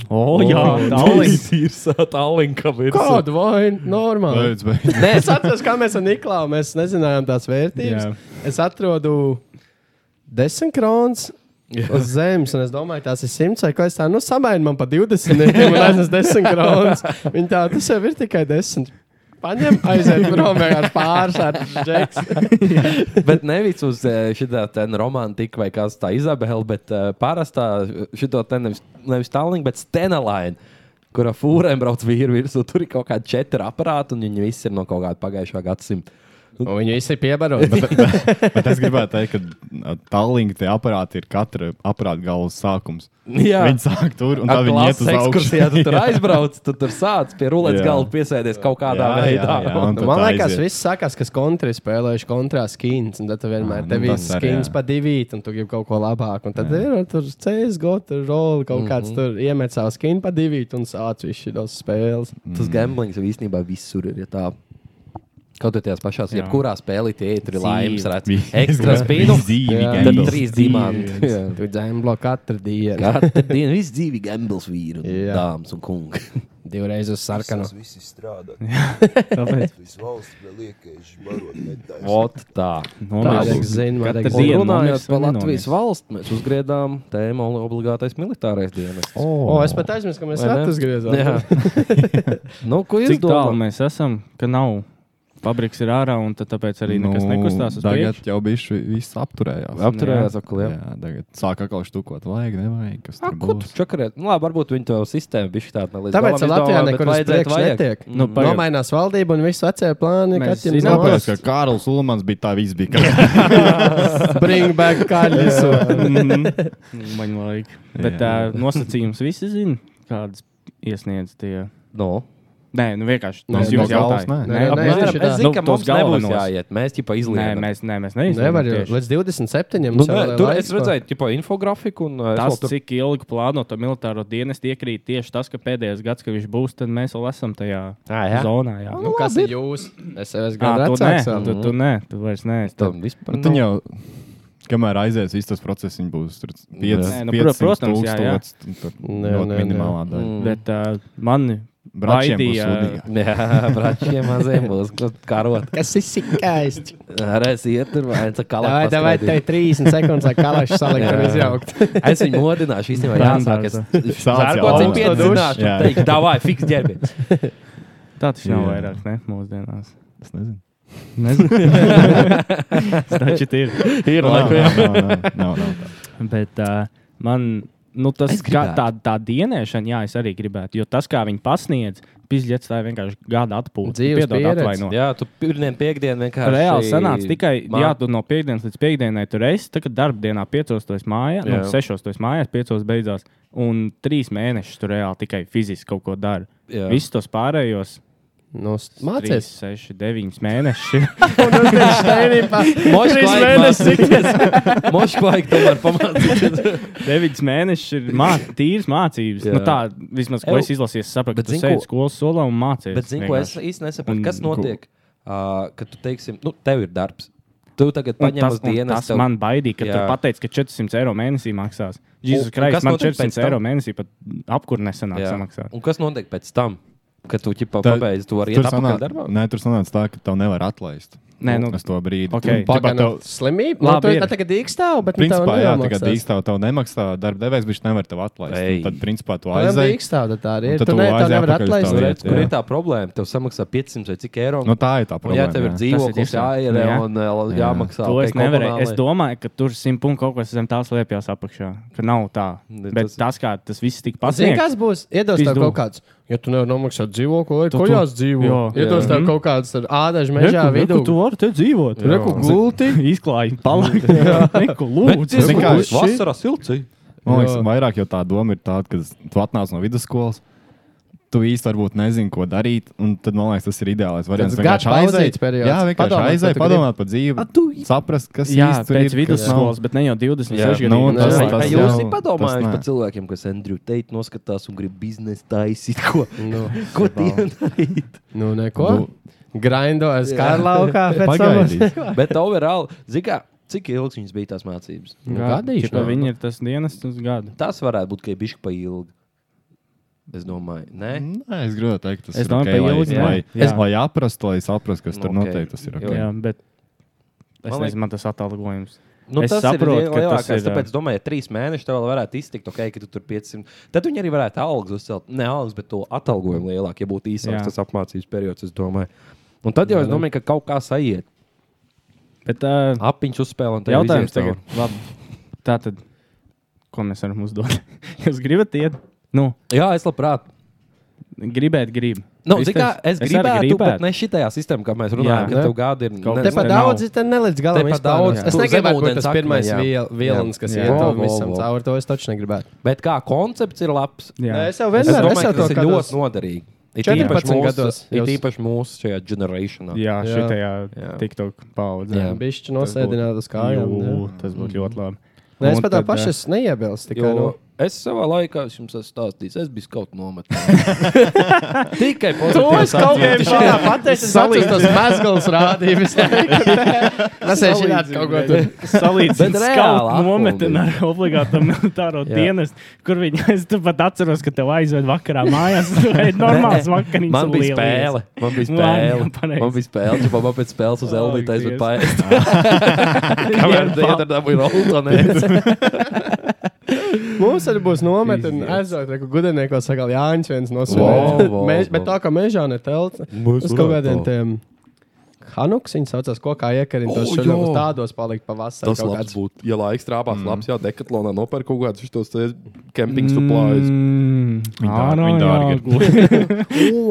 [SPEAKER 3] O, jā,
[SPEAKER 2] [laughs]
[SPEAKER 3] tālāk.
[SPEAKER 2] ir tālinka virsma.
[SPEAKER 1] Kāda vaina? Normāli.
[SPEAKER 10] Beidz, beidz.
[SPEAKER 1] [laughs] Nē, es atceros, kā mēs ar Niklausu mēs nezinājām tās vērtības.
[SPEAKER 10] Jā.
[SPEAKER 1] Jā. Es atradu desmit kronus. Uz zemes, un es domāju, tās ir simts vai kaut kas tāds. Nu, samaini man pa 20, un aiznes 10 kronus. Viņa tā, tas jau ir tikai 10. Paņem, aiziet prom ar pāris ar džeksu.
[SPEAKER 2] Bet nevis uz eh, šitā ten romantika vai kāds tā Izabela, bet eh, parastā eh, šito te nevis, nevis Tallink, bet Stenelaina, kurā fūrēm brauc vīri virsū. Tur ir kaut kādi četri aparāti, un viņi visi ir no kaut kāda pagājušā gadsimta.
[SPEAKER 1] Viņu visi ir piebarojuši.
[SPEAKER 10] Bet, bet, bet es gribēju teikt, ka tālāk tie aparāti ir katra aparāta galvas sākums.
[SPEAKER 2] Jā.
[SPEAKER 10] Viņi sāk tur un tā
[SPEAKER 2] Ar
[SPEAKER 10] viņi iet
[SPEAKER 2] klases
[SPEAKER 10] uz augšu.
[SPEAKER 2] ekskursijā tu
[SPEAKER 10] [laughs]
[SPEAKER 2] tur aizbrauc, tu tur sāc pie rulētas
[SPEAKER 10] Jā.
[SPEAKER 2] galda piesēdies kaut kādā
[SPEAKER 10] Jā, jā,
[SPEAKER 2] veidā.
[SPEAKER 10] jā, un
[SPEAKER 2] Un-
[SPEAKER 10] tad
[SPEAKER 1] Man liekas,
[SPEAKER 10] aiziet.
[SPEAKER 1] viss sakās, kas kontrā spēlējuši kontrā skins. Un tad tu vienmēr
[SPEAKER 10] Ā, nu
[SPEAKER 1] te viss
[SPEAKER 10] tas arī,
[SPEAKER 1] skins
[SPEAKER 10] jā.
[SPEAKER 1] pa divīt, un tu gribi kaut ko labāku. Un tad ir tur CSGO, tur rola kaut kāds tur iemet savu skinu pa divīt un sācis visu šīs spēles.
[SPEAKER 10] Mm.
[SPEAKER 2] Tas gamblings jau īstenībā visur ir. Ja tā. Kaut arī tajās pašās,
[SPEAKER 3] Jā.
[SPEAKER 2] jebkurā spēlē tie ir
[SPEAKER 3] Dzīve.
[SPEAKER 2] laimīgs, redzams,
[SPEAKER 10] Viss.
[SPEAKER 2] ekstra
[SPEAKER 10] [laughs]
[SPEAKER 2] spīdums.
[SPEAKER 10] Dzīvi
[SPEAKER 2] Tad
[SPEAKER 10] gambles.
[SPEAKER 2] trīs dimanti.
[SPEAKER 10] Dzīvi.
[SPEAKER 2] Jā.
[SPEAKER 1] Tu dzēmblo katru dienu.
[SPEAKER 2] Katru dienu viss dzīvi gambles vīri, un
[SPEAKER 1] Jā.
[SPEAKER 2] dāmas un kungi.
[SPEAKER 1] Divreiz uz sarkanu.
[SPEAKER 8] Tas viss ir strādā.
[SPEAKER 3] Tāpēc
[SPEAKER 8] Viss valsts vēl liekēži barot netaisnīgi.
[SPEAKER 2] Ot tā.
[SPEAKER 1] Marek
[SPEAKER 3] nomierināties.
[SPEAKER 1] zina, Marek
[SPEAKER 3] Katru
[SPEAKER 1] zina.
[SPEAKER 2] Un
[SPEAKER 3] dienu
[SPEAKER 2] runājot
[SPEAKER 3] nomirs
[SPEAKER 2] par
[SPEAKER 3] vai
[SPEAKER 2] Latvijas
[SPEAKER 3] nenomirs?
[SPEAKER 2] valsts, mēs uzgriedām tēmu obligātais militārais dienas.
[SPEAKER 1] O, es pat aizmirsu, ka mēs
[SPEAKER 2] Vai ne?
[SPEAKER 1] atgriezāmies.
[SPEAKER 2] Nu, ko jūs
[SPEAKER 3] Cik tālu
[SPEAKER 2] domājat?
[SPEAKER 3] mēs esam, ka nav. Fabriks ir ārā, un tad tāpēc arī nekas
[SPEAKER 10] Nu,
[SPEAKER 3] nekustās. uz
[SPEAKER 10] Tagad
[SPEAKER 3] priekšu.
[SPEAKER 10] jau bijuši viss apturējās.
[SPEAKER 2] Apturējās akliem.
[SPEAKER 10] Jā, tagad sāk atkal štukot, vajag, nevajag. Kas tur būs?
[SPEAKER 2] Čakarēt, nu, labi, varbūt viņi to sistēmu bija tāda līdz
[SPEAKER 1] Tāpēc
[SPEAKER 2] galam
[SPEAKER 1] Latvijā
[SPEAKER 2] izdomāja, bet
[SPEAKER 1] nekur uz
[SPEAKER 2] vajadzētu
[SPEAKER 1] priekšu
[SPEAKER 2] vajag.
[SPEAKER 1] netiek.
[SPEAKER 3] Nu, pagaid.
[SPEAKER 1] Nomainās valdība un viss vecie plāni.
[SPEAKER 3] Mēs
[SPEAKER 1] Kaķim
[SPEAKER 3] zinām,
[SPEAKER 1] nav.
[SPEAKER 10] Tāpēc, ka Kārlis Ulimans bija tā viss
[SPEAKER 3] [laughs]
[SPEAKER 10] bija. kā-
[SPEAKER 1] Bring back kaļļus.
[SPEAKER 3] Mhm. Man liekas, Nu, bet tā
[SPEAKER 10] Jā.
[SPEAKER 3] nosacījums visi zina, kādas iesniedz tie.
[SPEAKER 2] Nu.
[SPEAKER 3] Nē, nu vienkārši
[SPEAKER 1] Nē,
[SPEAKER 3] tas
[SPEAKER 1] no
[SPEAKER 3] jums
[SPEAKER 10] galvas
[SPEAKER 3] jautājums.
[SPEAKER 10] nē.
[SPEAKER 1] Nē, nē,
[SPEAKER 2] Apmēram,
[SPEAKER 1] tieši tā.
[SPEAKER 2] Es zinu, ka
[SPEAKER 3] Nu,
[SPEAKER 2] mums
[SPEAKER 3] tos
[SPEAKER 2] nebūs
[SPEAKER 3] galvenos.
[SPEAKER 2] jāiet. Mēs jau
[SPEAKER 3] Nē,
[SPEAKER 2] izlēmām.
[SPEAKER 3] mēs, nē, mēs
[SPEAKER 1] Nevar jau
[SPEAKER 3] neizdarām.
[SPEAKER 1] līdz 27.
[SPEAKER 2] Nu,
[SPEAKER 1] jau
[SPEAKER 2] nē,
[SPEAKER 1] vēl
[SPEAKER 2] tur
[SPEAKER 1] laiks
[SPEAKER 2] es redzēju, tipo, infografiku, un uh,
[SPEAKER 3] Tas,
[SPEAKER 2] es vēl tur
[SPEAKER 3] cik ilgi plāno to militāro dienestu, iekrīt tieši tas, ka pēdējais gads, kad viņš būs, tad mēs vēl esam tajā
[SPEAKER 2] Ā, jā.
[SPEAKER 3] zonā. Jā,
[SPEAKER 1] Nu, kas ir jūs? Es jau esmu
[SPEAKER 3] Ā, tu
[SPEAKER 1] gada
[SPEAKER 3] nē,
[SPEAKER 1] vecāks. vēl.
[SPEAKER 3] tu, tu nē, tu vairs neesi.
[SPEAKER 2] tam vispār.
[SPEAKER 10] Nu, Tad jau, kamēr aizies viss tas process, viņi būs tur
[SPEAKER 3] Nē,
[SPEAKER 10] 500,
[SPEAKER 3] nu,
[SPEAKER 10] 500
[SPEAKER 3] protams, jā, jā.
[SPEAKER 10] tūkstoši. un tur
[SPEAKER 1] Nē,
[SPEAKER 10] Ļoti
[SPEAKER 1] nē, nē.
[SPEAKER 10] minimālā daļa.
[SPEAKER 3] Bet uh, man
[SPEAKER 10] Bračiem būs
[SPEAKER 3] Baidījā.
[SPEAKER 2] [laughs]
[SPEAKER 10] sūdīgāk.
[SPEAKER 2] Jā, brāļiem maziem būs karot.
[SPEAKER 1] Kas ir sikājis?
[SPEAKER 2] Reiz iet tur, vai nu, tā kā
[SPEAKER 1] Vai tā vai tā ir 30 sekundes, lai kalēšu salikt un
[SPEAKER 2] Jā.
[SPEAKER 1] izjaukt?
[SPEAKER 2] Es viņu modināšu, īstenībā jāsāk. Es
[SPEAKER 10] Sāc
[SPEAKER 2] zārkociņu
[SPEAKER 10] jau augstu
[SPEAKER 2] piedzināšu,
[SPEAKER 10] dušu. Jā.
[SPEAKER 2] teikt, davai, fiks ģērbi.
[SPEAKER 3] tāds nav
[SPEAKER 10] Jā.
[SPEAKER 3] vairāk, ne mūsdienās.
[SPEAKER 10] Es nezinu.
[SPEAKER 3] Nezinu. [laughs] Tas [laughs] taču ir.
[SPEAKER 10] Ir labi. Nav, nav, nav.
[SPEAKER 3] Bet uh, man nu, tas,
[SPEAKER 2] Es
[SPEAKER 3] kā
[SPEAKER 2] gribētu.
[SPEAKER 3] tā, tā dienēšana, jā, es arī gribētu. Jo tas, kā viņi pasniedz, pizdzēts, tā ir vienkārši gada atpūta.
[SPEAKER 1] Dzīves pieredze.
[SPEAKER 3] atvainojiet.
[SPEAKER 2] Jā, tu pirmdien, piekdien vienkārši.
[SPEAKER 3] Reāli sanāca tikai,
[SPEAKER 2] mā-
[SPEAKER 3] jā, tu no piekdienas līdz piekdienai tur esi. Tagad darbdienā piecos tu esi mājā, nu,
[SPEAKER 2] Jā.
[SPEAKER 3] sešos tu esi mājās, piecos beidzās. Un trīs mēnešus tur reāli tikai fiziski kaut ko dari.
[SPEAKER 2] Jā.
[SPEAKER 3] Visus tos pārējos
[SPEAKER 1] Nu, s-
[SPEAKER 3] trīs,
[SPEAKER 1] mācies.
[SPEAKER 3] seši, deviņus mēnešus.
[SPEAKER 2] Moškvaik māc- Moškvaik tomēr
[SPEAKER 3] [laughs]
[SPEAKER 2] pamācīties.
[SPEAKER 3] Deviņas mēnešus ir mā tīras mācības.
[SPEAKER 2] Jā.
[SPEAKER 3] Nu, tā vismaz, ko
[SPEAKER 2] Ew.
[SPEAKER 3] es izlasīju, es sapratu, ka
[SPEAKER 2] Bet
[SPEAKER 3] tu
[SPEAKER 2] zini,
[SPEAKER 3] sēdi
[SPEAKER 2] ko-
[SPEAKER 3] skolas solā un mācies.
[SPEAKER 2] Bet zinu, ko es
[SPEAKER 3] vienkārši.
[SPEAKER 2] īsti nesaprotu,
[SPEAKER 3] Un
[SPEAKER 2] kas
[SPEAKER 3] Mm, ko-
[SPEAKER 2] notiek, ā, kad tu teiksim, nu, tev ir darbs. Tu tagad
[SPEAKER 3] Un
[SPEAKER 2] paņem
[SPEAKER 3] Nu, Tas,
[SPEAKER 2] uz
[SPEAKER 3] un
[SPEAKER 2] dienas.
[SPEAKER 3] tas
[SPEAKER 2] tev-
[SPEAKER 3] man baidīja, ka tu
[SPEAKER 2] Jā.
[SPEAKER 3] pateici, ka 400 eiro mēnesī maksās.
[SPEAKER 2] Un-
[SPEAKER 3] Jēzus
[SPEAKER 2] un
[SPEAKER 3] Kristus,
[SPEAKER 2] kas
[SPEAKER 3] man
[SPEAKER 2] notiek pēc
[SPEAKER 3] 400 eiro
[SPEAKER 2] tam?
[SPEAKER 3] mēnesī pat apkur nesenāk
[SPEAKER 2] Jā.
[SPEAKER 3] samaksāt.
[SPEAKER 2] Un kas notiek pēc tam, kad tu ķipa
[SPEAKER 10] Tā-
[SPEAKER 2] pabeidz to arī
[SPEAKER 10] Tur sanāca
[SPEAKER 2] darbā?
[SPEAKER 10] nē, tur sanāca tā, ka tev nevar atlaist.
[SPEAKER 3] Nē, nu,
[SPEAKER 10] uz to brīdi.
[SPEAKER 3] Okei.
[SPEAKER 10] Tāpat
[SPEAKER 1] Pagaidām,
[SPEAKER 10] tev-
[SPEAKER 1] tev... slimība.
[SPEAKER 3] Labi,
[SPEAKER 1] Labi, nu, tu
[SPEAKER 3] ir.
[SPEAKER 1] tā tagad dīkstāv, bet nu,
[SPEAKER 10] Principā,
[SPEAKER 1] tev
[SPEAKER 10] jā,
[SPEAKER 1] nejomaksās.
[SPEAKER 10] tagad īstenībā tev nemaksā darba devējs, viņš nevar tev atlaist.
[SPEAKER 2] Ei.
[SPEAKER 10] Un Tad, principā, tu
[SPEAKER 1] Viņam
[SPEAKER 10] aizēji.
[SPEAKER 1] dīkstāv, tad tā arī
[SPEAKER 10] Un
[SPEAKER 1] ir.
[SPEAKER 10] tad
[SPEAKER 1] Tu
[SPEAKER 10] tu
[SPEAKER 1] ne,
[SPEAKER 10] aizi
[SPEAKER 1] tev nevar
[SPEAKER 10] atpakaļ uz
[SPEAKER 1] atlaist.
[SPEAKER 10] tavu
[SPEAKER 1] ne?
[SPEAKER 2] Nu,
[SPEAKER 10] vietu.
[SPEAKER 2] Redz, kur
[SPEAKER 10] jā.
[SPEAKER 2] ir tā problēma? Tev samaksā 500 vai cik eiro.
[SPEAKER 10] Nu, tā ir tā
[SPEAKER 2] Un, ja tev ir
[SPEAKER 10] problēma. jā.
[SPEAKER 2] dzīvoklis
[SPEAKER 3] Tas ir tiešām.
[SPEAKER 2] jāierē
[SPEAKER 3] Jā.
[SPEAKER 2] un ā,
[SPEAKER 10] Jā.
[SPEAKER 2] jāmaksā,
[SPEAKER 3] To es
[SPEAKER 2] tai
[SPEAKER 3] nevarēju. Es
[SPEAKER 2] komunālai-
[SPEAKER 3] domāju, ka tur simt punktu kaut kas zem tās liepjas apakšā. Ka nav tā.
[SPEAKER 2] Ne,
[SPEAKER 3] Bet
[SPEAKER 2] tas-
[SPEAKER 3] tas, kā tas viss tika
[SPEAKER 1] Zini,
[SPEAKER 3] pasniegts,
[SPEAKER 1] kas būs? Iedos tev
[SPEAKER 3] Pizdu.
[SPEAKER 1] kaut kāds. Ja tu nevari nomaksāt dzīvokli,
[SPEAKER 3] Tu-
[SPEAKER 1] tad kojās
[SPEAKER 3] tu-
[SPEAKER 1] dzīvo.
[SPEAKER 3] jā.
[SPEAKER 1] Iedos
[SPEAKER 3] Jā.
[SPEAKER 1] tev
[SPEAKER 3] Mhm.
[SPEAKER 1] kaut kāds ar ādažu mežā vidū.
[SPEAKER 3] Tu vari te dzīvot.
[SPEAKER 1] Reku gulti. [laughs]
[SPEAKER 3] Izklājīgi palaikt. Reku lūdzu.
[SPEAKER 10] Zini, kā
[SPEAKER 2] Būs
[SPEAKER 10] es-
[SPEAKER 2] Vasarā silts.
[SPEAKER 10] Man liekas,
[SPEAKER 1] Jā.
[SPEAKER 10] vairāk jau tā doma ir tāda, ka tu atnāc no vidusskolas. Tu īsti varbūt nezini, ko darīt. un Tad, man liekas, tas ir ideālais variants.
[SPEAKER 1] Tas gada pauzītes periods.
[SPEAKER 10] Jā, vienkārši
[SPEAKER 1] Padomāt, ko
[SPEAKER 10] aiziet,
[SPEAKER 1] tu
[SPEAKER 10] padomāt par dzīvi. Saprast, kas
[SPEAKER 3] Jā,
[SPEAKER 10] īsti tur
[SPEAKER 3] pēc
[SPEAKER 10] ir. kas nav.
[SPEAKER 3] vidusskolas, bet ne jau 26
[SPEAKER 10] Jā, nu,
[SPEAKER 3] gadus.
[SPEAKER 1] tas-
[SPEAKER 2] Vai
[SPEAKER 1] tas
[SPEAKER 2] jūs
[SPEAKER 10] nav-
[SPEAKER 2] esat padomājuši
[SPEAKER 10] tas nē.
[SPEAKER 2] par cilvēkiem, kas Andrew Tate noskatās un grib biznesu taisīt? Ko,
[SPEAKER 1] Nu,
[SPEAKER 2] ko tiem darīt?
[SPEAKER 1] nu neko.
[SPEAKER 10] Nu.
[SPEAKER 1] Grindo ar skārlaukā.
[SPEAKER 10] Pagaidīt.
[SPEAKER 2] Bet overall, zikā, cik ilgs viņas bija tās mācības?
[SPEAKER 1] Nu, Gadīšu.
[SPEAKER 3] Tāpēc viņi ir tas dienas uz gadu.
[SPEAKER 2] Tas varētu būt, ka ir bišķi pa ilgi. Es domāju, nē.
[SPEAKER 10] Nē, es gribēju teikt, tas
[SPEAKER 3] Es
[SPEAKER 10] ir
[SPEAKER 3] domāju,
[SPEAKER 10] okay,
[SPEAKER 3] pa
[SPEAKER 10] lai,
[SPEAKER 3] ilgi, jā.
[SPEAKER 10] lai,
[SPEAKER 3] Jā.
[SPEAKER 10] lai aprastu, lai saprastu, kas tur
[SPEAKER 2] Nu, ok.
[SPEAKER 10] notiek. Tas ir
[SPEAKER 2] Jo-
[SPEAKER 10] okay.
[SPEAKER 3] Jā, bet es
[SPEAKER 2] Man liek-
[SPEAKER 3] nezinu, man tas atalgojums.
[SPEAKER 2] Nu,
[SPEAKER 3] Es
[SPEAKER 2] tas
[SPEAKER 3] saprotu,
[SPEAKER 2] ir
[SPEAKER 3] ka tas
[SPEAKER 2] lielākais.
[SPEAKER 3] ir, jā.
[SPEAKER 2] Tāpēc, domāju, ja trīs mēneši tev vēl varētu iztikt, ok, ka tu tur 500. Tad viņi arī varētu algas uzcelt. Ne algas, bet to atalgojumu lielāk, ja būtu
[SPEAKER 3] Jā. nu.
[SPEAKER 2] īsāks tas apmācības periods, es domāju. Un tad jau es domāju, ka kaut kā aiziet.
[SPEAKER 3] Bet uh,
[SPEAKER 2] Apiņš uzspēlē un tā
[SPEAKER 3] jautājums tagad. Labi. Tā tad, ko mēs varam uzdot? [laughs] Jūs gribat iet? Nu,
[SPEAKER 2] Jā, es labprāt.
[SPEAKER 3] gribēt, grib.
[SPEAKER 2] Nu,
[SPEAKER 3] Viss
[SPEAKER 2] zini kā,
[SPEAKER 3] teiks,
[SPEAKER 2] es
[SPEAKER 3] arī
[SPEAKER 2] gribētu,
[SPEAKER 3] gribētu.
[SPEAKER 2] bet ne šitā sistēmā, kā mēs
[SPEAKER 3] Jā.
[SPEAKER 2] runājam, ka tev gada ir
[SPEAKER 3] Kaut
[SPEAKER 2] ne-
[SPEAKER 3] kas
[SPEAKER 1] Tepat
[SPEAKER 3] Te nav.
[SPEAKER 1] daudz, ir, te nelīdz galam
[SPEAKER 2] Te pa
[SPEAKER 1] vispār.
[SPEAKER 2] daudz,
[SPEAKER 1] Es
[SPEAKER 2] tu
[SPEAKER 1] negribu būt
[SPEAKER 2] zemūdens
[SPEAKER 1] tas pirmais
[SPEAKER 2] akmenī, jā.
[SPEAKER 1] viel- vilnis, kas
[SPEAKER 2] Jā.
[SPEAKER 1] iet
[SPEAKER 2] Vo,
[SPEAKER 1] tam
[SPEAKER 2] vo,
[SPEAKER 1] visam
[SPEAKER 2] vo.
[SPEAKER 1] cauri. To es taču negribētu.
[SPEAKER 2] Bet kā koncepts ir labs?
[SPEAKER 3] Jā.
[SPEAKER 1] Es jau
[SPEAKER 2] Es
[SPEAKER 1] vienmēr
[SPEAKER 2] domāju,
[SPEAKER 1] esmu
[SPEAKER 2] ka
[SPEAKER 1] to
[SPEAKER 2] tas ir ļoti noderīgi. Ir
[SPEAKER 1] 14
[SPEAKER 2] īpaši
[SPEAKER 1] gados
[SPEAKER 2] mūsu-
[SPEAKER 1] jūs-
[SPEAKER 2] it īpaši mūsu šajā ģenerācijā.
[SPEAKER 1] Jā.
[SPEAKER 3] Jā, šitajā
[SPEAKER 2] Jā.
[SPEAKER 3] TikTok paudzē.
[SPEAKER 2] Jā.
[SPEAKER 1] Bišķi nosēdināt uz kājām. jā.
[SPEAKER 3] Jū, tas būtu ļoti labi.
[SPEAKER 1] Nē, Es
[SPEAKER 3] Un
[SPEAKER 1] pat tā
[SPEAKER 3] tad,
[SPEAKER 1] paša
[SPEAKER 3] ā,
[SPEAKER 1] es neiebilstu. tikai, nu,
[SPEAKER 2] Jo es savā laikā es jums esmu stāstījis, es biju kaut nometnē.
[SPEAKER 5] [laughs]
[SPEAKER 2] Tikai
[SPEAKER 1] Tos
[SPEAKER 2] pozitīvs.
[SPEAKER 1] kaut kādā šādā pateicis, atceros tos mezgals rādījums. [laughs] Tas ir šitā kaut ko tur.
[SPEAKER 3] Salīdzinot
[SPEAKER 2] Bet reāli
[SPEAKER 3] skalu
[SPEAKER 2] atpūta.
[SPEAKER 3] nometni ar obligātu militāro
[SPEAKER 2] Jā.
[SPEAKER 3] dienestu, kur viņi, [laughs] es tu pat atceros, ka tev aizved vakarā mājās. Tā ir normāls vakariņas.
[SPEAKER 2] Man
[SPEAKER 3] un
[SPEAKER 2] bija
[SPEAKER 3] lielais.
[SPEAKER 2] spēle. Man bija
[SPEAKER 3] Nu,
[SPEAKER 2] spēle.
[SPEAKER 3] jā, pareizi.
[SPEAKER 2] Man bija spēle. Čau, man pēc spēles uz
[SPEAKER 3] Ak,
[SPEAKER 2] Elvītu aizved
[SPEAKER 3] Dievs.
[SPEAKER 2] paēst.
[SPEAKER 3] Jā,
[SPEAKER 5] [laughs]
[SPEAKER 2] Kamēr tu
[SPEAKER 3] pa-
[SPEAKER 2] iedarbināji Roltonē.
[SPEAKER 1] Mums arī būs nometni. Aizsākt, ka gudrnieko sakal Jānis viens
[SPEAKER 2] Vau,
[SPEAKER 1] nosūtīja. [laughs]
[SPEAKER 2] vau,
[SPEAKER 1] Mež- Bet
[SPEAKER 2] vau.
[SPEAKER 1] tā kā mežā ne telts. Uz kaut kādiem tiem. Hanuks, viņas saucās, ko kā iekarina tos
[SPEAKER 2] O,
[SPEAKER 1] šodien,
[SPEAKER 2] jā.
[SPEAKER 1] tādos palikt pavasarī.
[SPEAKER 5] Tas labs būtu. Ja laiks strāpās, mm. labs, jā, dekatlonā nopērk kaut kādus šos te camping supplies.
[SPEAKER 3] Mm,
[SPEAKER 10] dārgi,
[SPEAKER 3] ārā
[SPEAKER 10] viņi dārgi
[SPEAKER 3] jāguļ.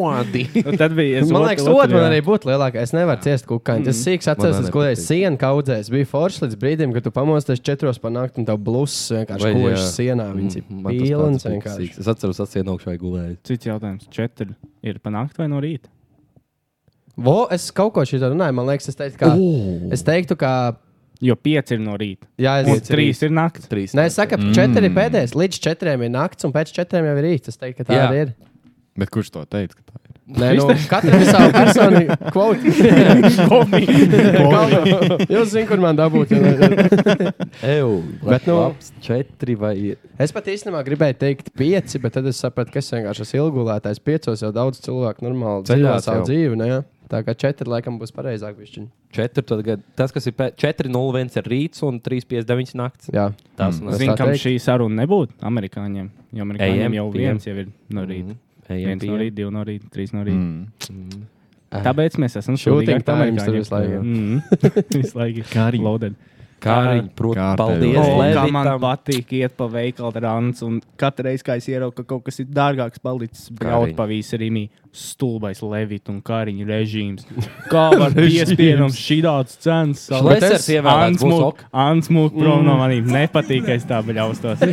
[SPEAKER 2] Odi.
[SPEAKER 3] Nu, Tad bija. es
[SPEAKER 1] Man
[SPEAKER 3] otru-
[SPEAKER 1] liekas,
[SPEAKER 3] otru,
[SPEAKER 1] otrs man
[SPEAKER 3] jā.
[SPEAKER 1] arī būtu lielākais. Es nevaru ciest kukaiņu. Tas sīks atceros,
[SPEAKER 2] Mm. Man
[SPEAKER 1] es
[SPEAKER 2] arī
[SPEAKER 1] gulēju
[SPEAKER 2] patīk.
[SPEAKER 1] sienu kaudzē. Es biju foršs līdz brīdim, kad tu pamosties četros panākt un tev bluss vienkārši
[SPEAKER 2] Vai,
[SPEAKER 1] kojas
[SPEAKER 2] jā. Mm,
[SPEAKER 1] sienā. Viņas ir
[SPEAKER 2] Man tas
[SPEAKER 1] pilnas
[SPEAKER 2] tāds bija
[SPEAKER 1] vienkārši.
[SPEAKER 2] sīks. Es atceros, atsien augšā gulēju.
[SPEAKER 3] Cits jautājums. Četri ir panākt vai no rīta?
[SPEAKER 1] Vo, es kaut ko šitā runāju, man liekas, es teiktu, ka, es teiktu, ka
[SPEAKER 3] Jo pieci ir no rīta.
[SPEAKER 1] jā,
[SPEAKER 3] Un
[SPEAKER 1] es,
[SPEAKER 3] trīs ir naktis.
[SPEAKER 2] Trīs. Mm.
[SPEAKER 1] nē, es saku, ka četri pēdējais, līdz četriem ir naktis, un pēc četriem jau ir rīts. Es teiktu, ka tā
[SPEAKER 2] Jā.
[SPEAKER 1] arī ir.
[SPEAKER 10] [laughs] Bet kurš to teica? ka tā ir?
[SPEAKER 1] Nē, nu, katram ir savu
[SPEAKER 2] [laughs]
[SPEAKER 1] personīgu [laughs] kvotu. Jūs zināt, kur man dabūt. ja ne-
[SPEAKER 2] Eju.
[SPEAKER 1] Bet,
[SPEAKER 2] Bet
[SPEAKER 1] nu-
[SPEAKER 2] nu. Labs četri vai.
[SPEAKER 1] Es pat īstenībā gribēju teikt pieci, bet tad es sapratu, ka es vienkārši esmu ilgulētājs. Piecos jau daudz cilvēku normāli dzīvo
[SPEAKER 2] Ceļās
[SPEAKER 1] savu
[SPEAKER 2] jau.
[SPEAKER 1] dzīvi. Ne? Tā kā četri laikam būs pareizāk. Višķiņ.
[SPEAKER 2] Četri, tad, gad- tas, kas ir 4,01 ir rīts un 3,59 naktis.
[SPEAKER 1] Jā,
[SPEAKER 2] Tas mm.
[SPEAKER 3] Zinu,
[SPEAKER 1] tā
[SPEAKER 3] kam
[SPEAKER 1] teikt.
[SPEAKER 3] šī saruna nebūtu amerikāņiem. Jo amerikāņiem
[SPEAKER 2] AM,
[SPEAKER 3] jau
[SPEAKER 2] PM.
[SPEAKER 3] viens jau ir no
[SPEAKER 1] Mhm,
[SPEAKER 3] rīta. Viens no
[SPEAKER 2] ir.
[SPEAKER 3] rīta, divi no rīta, trīs no rīta.
[SPEAKER 10] Mm.
[SPEAKER 3] Tāpēc mēs esam
[SPEAKER 1] Mhm. Shooting
[SPEAKER 3] šodien Mhm.
[SPEAKER 1] times tur visu laiku.
[SPEAKER 3] [laughs] Visu laiku. Kā arī loaded.
[SPEAKER 2] Kāriņ, protams,
[SPEAKER 10] Kārtēji.
[SPEAKER 2] paldies.
[SPEAKER 10] O,
[SPEAKER 3] Es domāju,
[SPEAKER 10] kā
[SPEAKER 3] ka
[SPEAKER 2] Levitam.
[SPEAKER 3] man patīk iet pa veikalu rāns, un katru reizi, kad es ieraugu, ka kaut kas ir dārgāks, palicis braukt
[SPEAKER 2] Kariņ.
[SPEAKER 3] pa visu rīmi. Stulbais Levita un Kariņa
[SPEAKER 2] [laughs]
[SPEAKER 3] režīms. Kā var piespiedams šī tāds cenas?
[SPEAKER 2] Šlesers ievēlēts būs ok. Mm.
[SPEAKER 3] Ansmūk prom no manīm. Nepatīk, ka es tā bļaustos.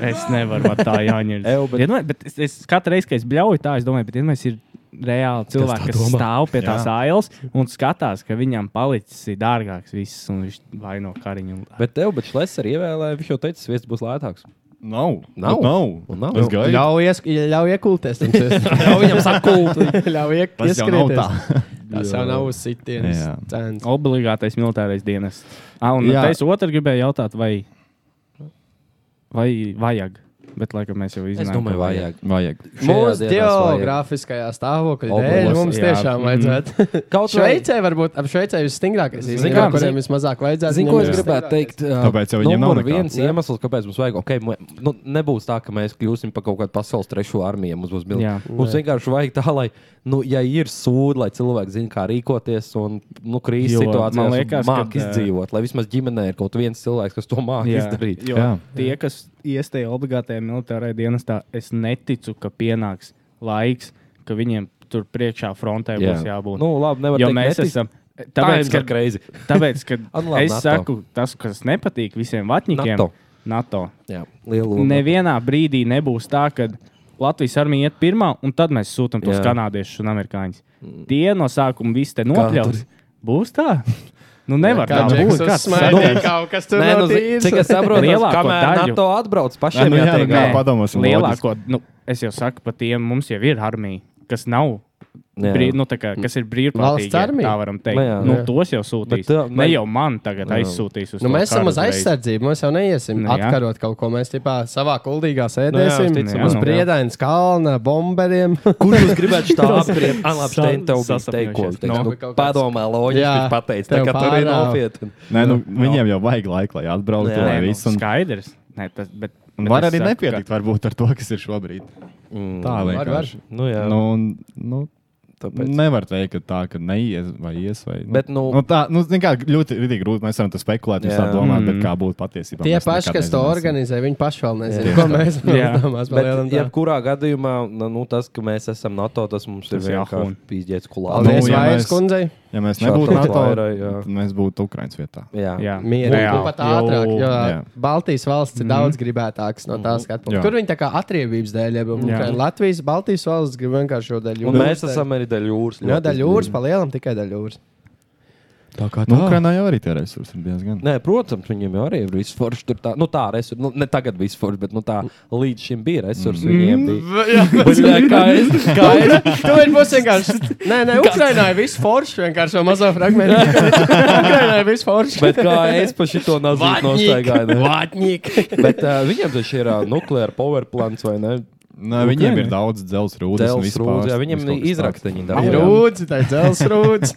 [SPEAKER 3] Es nevaru man tā jāņem.
[SPEAKER 2] Ew, bet-
[SPEAKER 3] Vienmēr, bet es, es katru reizi, kad es bļauju, tā es domāju, bet vienmēr ir reāli cilvēki, kas, kas stāv pie tās ailes un skatās, ka viņam palicis ir dārgāks viss un viņš vaino Kariņu.
[SPEAKER 2] Bet tev, bet šlēs arī ievēlēja, viņš jau teica, vietas būs lētāks.
[SPEAKER 10] Nav.
[SPEAKER 2] Nav.
[SPEAKER 10] Nav.
[SPEAKER 2] Un nav.
[SPEAKER 10] Es gaidu.
[SPEAKER 1] Ļauj, ies, ļauj iekulties.
[SPEAKER 2] Jau viņam sakult.
[SPEAKER 1] [laughs] Ļauj iek,
[SPEAKER 10] Tas jau nav
[SPEAKER 1] ieskrieties.
[SPEAKER 10] tā.
[SPEAKER 1] Tas jau nav sitienis.
[SPEAKER 10] Jā.
[SPEAKER 1] cents.
[SPEAKER 3] Obligātais militārais dienas. Ah, un
[SPEAKER 10] Jā.
[SPEAKER 3] es otru gribēju jautāt, vai, vai vajag Bet, laikam, mēs jau
[SPEAKER 2] Es
[SPEAKER 3] izdarījām.
[SPEAKER 2] domāju, vajag.
[SPEAKER 10] Vajag.
[SPEAKER 1] Mūsu
[SPEAKER 2] Šajā dienā vajag.
[SPEAKER 1] geogrāfiskajā stāvoklī dēļ
[SPEAKER 2] Obulis,
[SPEAKER 1] mums
[SPEAKER 3] jā.
[SPEAKER 1] tiešām vajadzētu.
[SPEAKER 2] Kaut vai-
[SPEAKER 1] Šveicē varbūt ap Šveicē ir stingrākais.
[SPEAKER 2] Zini,
[SPEAKER 1] Zinu,
[SPEAKER 2] kā-
[SPEAKER 1] kā kuriem vismazāk vajadzētu. viņiem
[SPEAKER 2] Zinu, ko
[SPEAKER 1] ir
[SPEAKER 2] es gribētu
[SPEAKER 1] stingrākais.
[SPEAKER 2] teikt.
[SPEAKER 10] Tāpēc jau viņiem nav
[SPEAKER 2] numur
[SPEAKER 10] nekā.
[SPEAKER 2] viens iemesls, kāpēc mums vajag. Okay, mu- nu, nebūs tā, ka mēs kļūsim par kaut kādu pasaules trešo armiju. Mums, būs mil...
[SPEAKER 3] Jā.
[SPEAKER 2] mums vienkārši vajag tā, lai, nu, ja ir sūdi, lai cilvēki zinātu, kā rīkoties un nu, krīzes
[SPEAKER 3] Jo,
[SPEAKER 2] situācijā
[SPEAKER 3] man liekas,
[SPEAKER 2] mācīt
[SPEAKER 3] kad, eh,
[SPEAKER 2] izdzīvot. Lai vismaz ģimenē ir kaut viens cilvēks, kas to mācīja izdarīt.
[SPEAKER 3] Jo
[SPEAKER 10] Jā.
[SPEAKER 3] tie, kas iestājas obligātajā militārajā dienestā, es neticu, ka pienāks laiks, ka viņiem tur priekšā frontē
[SPEAKER 2] Jā.
[SPEAKER 3] būs jābūt.
[SPEAKER 2] Nu, labi, nevar
[SPEAKER 3] jo
[SPEAKER 2] teikt,
[SPEAKER 3] mēs
[SPEAKER 2] netic.
[SPEAKER 3] esam.
[SPEAKER 2] Tāpēc,
[SPEAKER 3] Tāpēc,
[SPEAKER 2] ka
[SPEAKER 3] ka,
[SPEAKER 2] greizi.
[SPEAKER 3] tāpēc, ka
[SPEAKER 2] [laughs] Anulā
[SPEAKER 3] es
[SPEAKER 2] NATO.
[SPEAKER 3] saku, tas, kas nepatīk visiem vatņiem,
[SPEAKER 2] NATO.
[SPEAKER 3] NATO.
[SPEAKER 2] Jā, lielu
[SPEAKER 3] Nevienā brīdī nebūs tā, ka Latvijas armija iet pirmā, un tad mēs sūtām tos
[SPEAKER 2] Jā.
[SPEAKER 3] kanādiešus un amerikāņus. Tie no sākuma viss te nokļūs. Būs tā? Nu, nevar
[SPEAKER 1] Kā
[SPEAKER 3] tā
[SPEAKER 1] Džeks
[SPEAKER 3] būt. Kāds
[SPEAKER 1] uzsmaidīja,
[SPEAKER 3] sadoms?
[SPEAKER 1] kaut kas tur
[SPEAKER 2] Nē, nu, zi-
[SPEAKER 1] notīrs.
[SPEAKER 2] cik es saprotu,
[SPEAKER 3] [laughs] Lielāko
[SPEAKER 2] kamēr
[SPEAKER 3] daļu.
[SPEAKER 2] NATO atbrauc pašiem.
[SPEAKER 10] Nē, nu jā,
[SPEAKER 2] jātiek
[SPEAKER 10] nu kā
[SPEAKER 2] galā.
[SPEAKER 10] padomāsim,
[SPEAKER 3] lielāko, nu, es jau saku, pat tiem mums jau ir armija, kas nav.
[SPEAKER 2] Jā.
[SPEAKER 3] Brī, nu, tā kā, kas ir brīvprātīgi?
[SPEAKER 1] Valsts armija?
[SPEAKER 3] Tā varam teikt.
[SPEAKER 2] Nu jā.
[SPEAKER 3] nu,
[SPEAKER 2] Jā.
[SPEAKER 3] tos jau sūtīs.
[SPEAKER 2] Bet uh, tā-
[SPEAKER 3] Ne
[SPEAKER 2] man-
[SPEAKER 3] jau man tagad aizsūtīs uz
[SPEAKER 1] Nu,
[SPEAKER 3] to
[SPEAKER 1] mēs esam
[SPEAKER 3] karu
[SPEAKER 1] uz
[SPEAKER 3] uzreiz.
[SPEAKER 1] aizsardzību. Mēs jau neiesim
[SPEAKER 3] Nu, jā.
[SPEAKER 1] atkarot kaut ko. Mēs tipā savā kuldīgā
[SPEAKER 2] jā,
[SPEAKER 1] sēdēsim
[SPEAKER 2] uzticamāk.
[SPEAKER 1] uz
[SPEAKER 3] Jā, nu.
[SPEAKER 1] briedainas kalna, bomberiem.
[SPEAKER 2] Kur jūs gribētu
[SPEAKER 3] [laughs]
[SPEAKER 2] tā apgriezt? Anlāps
[SPEAKER 3] Sa-
[SPEAKER 2] Stein tev bija
[SPEAKER 3] sasapņojušies.
[SPEAKER 2] teikt, ko viņš teica.
[SPEAKER 3] Nu,
[SPEAKER 2] Nu,
[SPEAKER 1] kaut kāds-
[SPEAKER 2] Padomā, loģiski
[SPEAKER 1] Jā,
[SPEAKER 2] viņš pateica. Tā
[SPEAKER 1] tev
[SPEAKER 2] kā tur ir
[SPEAKER 1] pārāv.
[SPEAKER 2] nopietni.
[SPEAKER 10] Nē, nu, viņiem jau vajag laiku, lai atbrauktu.
[SPEAKER 2] Jā.
[SPEAKER 10] lai
[SPEAKER 3] Nē, nu,
[SPEAKER 10] viss, un-
[SPEAKER 3] Skaidrs. Nē, tas, bet, bet
[SPEAKER 10] Var
[SPEAKER 3] es
[SPEAKER 10] arī
[SPEAKER 3] saku, ka-
[SPEAKER 10] nepietikt, varbūt ar to, kas ir šobrīd. Tā
[SPEAKER 1] var,
[SPEAKER 10] vienkārši.
[SPEAKER 2] Nu, jā,
[SPEAKER 10] Nu, un, nu,
[SPEAKER 2] tāpēc.
[SPEAKER 10] nevar teikt, ka tā, ka neies vai ies. Vai, nu.
[SPEAKER 2] Bet, nu-
[SPEAKER 10] nu, tā nu, zini kā, ļoti ļoti grūti. Mēs varam to spekulēt, jūs
[SPEAKER 2] Jā.
[SPEAKER 10] tā domājat,
[SPEAKER 3] Mm.
[SPEAKER 10] bet kā būtu patiesībā.
[SPEAKER 1] Tie
[SPEAKER 10] mēs
[SPEAKER 1] paši,
[SPEAKER 10] nekad
[SPEAKER 1] kas to
[SPEAKER 10] nezināsim.
[SPEAKER 1] organizē, viņi paši vēl nezina,
[SPEAKER 2] Jā.
[SPEAKER 1] ko mēs
[SPEAKER 3] Jā.
[SPEAKER 1] domājam.
[SPEAKER 2] Bet, jebkurā gadījumā, nu, nu, tas, ka mēs esam NATO, tas mums ir
[SPEAKER 3] Tas jā,
[SPEAKER 2] vienkārši
[SPEAKER 3] hun.
[SPEAKER 2] pīzdēts kulā.
[SPEAKER 10] Nu,
[SPEAKER 1] Paldies,
[SPEAKER 10] ja
[SPEAKER 1] Vairs
[SPEAKER 10] mēs-
[SPEAKER 1] kundzei.
[SPEAKER 10] Ja mēs
[SPEAKER 2] Šā
[SPEAKER 10] nebūtu
[SPEAKER 2] tā
[SPEAKER 10] NATO,
[SPEAKER 2] vairā, jā.
[SPEAKER 10] tad mēs būtu Ukraiņas vietā.
[SPEAKER 2] Jā, jā.
[SPEAKER 3] Jā.
[SPEAKER 1] Mierīgi,
[SPEAKER 3] Reāli.
[SPEAKER 1] Nu, pat ātrāk, jo
[SPEAKER 10] Jā.
[SPEAKER 1] Baltijas valsts ir daudz gribētākas no
[SPEAKER 2] Mhm.
[SPEAKER 1] tās skatu punkta.
[SPEAKER 10] Jā.
[SPEAKER 1] Tur viņi tā kā atriebības dēļ, ja
[SPEAKER 3] Jā.
[SPEAKER 1] Latvijas, Baltijas valsts grib vienkārši šo daļu.
[SPEAKER 2] Un mēs esam arī daļa jūras.
[SPEAKER 1] No
[SPEAKER 2] ļoti
[SPEAKER 1] daļu jūras, pa lielam tikai daļu jūras.
[SPEAKER 2] Tā kā
[SPEAKER 10] Nu, Ukraiņā jau arī tie resursi ir diezgan.
[SPEAKER 2] Nē, protams, viņiem jau arī ir viss forši. Tur tā, nu tā resursi, nu, ne tagad viss forši, bet nu tā līdz šim bija resursi. Viņiem bija. [laughs] Jā, kā es. Kā es.
[SPEAKER 1] Tu vari būt vienkārši. Nē, nē, Ukrainā ir viss forši, vienkārši šo mazo fragment.
[SPEAKER 10] [laughs]
[SPEAKER 1] Ukrainā ir viss forši.
[SPEAKER 2] Bet kā es pa šito nazīju nostaigāju. ne?
[SPEAKER 1] Vatņīgi.
[SPEAKER 2] Bet uh, viņiem taču ir uh, nukleāra powerplants vai ne?
[SPEAKER 10] Nē, viņiem ir daudz dzelzs rūdas. un
[SPEAKER 2] Dēls
[SPEAKER 10] vispār-
[SPEAKER 2] rūdzi, jā, viņiem
[SPEAKER 10] vispār tas
[SPEAKER 2] izrakteņi
[SPEAKER 10] tāds.
[SPEAKER 2] daudz.
[SPEAKER 1] Ir rūds, tā ir dzelsrūds.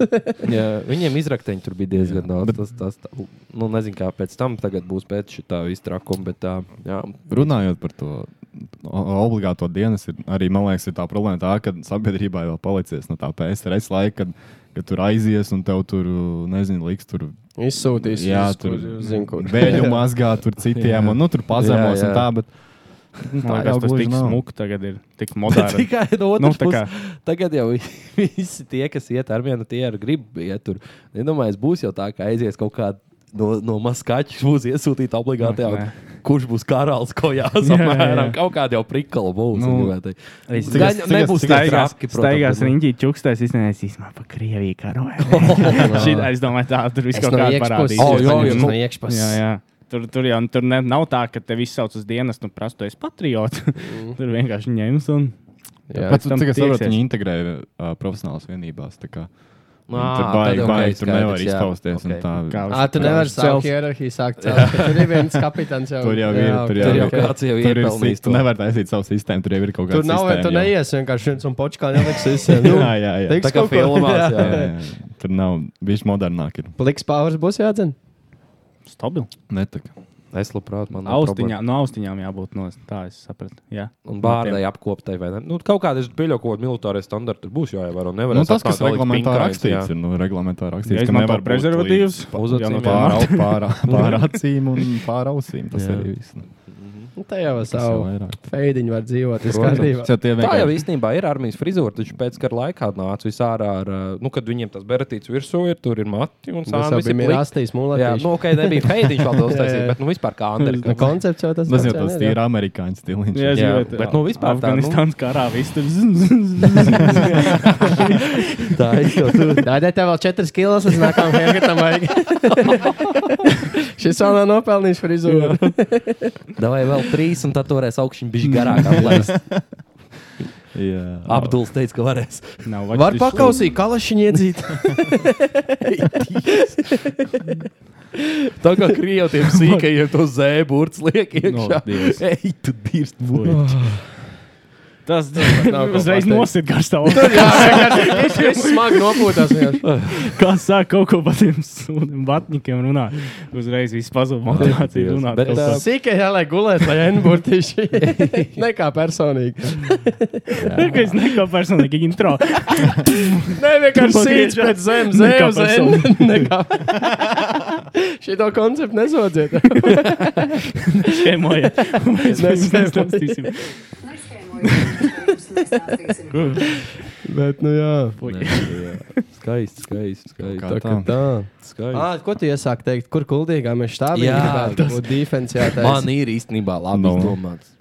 [SPEAKER 2] Jā, viņiem izrakteņi tur bija diezgan daudz. Tas, tas, tā, nu, nezinu, kā pēc tam tagad būs pēc šitā iztrakuma, bet tā,
[SPEAKER 10] [laughs]
[SPEAKER 2] jā.
[SPEAKER 10] Runājot par to o- obligāto dienas, ir, arī man liekas, ir tā problēma, tā, ka sabiedrībā vēl palicies no tā PSRS laika, kad, kad tur aizies un tev tur, nezinu, liks tur.
[SPEAKER 1] Izsūtīs.
[SPEAKER 10] Jā,
[SPEAKER 1] uz-
[SPEAKER 10] tur
[SPEAKER 1] uz- zinu, kur.
[SPEAKER 10] Vēļu mazgā, tur citiem, un nu, tur pazemos
[SPEAKER 2] Jā, jā.
[SPEAKER 10] un tā, bet
[SPEAKER 3] Man
[SPEAKER 10] jau
[SPEAKER 3] liekas, tas
[SPEAKER 10] gluži
[SPEAKER 3] tik
[SPEAKER 10] nav.
[SPEAKER 3] smuki tagad ir, nu. tik moderns.
[SPEAKER 2] [laughs] Tikai no
[SPEAKER 3] Nu,
[SPEAKER 2] otras
[SPEAKER 3] tā
[SPEAKER 2] puses.
[SPEAKER 3] kā.
[SPEAKER 2] Tagad jau [laughs] visi tie, kas iet ar vienu, tie ir gribi iet tur. Nedomājies, būs jau tā, ka aizies kaut kādā no, no maskačas, būs iesūtīta obligāti.
[SPEAKER 3] Ak, nē.
[SPEAKER 2] Kurš būs karalis, ko
[SPEAKER 10] [laughs]
[SPEAKER 2] jāsamērām? Kaut kāda jau prikala būs.
[SPEAKER 10] Nu,
[SPEAKER 2] Nu,
[SPEAKER 3] Es-
[SPEAKER 10] Gan
[SPEAKER 2] Gaņa, nebūs tā
[SPEAKER 3] Staigās,
[SPEAKER 2] traki,
[SPEAKER 3] staigās
[SPEAKER 2] protams. nu.
[SPEAKER 3] riņķī, čukstēs, iznēs īstenībā pa Krieviju
[SPEAKER 2] [laughs]
[SPEAKER 3] karoju. [laughs] Šī, es domāju, tā tur viss
[SPEAKER 1] Es
[SPEAKER 3] kaut
[SPEAKER 1] no
[SPEAKER 3] kā
[SPEAKER 10] Oh,
[SPEAKER 1] iekšpuses.
[SPEAKER 3] parādīsies.
[SPEAKER 2] O, jā, jā,
[SPEAKER 1] Es
[SPEAKER 2] nu.
[SPEAKER 1] no iekšpuses.
[SPEAKER 3] Jā, jā. Tur, tur jau tur ne, nav tā, ka te viss sauc uz dienas, nu, prasu, es patriots.
[SPEAKER 2] Mm.
[SPEAKER 3] [laughs] tur vienkārši ņems un
[SPEAKER 1] Jā.
[SPEAKER 10] pats
[SPEAKER 3] tam
[SPEAKER 10] cik es saprotu,
[SPEAKER 3] tieksies.
[SPEAKER 10] viņi integrē uh, profesionālās vienībās. tā kā. Un
[SPEAKER 2] Ā,
[SPEAKER 10] Tur
[SPEAKER 2] tad
[SPEAKER 10] baigi,
[SPEAKER 2] ok,
[SPEAKER 10] baigi, tur
[SPEAKER 2] skaidrs,
[SPEAKER 10] nevar
[SPEAKER 2] jā.
[SPEAKER 10] izpausties. un
[SPEAKER 2] Ok.
[SPEAKER 10] tā.
[SPEAKER 3] kā uz
[SPEAKER 1] Ā, tu nevari savu
[SPEAKER 3] celt.
[SPEAKER 1] hierarhiju
[SPEAKER 10] [laughs]
[SPEAKER 1] sākt. celt, ka Tur ir viens kapitāns jau.
[SPEAKER 10] Tur jau ir, tur
[SPEAKER 1] ok.
[SPEAKER 10] jau
[SPEAKER 2] Tur
[SPEAKER 10] ir.
[SPEAKER 2] jau kāds jau
[SPEAKER 10] Tur ir
[SPEAKER 2] iepelnījis
[SPEAKER 10] sistēma. Tu
[SPEAKER 2] to.
[SPEAKER 10] nevari taisīt savu sistēmu, tur jau ir kaut kāda.
[SPEAKER 1] Tur nav, tu neies vienkārši viens un počkā neliks visiem. Nu,
[SPEAKER 10] [laughs] Jā, jā, jā.
[SPEAKER 1] tiks
[SPEAKER 2] Tā kā
[SPEAKER 1] kaut ko-
[SPEAKER 2] filmās, jā.
[SPEAKER 10] Jā, jā, jā. Tur nav bijis modernāk. Ir.
[SPEAKER 1] Pliks pāris būs jādzina.
[SPEAKER 3] Stabilu.
[SPEAKER 10] Netaka.
[SPEAKER 2] Es labprāt, man nav problēma.
[SPEAKER 3] Austiņā, no austiņām jābūt no tā, es sapratu. Jā.
[SPEAKER 2] Un bārdai apkoptai, vai ne? Nu, kaut kāda bija kaut kāda militāra standarta. tur Būs jāievēro. Nevar
[SPEAKER 10] Nu, tas, kas reglamentā rakstīts, ir nu, reglamentā rakstīts,
[SPEAKER 3] Ja
[SPEAKER 10] ka
[SPEAKER 3] izmanto
[SPEAKER 10] nevar būt
[SPEAKER 3] prezervatīvus,
[SPEAKER 10] līdz
[SPEAKER 2] uz
[SPEAKER 3] jā,
[SPEAKER 2] acīm,
[SPEAKER 3] no tā
[SPEAKER 10] Pār,
[SPEAKER 3] nav.
[SPEAKER 10] au- pār, pār acīm un pār ausīm. Tas
[SPEAKER 2] Jā.
[SPEAKER 10] arī viss. nu,
[SPEAKER 1] Nu, tā jau
[SPEAKER 10] Tas jau
[SPEAKER 1] savu
[SPEAKER 10] vairāk.
[SPEAKER 1] feidiņu var dzīvot. Tas
[SPEAKER 2] Protams.
[SPEAKER 1] kārtībā.
[SPEAKER 10] Tas jau tie
[SPEAKER 2] Tā jau
[SPEAKER 10] vienkārši.
[SPEAKER 2] īstenībā ir armijas frizūra, taču pēc kara laikā nāca visā ārā, ar, uh, nu, kad viņiem tas beratīts virsū ir, tur ir mati un
[SPEAKER 1] Tas
[SPEAKER 2] sāni.
[SPEAKER 1] jau
[SPEAKER 2] visi
[SPEAKER 1] bija
[SPEAKER 2] plikti.
[SPEAKER 1] rastīs
[SPEAKER 2] Jā,
[SPEAKER 1] mūlētīs.
[SPEAKER 2] nu, ok, nebija feidiņš vēl daudz
[SPEAKER 1] Jā, jā.
[SPEAKER 2] taisīt, bet, nu, vispār kā
[SPEAKER 1] Nu,
[SPEAKER 2] Andrija.
[SPEAKER 1] koncepts jau tas
[SPEAKER 10] Tas jau
[SPEAKER 1] pats, jā,
[SPEAKER 10] tāds
[SPEAKER 1] ne,
[SPEAKER 10] tīri amerikāņu stiliņš.
[SPEAKER 3] Jā, es
[SPEAKER 2] Jā,
[SPEAKER 3] gribētu-
[SPEAKER 2] bet, nu, vispār tā, nu.
[SPEAKER 3] Afganistānas karā viss tur zina.
[SPEAKER 2] Tā ir jau
[SPEAKER 1] [laughs]
[SPEAKER 2] tur.
[SPEAKER 1] jā. Dādē, tev vēl četras kilos, es nākamajam hergetam vajag. [laughs] Šis vēl nav nopelnījis frizūru.
[SPEAKER 2] [laughs]
[SPEAKER 1] [laughs]
[SPEAKER 2] Davai vēl trīs, un tad varēs augšņi bišķi garāk atlaist.
[SPEAKER 10] Jā.
[SPEAKER 2] Abduls teica, ka varēs.
[SPEAKER 1] [laughs] Var pakausīt kalašiņu iedzīt.
[SPEAKER 5] Tā kā krievi tiem sīkajiem to zēburts liek iekšā.
[SPEAKER 3] No, Dievs.
[SPEAKER 5] Ej, tu dirst burts.
[SPEAKER 3] Tas
[SPEAKER 5] nav ko
[SPEAKER 3] uzreiz
[SPEAKER 5] pateikt.
[SPEAKER 3] nosit garstāvā.
[SPEAKER 1] Es esmu smagi nopūtās. vienkārši.
[SPEAKER 3] Kā sāk kaut ko par tiem sūdiem vatņikiem runāt, uzreiz viss pazuda motivācija runāt.
[SPEAKER 5] Bet,
[SPEAKER 3] kaut
[SPEAKER 5] ā,
[SPEAKER 3] ko.
[SPEAKER 1] Sīkai jāliek gulēt, lai enburtīši. [laughs] Nekā personīgi.
[SPEAKER 3] [laughs] Es neko personīgi intro.
[SPEAKER 1] Nē, vienkārši
[SPEAKER 3] Pagriež.
[SPEAKER 1] sīkais pēc zemes.
[SPEAKER 3] Nekā
[SPEAKER 1] Zem, zem. [laughs] Nekā. [laughs] Šito konceptu nesodziet.
[SPEAKER 3] Šēmoja. Mēs
[SPEAKER 1] Mēs
[SPEAKER 3] vairs nestāstīsim.
[SPEAKER 1] Bet, nu jā.
[SPEAKER 5] Skaisti, skaisti,
[SPEAKER 1] [laughs]
[SPEAKER 5] skaisti.
[SPEAKER 10] Kā
[SPEAKER 5] Tā kā
[SPEAKER 10] tā.
[SPEAKER 5] tā. Skaisti.
[SPEAKER 1] À, ko tu iesāki teikt? Kur kuldīgā mēs štābī
[SPEAKER 2] Jā,
[SPEAKER 1] gribētu būt defensijā?
[SPEAKER 2] Man ir īstenībā labi
[SPEAKER 10] Nu.
[SPEAKER 2] no. izdomāts.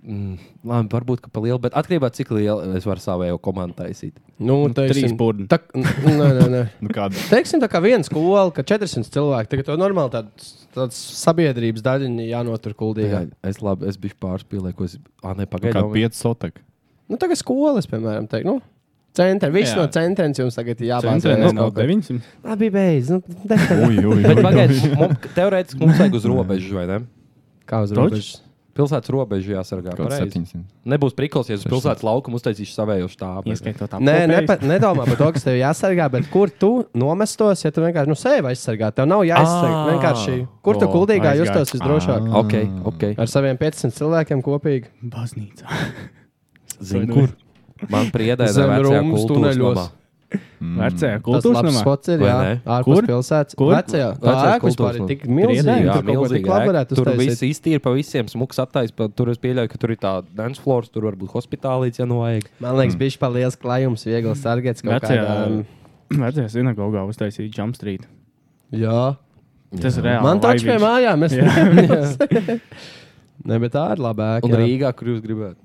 [SPEAKER 2] Mm, labi, varbūt ka pa lielu, bet atkarībā no cik liela es varu savējo komandu taisīt.
[SPEAKER 1] Nu,
[SPEAKER 3] trīs burni.
[SPEAKER 1] Tā, nē, nē, nē.
[SPEAKER 10] Nu, kāda
[SPEAKER 1] Teiksim, tā kā viena skola, ka 400 cilvēki, tagad to normāli tāds, tāds sabiedrības daļiņa jānotur kuldīgā.
[SPEAKER 2] Jā, es labi, es biju pārspīlējis, ko es. Ah, nē,
[SPEAKER 10] kā
[SPEAKER 2] pagaidām.
[SPEAKER 10] 5
[SPEAKER 2] [laughs]
[SPEAKER 10] sotaka.
[SPEAKER 1] Nu, tagad skolas, piemēram, teikt, nu, centra, viss
[SPEAKER 3] Jā.
[SPEAKER 1] no centriem jums tagad ir jābāzē.
[SPEAKER 3] Centrā nav 900.
[SPEAKER 1] Abi beidz, nu, defensīvi.
[SPEAKER 10] Ui, ui,
[SPEAKER 2] Bet
[SPEAKER 10] ui.
[SPEAKER 2] pagaidiet, [laughs] mums- teorētiski mums vajag uz robežu, vai ne?
[SPEAKER 1] Kā uz
[SPEAKER 3] Toč?
[SPEAKER 1] robežas?
[SPEAKER 2] Pilsētas robežu jāsargā.
[SPEAKER 10] Kaut
[SPEAKER 2] pareizi.
[SPEAKER 10] 700.
[SPEAKER 2] Nebūs prikals, ja uz pilsētas laukumu uztaisīšu savējo štābu.
[SPEAKER 3] Ieskaitot
[SPEAKER 1] Nē,
[SPEAKER 3] apkopējus.
[SPEAKER 1] nepa, nedomā par to, kas tev jāsargā, bet kur tu nomestos, ja tu vienkārši nu, sevi aizsargā. Tev nav jāaizsargā.
[SPEAKER 2] Ā.
[SPEAKER 1] Vienkārši, kur tu
[SPEAKER 10] O,
[SPEAKER 1] kuldīgā
[SPEAKER 10] aizgāju.
[SPEAKER 1] justos visdrošāk?
[SPEAKER 2] Ok, ok.
[SPEAKER 1] Ar saviem 500 cilvēkiem kopīgi.
[SPEAKER 3] Baznīca.
[SPEAKER 2] Zinu, kur. Man priedēja
[SPEAKER 1] Zem
[SPEAKER 2] vecajā
[SPEAKER 1] Rūmas
[SPEAKER 2] kultūras
[SPEAKER 1] tuneļos.
[SPEAKER 2] namā.
[SPEAKER 3] Vecajā
[SPEAKER 1] Tas
[SPEAKER 3] kultūras
[SPEAKER 1] labs
[SPEAKER 3] namā.
[SPEAKER 1] spots ir,
[SPEAKER 2] Vai
[SPEAKER 1] jā,
[SPEAKER 2] ne?
[SPEAKER 1] ārpus
[SPEAKER 3] Kur?
[SPEAKER 1] pilsētas.
[SPEAKER 3] Kur?
[SPEAKER 1] Vecajā, tā
[SPEAKER 2] Vecais
[SPEAKER 1] ēka vispār
[SPEAKER 2] kultūras
[SPEAKER 1] ir tik
[SPEAKER 3] Priedē?
[SPEAKER 1] milzīga.
[SPEAKER 2] Jā,
[SPEAKER 1] Tur kaut ko tik
[SPEAKER 2] milzīga
[SPEAKER 1] labi
[SPEAKER 2] ēka.
[SPEAKER 1] varētu
[SPEAKER 2] Tur
[SPEAKER 1] uztaisīt.
[SPEAKER 2] viss īsti ir pa visiem smuks attaisnojums. pa- Tur es pieļauju, ka tur ir tā dance floors, tur varbūt hospitālīts, ja nu vajag.
[SPEAKER 1] Man liekas, bija šis liels klājums, viegls targets. kaut
[SPEAKER 3] Vecajā-
[SPEAKER 1] kādām-
[SPEAKER 3] Vecajā sinagogā uztaisīja Jump Street.
[SPEAKER 1] Jā,
[SPEAKER 3] Tas ir reāli.
[SPEAKER 1] man taču pie
[SPEAKER 3] laivīgs.
[SPEAKER 1] mājām. Es nezinu. [laughs] Nē, bet tā ir labāka.
[SPEAKER 2] Un Rīgā, kur jūs gribētu?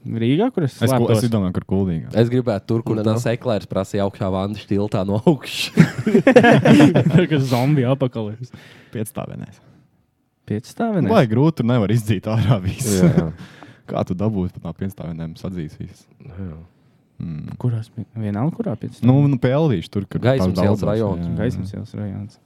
[SPEAKER 3] Rīgā, kur es
[SPEAKER 10] Es, ko- es [laughs]
[SPEAKER 3] slēptos.
[SPEAKER 10] domāju, kur kuldīgā.
[SPEAKER 2] Es gribētu tur, kur
[SPEAKER 1] Nu,
[SPEAKER 2] tas eklērs prasīja augšā vandas tiltā no augšas.
[SPEAKER 3] Tā kā zombija apakalips.
[SPEAKER 10] 5 stāvēnēs.
[SPEAKER 3] Pieci stāvi.
[SPEAKER 10] Vai grūti, tur nevar izdzīt ārā visu.
[SPEAKER 2] [laughs] Jā.
[SPEAKER 10] [laughs] Kā tu dabūsi pat no 5 stāvēnēm sadzīs visu?
[SPEAKER 3] Kurās? pie- Vienalga, kurā pieci.
[SPEAKER 10] Nu, nu pie Elvīša tur, kur
[SPEAKER 2] Gaismas
[SPEAKER 10] tās
[SPEAKER 2] ielas
[SPEAKER 10] daudzās,
[SPEAKER 2] rajons.
[SPEAKER 10] jā.
[SPEAKER 3] Gaismas ielas rajonā.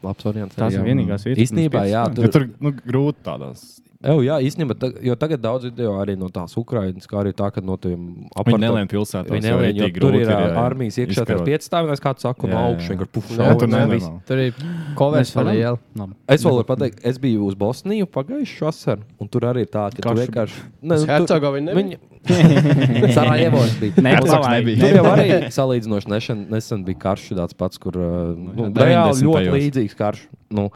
[SPEAKER 2] Labs variants.
[SPEAKER 3] Tās ir vienīgās vietas.
[SPEAKER 2] Īstenībā,
[SPEAKER 3] pirms
[SPEAKER 2] jā,
[SPEAKER 3] pieciem
[SPEAKER 2] tur,
[SPEAKER 10] Ja tur nu, grūti tādās.
[SPEAKER 2] Eju, jā, īstenībā, ta, jo tagad daudz video arī no tās Ukrainas, kā arī tā, ka no tiem
[SPEAKER 10] Viņi nelēma pilsētā.
[SPEAKER 2] Viņi nelēma, jo tur ir ā, armijas iekšā tās pietstāvnēs, kāds saka, no
[SPEAKER 10] Jā, jā.
[SPEAKER 2] augšas vienkārši puf.
[SPEAKER 1] Jā,
[SPEAKER 10] Jā,
[SPEAKER 2] šauj.
[SPEAKER 10] tur
[SPEAKER 1] Nav
[SPEAKER 10] nevis.
[SPEAKER 1] viss. Tur ir covers
[SPEAKER 3] Mēs
[SPEAKER 1] par
[SPEAKER 3] varam?
[SPEAKER 1] lielu.
[SPEAKER 3] Labi.
[SPEAKER 2] Es vēl varu pateikt, es biju uz Bosniju pagājušā vasarā, un tur arī ir tā, ka tu
[SPEAKER 3] Karš-
[SPEAKER 2] vienkārši. Ne, nu,
[SPEAKER 1] Uz Hercegovinu nebija?
[SPEAKER 2] Viņa [laughs] Sarajevo bija.
[SPEAKER 3] Nē,
[SPEAKER 2] Mums-
[SPEAKER 3] tas
[SPEAKER 10] nebija.
[SPEAKER 2] Tur jau arī salīdzinoši nešan, nesen bija karš tāds pats, kur uh, nu,
[SPEAKER 10] Jā,
[SPEAKER 2] reāli ļoti
[SPEAKER 10] 90.
[SPEAKER 2] līdzīgs karš. Nu,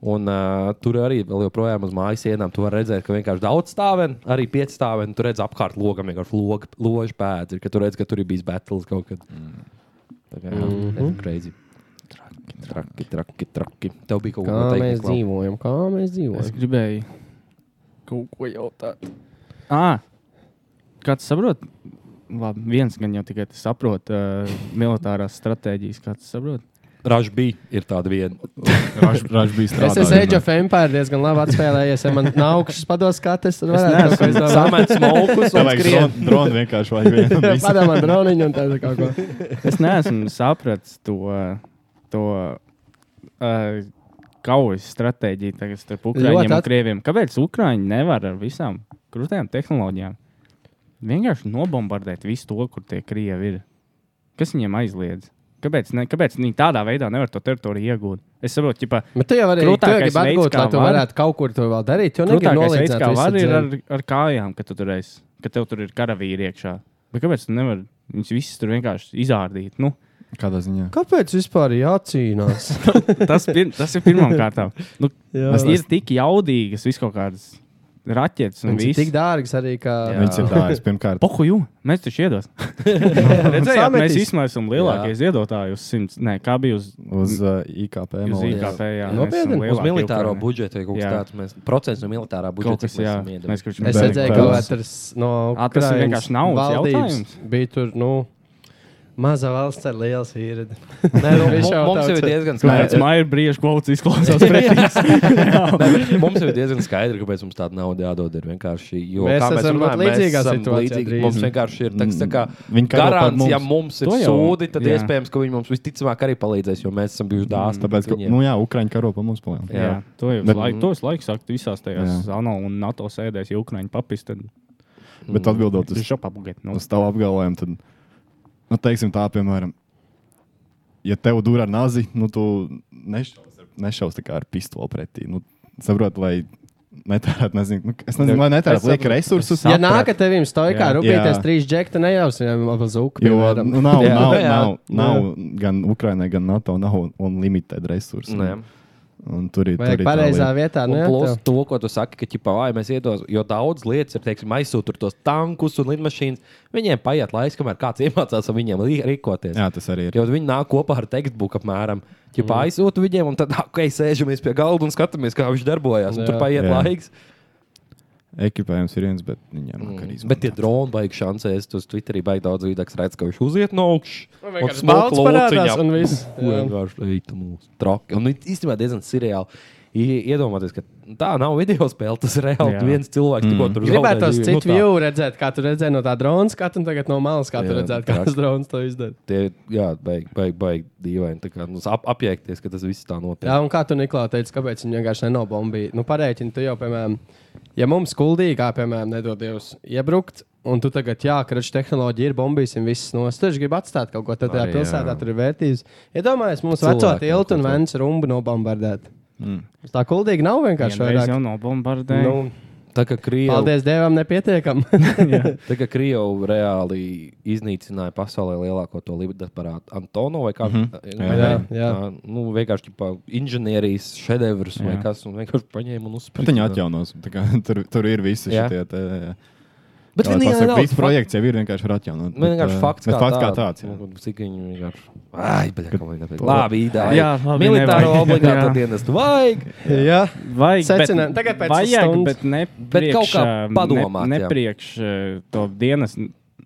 [SPEAKER 2] un uh, tur arī vēl joprojām uz mājas sienām tu vari redzēt, ka vienkārši daudz stāvēni, arī pieci stāvēni. Tur redz apkārt logam, vienkārši log, loži pēdas. ir, ka Tur redz, ka tur ir bijis battles kaut kad. Tā kā jā,
[SPEAKER 1] Mhm.
[SPEAKER 2] mm -hmm. crazy. Traki, traki, traki. Tev bija kaut
[SPEAKER 1] Kā
[SPEAKER 2] kas
[SPEAKER 1] mēs
[SPEAKER 2] tāds,
[SPEAKER 1] dzīvojam, kā mēs
[SPEAKER 3] Es
[SPEAKER 1] dzīvojam.
[SPEAKER 3] gribēju kaut ko jautāt. À, kāds saprot? Labi, viens gan jau tikai tas saprot uh, militārās stratēģijas, kāds saprot.
[SPEAKER 2] Ražs bija ir tāda viena.
[SPEAKER 10] Ražs bija
[SPEAKER 1] Es
[SPEAKER 10] strādājis.
[SPEAKER 1] esmu Age of Empire diezgan labi atspēlējies. Ja man nav augšas pados skates, tad varētu
[SPEAKER 3] neesmu
[SPEAKER 1] kaut ko izdomāt.
[SPEAKER 2] Samets [laughs] smokus un
[SPEAKER 10] Tev vajag
[SPEAKER 2] skrien.
[SPEAKER 10] dronu- dronu vienkārši
[SPEAKER 2] [laughs]
[SPEAKER 10] vajag vienu. un visu.
[SPEAKER 1] Padomā, droniņš un tāda kaut ko.
[SPEAKER 3] Es neesmu sapratis to, to uh, kaujas stratēģiju tagad starp
[SPEAKER 1] Ļoti
[SPEAKER 3] Ukrāņiem
[SPEAKER 1] at-
[SPEAKER 3] un Krieviem. Kāpēc Ukrāņi nevar ar visām krūtīm tehnoloģijām vienkārši nobombardēt visu to, kur tie Krievi ir? Kas viņiem aizliedz? Kāpēc, ne, kāpēc viņi tādā veidā nevar to teritoriju iegūt? Es saprotu, ka
[SPEAKER 1] Bet tu jau arī tu jau
[SPEAKER 3] Krūtākais
[SPEAKER 1] gribi
[SPEAKER 3] veids,
[SPEAKER 1] atgūt,
[SPEAKER 3] kā
[SPEAKER 1] lai tu
[SPEAKER 3] var.
[SPEAKER 1] varētu kaut kur to vēl darīt. Jo Nu, negribu
[SPEAKER 3] Grūtākais veids,
[SPEAKER 1] nolīdzināt
[SPEAKER 3] kā var,
[SPEAKER 1] visu
[SPEAKER 3] ir ar,
[SPEAKER 1] dzīvi.
[SPEAKER 3] ar kājām, ka tu tur esi, ka tev tur ir karavīri iekšā. Bet kāpēc tu nevari viņus visus tur vienkārši izārdīt? Nu,
[SPEAKER 10] Kādā ziņā?
[SPEAKER 1] Kāpēc vispār [laughs] jācīnās?
[SPEAKER 3] tas, pir, tas ir pirmām kārtām. Nu,
[SPEAKER 1] Jā.
[SPEAKER 3] tas ir tik jaudīgas, vis kaut kādas raķetes un
[SPEAKER 1] Viņš ir
[SPEAKER 3] viss.
[SPEAKER 1] tik dārgs arī, ka
[SPEAKER 10] Viņš ir tāds pirmkārt.
[SPEAKER 3] Pohu, jū, mēs taču
[SPEAKER 1] [laughs]
[SPEAKER 3] iedos. Redzējāt, mēs
[SPEAKER 1] Sametīs.
[SPEAKER 3] īstenībā esam lielākie ziedotāji uz simts. Nē, kā bija uz,
[SPEAKER 10] Uz uh, IKP
[SPEAKER 3] uz
[SPEAKER 10] monētu.
[SPEAKER 3] IKP? Jā,
[SPEAKER 1] Nopietni? Uz
[SPEAKER 2] Uz militāro
[SPEAKER 3] budžetu.
[SPEAKER 2] budžetu vai kaut
[SPEAKER 3] Jā.
[SPEAKER 2] kas tāds. Mēs, procents no militārā
[SPEAKER 3] Kaut
[SPEAKER 2] budžeta
[SPEAKER 3] kas, jā,
[SPEAKER 2] esam iedevuši.
[SPEAKER 3] mēs kurš
[SPEAKER 1] Es
[SPEAKER 10] Bērni
[SPEAKER 1] redzēju, ka
[SPEAKER 10] karalis.
[SPEAKER 1] katrs no
[SPEAKER 3] Ā, tas ir
[SPEAKER 1] Ukrainas
[SPEAKER 3] vienkārši naudas
[SPEAKER 1] valdības
[SPEAKER 3] jautājums.
[SPEAKER 1] Bija tur, nu, Mazā valsts ar lielu
[SPEAKER 3] [laughs]
[SPEAKER 1] sīredi.
[SPEAKER 3] nu,
[SPEAKER 2] Mums, nu, mums jau ir diezgan
[SPEAKER 3] Kāpēc
[SPEAKER 2] skaidrs.
[SPEAKER 3] man ir brīvs
[SPEAKER 1] [laughs]
[SPEAKER 3] kvalitātes izklausās pretīs?
[SPEAKER 2] Ne, mums jau ir diezgan skaidrs, kāpēc mums tāda nauda jādod. Ir vienkārši, jo
[SPEAKER 1] Mēs
[SPEAKER 2] kā
[SPEAKER 1] esam
[SPEAKER 2] runājam,
[SPEAKER 1] ļoti līdzīgā
[SPEAKER 2] mēs esam
[SPEAKER 1] situācijā
[SPEAKER 2] līdzīgi.
[SPEAKER 1] drīz.
[SPEAKER 2] Mums vienkārši ir tāds tā kā
[SPEAKER 10] Viņi Mm. karo par
[SPEAKER 2] garants,
[SPEAKER 10] mums.
[SPEAKER 2] ja mums ir
[SPEAKER 3] To jau,
[SPEAKER 2] sūdi, tad
[SPEAKER 3] jā.
[SPEAKER 2] iespējams, ka viņi mums visticamāk arī palīdzēs, jo mēs esam bijuši dāsni.
[SPEAKER 10] Tāpēc, ka,
[SPEAKER 2] viņiem.
[SPEAKER 10] nu jā, Ukraiņa karo pa mums palielina.
[SPEAKER 3] Jā, to jau
[SPEAKER 10] Bet-
[SPEAKER 3] laiku, tos laikus sākt visās tajās ANO un NATO sēdēs, ja Ukraiņa papis, tad
[SPEAKER 10] Bet atbildot uz,
[SPEAKER 3] viņš jau pabugat. Nu,
[SPEAKER 10] uz tavu apgalvojumu, tad, nu, teiksim tā, piemēram, ja tev dūrā nazi, nu, tu nešaus, ar- nešaus tā kā ar pistoli pretī. Nu, saprot, lai netērētu, nezinu, nu, es nezinu, lai netērētu lieka resursus.
[SPEAKER 1] Ja nākat tevim stojkā,
[SPEAKER 3] Jā.
[SPEAKER 1] rūpīties
[SPEAKER 10] Jā.
[SPEAKER 1] trīs džekta, nejausim ap zuku.
[SPEAKER 10] Jo
[SPEAKER 1] piemēram.
[SPEAKER 10] nu, nav,
[SPEAKER 2] Jā.
[SPEAKER 10] nav,
[SPEAKER 2] Jā.
[SPEAKER 10] nav, nav gan Ukraiņai, gan NATO, nav un, un limitēta resursa.
[SPEAKER 2] Nē.
[SPEAKER 10] Un tur ir
[SPEAKER 1] Vajag
[SPEAKER 10] tur ir tā
[SPEAKER 1] pareizā
[SPEAKER 10] lieta.
[SPEAKER 1] vietā, nu,
[SPEAKER 2] Un
[SPEAKER 1] ne?
[SPEAKER 2] Plus to, ko tu saki, ka ķipā, vai mēs iedos, jo daudz lietas ir, teiksim, aizsūtot tos tankus un lidmašīnas. Viņiem paiet laiks, kamēr kāds iemācās ar viņiem rī- rīkoties.
[SPEAKER 10] Jā, tas arī ir.
[SPEAKER 2] Jo viņi nāk kopā ar tekstbuku apmēram. Ja mm. aizsūtu viņiem, un tad, ok, sēžamies pie galda un skatāmies, kā viņš darbojās. un Tur
[SPEAKER 1] Jā.
[SPEAKER 2] paiet
[SPEAKER 10] Jā.
[SPEAKER 2] laiks.
[SPEAKER 10] Ekipējums ir viens, bet viņam mm. arī
[SPEAKER 2] Bet tie droni baigs šancēs. Tur Twitterī baigs daudz vīdāks redzēt, ka viņš uziet no augšas.
[SPEAKER 1] Un vienkārši balts parādās un viss. Jā.
[SPEAKER 2] Vienkārši traki. Un it- īstenībā diezgan seriāli. I- Iedomāties, ka tā nav video spēle. Tas ir reāli
[SPEAKER 3] Jā.
[SPEAKER 2] viens cilvēks, mm. kurš tur
[SPEAKER 1] Gribētu tos
[SPEAKER 2] dzīvi.
[SPEAKER 1] citu
[SPEAKER 2] tā,
[SPEAKER 1] view redzēt, kā tu redzēji no tā drona skatu, un tagad no malas, kā tu
[SPEAKER 2] Jā,
[SPEAKER 1] redzēji, kā
[SPEAKER 2] traks.
[SPEAKER 1] tas drons to izdara.
[SPEAKER 2] Tie, jā, baigi, baigi, baigi dīvaini. tā kā, nu, Ap, apjēgties, ka tas viss tā notiek.
[SPEAKER 1] Jā, un kā tu Niklā teici, kāpēc viņi vienkārši nenobombīja? Nu, pareiķini, tu jau, piemēram, ja mums skuldīgi, kā piemēram, nedod Dievs iebrukt, un tu tagad, jā, kraču tehnoloģija ir bombīsim visas nost, tu taču gribi atstāt kaut ko tad tajā
[SPEAKER 2] Ai, jā.
[SPEAKER 1] pilsētā, tur ir vērtības. Iedomājies, mums veco
[SPEAKER 2] Cilvēki
[SPEAKER 1] tiltu
[SPEAKER 2] kaut
[SPEAKER 1] un
[SPEAKER 2] ko.
[SPEAKER 1] vens rumbu nobombardēt. Mm. Tā kuldīgi nav vienkārši
[SPEAKER 3] vienreiz
[SPEAKER 1] vairāk.
[SPEAKER 3] jau nobombardēja.
[SPEAKER 1] Nu,
[SPEAKER 2] Tā kā Krievija.
[SPEAKER 1] paldies Dievam, nepietiekam. [laughs]
[SPEAKER 2] Tā kā Krievija reāli iznīcināja pasaulē lielāko to lidaparātu, Antonu
[SPEAKER 10] Mhm.
[SPEAKER 2] vai kādu citu.
[SPEAKER 1] Jā, jā.
[SPEAKER 2] Nu, vienkārši tā inženierijas šedevrs vai
[SPEAKER 3] Jā.
[SPEAKER 2] kas, un vienkārši paņēma un uzspēlēja.
[SPEAKER 10] Bet viņi atjaunos. tā kā [laughs] Tur, tur ir visi
[SPEAKER 2] Jā.
[SPEAKER 10] šie tie.
[SPEAKER 2] Bet
[SPEAKER 10] Jā,
[SPEAKER 2] viņi
[SPEAKER 10] pasaka,
[SPEAKER 2] nedaudz
[SPEAKER 10] viss
[SPEAKER 2] fa-
[SPEAKER 10] projekts jau ir vienkārši atjaunot.
[SPEAKER 2] Man vienkārši fakts,
[SPEAKER 10] bet fakts kā tāds. jā.
[SPEAKER 2] Nu, Cik viņi vienkārši. Ai, bļa, kā man nepēc.
[SPEAKER 10] To-
[SPEAKER 2] Labi, īdā.
[SPEAKER 3] Jā, labi,
[SPEAKER 2] Militāro
[SPEAKER 3] nevajag.
[SPEAKER 2] obligāto
[SPEAKER 3] Jā.
[SPEAKER 2] dienestu vajag.
[SPEAKER 1] jā.
[SPEAKER 3] Vajag,
[SPEAKER 1] Secinājumi. Tagad pēc
[SPEAKER 3] vajag,
[SPEAKER 1] stundas.
[SPEAKER 3] bet ne
[SPEAKER 2] Bet kaut kā
[SPEAKER 3] priekš, uh,
[SPEAKER 2] padomāt,
[SPEAKER 3] Ne,
[SPEAKER 2] jā.
[SPEAKER 3] ne priekš uh, to dienas.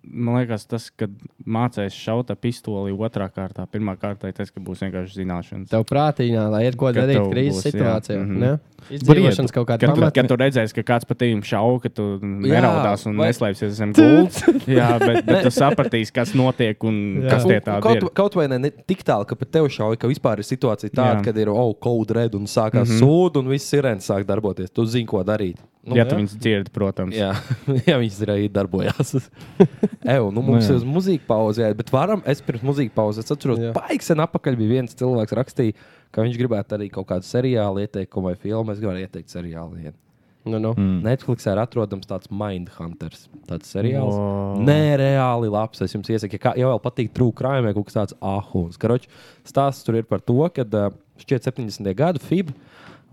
[SPEAKER 3] Man liekas, tas, kad mācās šaut ar pistoli otrā kārtā, pirmā kārtā, tas, ka būs vienkārši zināšanas.
[SPEAKER 1] Tev prātīnā, lai iet ko
[SPEAKER 3] Ka
[SPEAKER 1] darīt
[SPEAKER 3] tev
[SPEAKER 1] krīzes
[SPEAKER 3] būs, jā.
[SPEAKER 1] situācijā.
[SPEAKER 3] Mhm.
[SPEAKER 1] ne? Izdzīvošanas kaut kāda
[SPEAKER 3] Kad tu,
[SPEAKER 1] pamata.
[SPEAKER 3] kad tu redzēsi, ka kāds patīk šaubu, ka tu
[SPEAKER 2] Jā,
[SPEAKER 3] neraudās un
[SPEAKER 2] vai-
[SPEAKER 3] neslēpsies zem
[SPEAKER 2] [laughs]
[SPEAKER 3] gultas, jā, bet, bet tu sapratīsi, kas notiek un jā. kas
[SPEAKER 2] Un-
[SPEAKER 3] tie
[SPEAKER 2] un
[SPEAKER 3] tādi
[SPEAKER 2] kaut,
[SPEAKER 3] ir.
[SPEAKER 2] kaut vai ne, ne tik tālu, ka pat tev šauja, ka vispār ir situācija tāda,
[SPEAKER 3] Jā. Mhm.
[SPEAKER 2] kad ir oh, cold red un sākās mm -hmm. sūdi, un viss sirēns sāk darboties. Tu zini, ko darīt. Nu,
[SPEAKER 3] Ja tu viņus dzirdi, protams.
[SPEAKER 2] Jā, jā [laughs] viņas ir arī darbojās. Eju, nu, mums ir
[SPEAKER 10] Nu, jā.
[SPEAKER 2] uz muzikas pauze, jā, bet varam, es pirms muzikas pauzes es atceros,
[SPEAKER 1] Jā.
[SPEAKER 2] ka paiksen apakaļ bija viens cilvēks rakstīja, ka viņš gribētu arī kaut kādu seriālu ieteikumu vai filmu. Es gribēju ieteikt seriālu. Vien.
[SPEAKER 1] Nu, nu.
[SPEAKER 2] Mm. Netflixā ir atrodams tāds Mindhunters. Tāds seriāls.
[SPEAKER 3] Wow.
[SPEAKER 2] Nē, reāli labs. Es jums iesaku, ja, kā, ja vēl patīk trūkumiem, kaut kas tāds ahūns. Karoči, stāsts tur ir par to, ka šķiet 70. gadu FIB.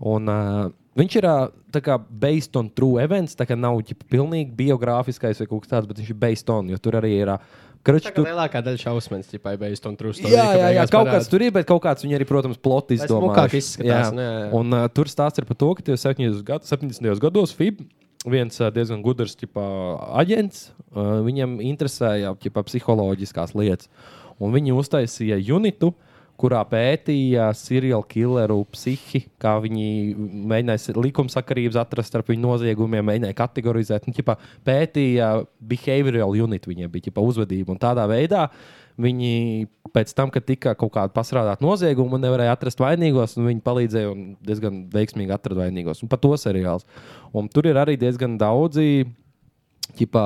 [SPEAKER 2] Un, uh, Viņš ir ā, tā kā based on true events. Tā kā nav jau pilnīgi biogrāfiskais vai kaut kas tāds, bet viņš ir based on. Jo tur arī ir. ā, Karoči,
[SPEAKER 1] Tā kā
[SPEAKER 2] tur,
[SPEAKER 1] lielākā daļa šausmas tikai beigas un trūkst.
[SPEAKER 2] jā, jā, jā, kaut kāds tur ir, bet kaut kāds viņa arī, protams,
[SPEAKER 1] Lai
[SPEAKER 2] ploti izdomā.
[SPEAKER 1] smukāk izskatās, nu, jā, jā.
[SPEAKER 2] Un uh, tur stāsts ir par to, ka tie 70. Gadu, 70. gados FIB, viens uh, diezgan gudrs ķipā, aģents, uh, viņam interesēja ķipā, psiholoģiskās lietas. Un viņi uztaisīja unitu, kurā pētīja seriāla killeru psihi, kā viņi mēģināja likumsakarības atrast starp viņu noziegumiem, mēģināja kategorizēt. Un, ķipā, pētīja behavioral unit, viņiem bija ķipā, uzvedība. Un tādā veidā viņi pēc tam, kad tika kaut kāda pasrādāta nozieguma, nevarēja atrast vainīgos, un viņi palīdzēja un diezgan veiksmīgi atrast vainīgos. Un par to seriāls. Un tur ir arī diezgan daudzi ķipā,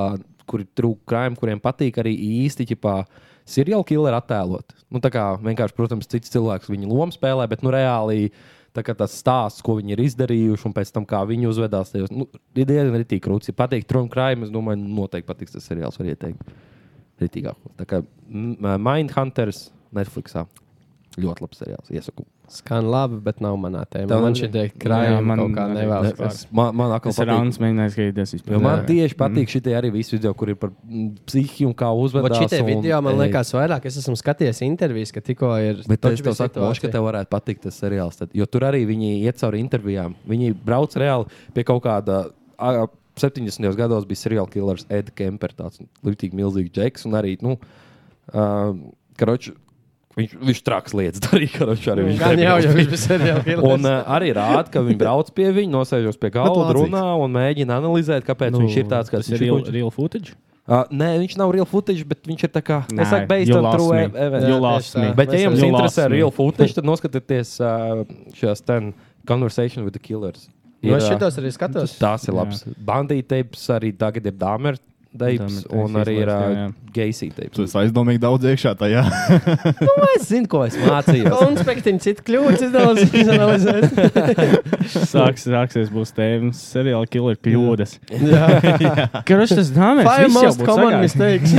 [SPEAKER 2] kuri trūkst krājumi, kuriem patīk arī īsti ķipā, seriāla killer attēlot. Nu, tā kā vienkārši, protams, cits cilvēks viņa lomu spēlē, bet nu, reāli tā kā tas stāsts, ko viņi ir izdarījuši, un pēc tam, kā viņi uzvedās, tajos, nu, ir diezgan rītīgi krūts. Ja patīk trūkst krājumi, es domāju, noteikti patiks tas seriāls, var ieteikt. Rītīgāko. Tā kā mm, Mindhunters Netflixā. Ļoti labs seriāls. Iesaku.
[SPEAKER 1] Skan labi, bet nav manā tēmā.
[SPEAKER 2] Tev
[SPEAKER 1] Man
[SPEAKER 2] ne-
[SPEAKER 1] šī tie
[SPEAKER 3] Jā,
[SPEAKER 1] krājumi
[SPEAKER 3] man
[SPEAKER 1] kaut kā
[SPEAKER 3] arī-
[SPEAKER 1] nevēlas.
[SPEAKER 3] Es
[SPEAKER 1] pār-
[SPEAKER 2] Man, man atkal
[SPEAKER 3] Tas ir Mm.
[SPEAKER 2] patīk.
[SPEAKER 3] Rāns, mēģinājums gaidīties
[SPEAKER 2] Jo
[SPEAKER 3] vispār.
[SPEAKER 2] man tieši patīk šī arī visi video, kur ir par mm, psihi un kā
[SPEAKER 1] Bet
[SPEAKER 2] uzvedās.
[SPEAKER 1] šitie
[SPEAKER 2] un-
[SPEAKER 1] video man
[SPEAKER 2] Ei.
[SPEAKER 1] liekas vairāk. Es esmu skatījies intervijas, ka tikko ir.
[SPEAKER 2] Bet
[SPEAKER 1] taču
[SPEAKER 2] es
[SPEAKER 1] bija
[SPEAKER 2] tev saku, Moš, ka
[SPEAKER 1] situācija.
[SPEAKER 2] tev varētu patikt tas seriāls. Tad, jo tur arī viņi iet cauri intervijām. Viņi brauc reāli pie kaut kāda. ā, 70. gados bija seriāla killers Edgars Kempers, tāds ļoti milzīgs džeks. Un arī nu, uh, Karoči, viņš, viņš traks lietas darīja. Karoči, arī viņš
[SPEAKER 1] Nu, Gan jau,
[SPEAKER 2] nebija
[SPEAKER 1] jau viņš bija seriāla
[SPEAKER 2] Un uh, arī rāda, ka viņi brauc pie viņa, nosēžos pie galda,
[SPEAKER 10] Bet lācīgs.
[SPEAKER 2] runā un mēģina analizēt, kāpēc nu, viņš ir tāds, kāds
[SPEAKER 3] tas ir
[SPEAKER 2] viņš
[SPEAKER 3] real,
[SPEAKER 2] Viņš-
[SPEAKER 3] real footage.
[SPEAKER 2] Uh, nē, viņš nav real footage, bet viņš ir tā kā.
[SPEAKER 3] Nē,
[SPEAKER 2] Es saku, based
[SPEAKER 3] you
[SPEAKER 2] on
[SPEAKER 3] lost
[SPEAKER 2] true
[SPEAKER 3] me.
[SPEAKER 2] ev- ev-
[SPEAKER 3] You
[SPEAKER 2] ev-
[SPEAKER 3] lost me.
[SPEAKER 2] Bet, ja jums
[SPEAKER 3] You
[SPEAKER 2] interesē
[SPEAKER 3] lost me.
[SPEAKER 2] real footage, tad noskatieties uh, šās ten conversation with the killers. Ir,
[SPEAKER 1] Nu, Es
[SPEAKER 2] uh,
[SPEAKER 1] šitos arī skatos.
[SPEAKER 2] Tās ir labas. Bandīta tapes arī tagad ir Dāmer tapes
[SPEAKER 3] Dahmer tapes
[SPEAKER 2] un arī ir
[SPEAKER 3] izlaist, jā,
[SPEAKER 2] uh,
[SPEAKER 3] jā.
[SPEAKER 2] Geisī tapes.
[SPEAKER 10] Tu esi aizdomīgi daudz iekšā
[SPEAKER 2] [laughs]
[SPEAKER 10] tajā.
[SPEAKER 2] Nu, es zinu, ko es [laughs] mācījos.
[SPEAKER 1] Un spektiņš citu kļūdas
[SPEAKER 2] [laughs]
[SPEAKER 1] izanalizēt.
[SPEAKER 3] [laughs] Sāks, sāksies, būs tēmas, seriāla killer kļūdas. [laughs]
[SPEAKER 1] Jā,
[SPEAKER 3] Kurš tas dāmas?
[SPEAKER 1] Five most common mistakes.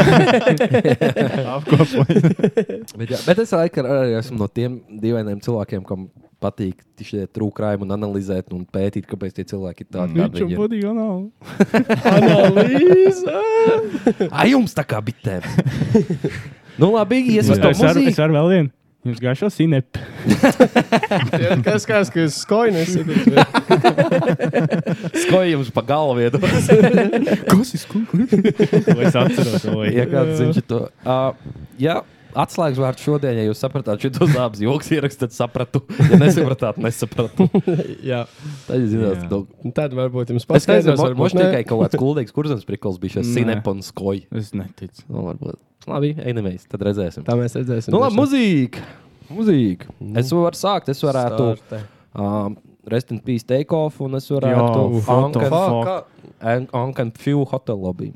[SPEAKER 2] bet, jā, bet es laikam arī esmu no tiem dīvainiem cilvēkiem, kam patīk tieši trūkrājumi un analizēt un pētīt, kāpēc tie cilvēki ir tādi. kādi
[SPEAKER 3] Viņam
[SPEAKER 2] viņi ir.
[SPEAKER 3] patīk anāli.
[SPEAKER 1] Analīze.
[SPEAKER 2] [laughs] Ai, jums tā kā bitēm. [laughs] nu, labi,
[SPEAKER 3] Es
[SPEAKER 2] iesaistīsim
[SPEAKER 3] varu- es
[SPEAKER 2] muziku.
[SPEAKER 3] varu vēl vienu. Jums
[SPEAKER 1] [laughs]
[SPEAKER 3] gājušo sinep.
[SPEAKER 1] Kas kā skas skoinis.
[SPEAKER 2] [laughs] Skoji jums pa galvu iedos.
[SPEAKER 10] Kas ir skūpstījis?
[SPEAKER 3] To Es atceros, to
[SPEAKER 2] ja
[SPEAKER 3] vajag.
[SPEAKER 2] kāds zina to. Uh, jā, atslēgas vārds šodien, ja jūs sapratāt šo zābus joks ierakstu, tad sapratu. Ja nesapratāt, nesapratu.
[SPEAKER 1] Jā.
[SPEAKER 2] Tad jūs zināt,
[SPEAKER 10] Jā.
[SPEAKER 2] to.
[SPEAKER 1] Un Nu, Tad varbūt jums
[SPEAKER 2] Es nezinu,
[SPEAKER 1] paskaidros,
[SPEAKER 2] varbūt
[SPEAKER 1] varbūt
[SPEAKER 2] tikai
[SPEAKER 1] ne.
[SPEAKER 2] kaut kāds kuldīgs kurzens prikals bija šis
[SPEAKER 3] Nē.
[SPEAKER 2] sinepons skoji.
[SPEAKER 3] Es neticu.
[SPEAKER 2] Nu, varbūt. Labi, ejamēs, tad redzēsim.
[SPEAKER 1] Tā mēs redzēsim.
[SPEAKER 2] Nu, labi, mūzika. Mūzika. Es
[SPEAKER 3] Nu.
[SPEAKER 2] varu sākt, es varētu.
[SPEAKER 1] Starta.
[SPEAKER 2] Um, Rest in peace, take off, un es
[SPEAKER 3] Jā,
[SPEAKER 2] varētu.
[SPEAKER 3] what the
[SPEAKER 2] Ankan-
[SPEAKER 3] fuck?
[SPEAKER 2] An- Ankan Few Hotel lobby.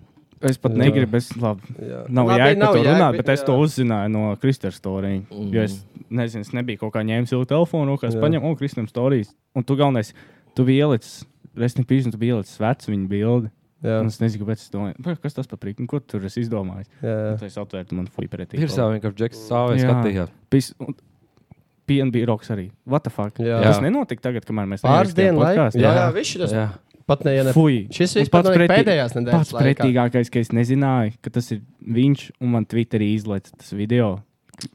[SPEAKER 3] Es pat
[SPEAKER 1] Jā.
[SPEAKER 3] negribu, es labi.
[SPEAKER 1] Jā.
[SPEAKER 3] Nav
[SPEAKER 1] Labi,
[SPEAKER 3] jēga par to
[SPEAKER 1] jēga,
[SPEAKER 3] runāt, bet es
[SPEAKER 1] jā.
[SPEAKER 3] to uzzināju no Kristēna stūrīņa. Mm. Jo es nezinu, es nebiju kaut kā ņēmis savu telefonu, rokās
[SPEAKER 1] Jā.
[SPEAKER 3] paņēmu, un Kristēna stūrīs. Un tu galvenais, tu biji ielicis, es nepīzinu, tu biji ielicis vecu viņa bildi.
[SPEAKER 1] Jā,
[SPEAKER 3] Un es nezinu, kāpēc es domāju, "Par, kas tas par prīku, ko tu tur es izdomāju.
[SPEAKER 1] jā, jā.
[SPEAKER 3] Tad es atvērtu man fuju pretī.
[SPEAKER 2] Ir jau vienkārši džeks, sāvēs
[SPEAKER 3] Jā.
[SPEAKER 2] skatījās.
[SPEAKER 3] Pis- un PNB roks arī. What the fuck?
[SPEAKER 1] Jā.
[SPEAKER 3] Tas nenotika tagad, kamēr mēs
[SPEAKER 1] Pāris dienu laikā. Jā, jā,
[SPEAKER 2] jā.
[SPEAKER 1] viņš ir tas
[SPEAKER 2] Jā.
[SPEAKER 1] pat ne. ja ne-
[SPEAKER 3] Fui.
[SPEAKER 1] Šis
[SPEAKER 3] Un
[SPEAKER 1] vispār
[SPEAKER 3] pats
[SPEAKER 1] notika
[SPEAKER 3] pretī-
[SPEAKER 1] pēdējās
[SPEAKER 3] Pats
[SPEAKER 1] nedēļas laikā.
[SPEAKER 3] pretīgākais, ka es nezināju, ka tas ir viņš, un man Twitterī izlaiž tas video.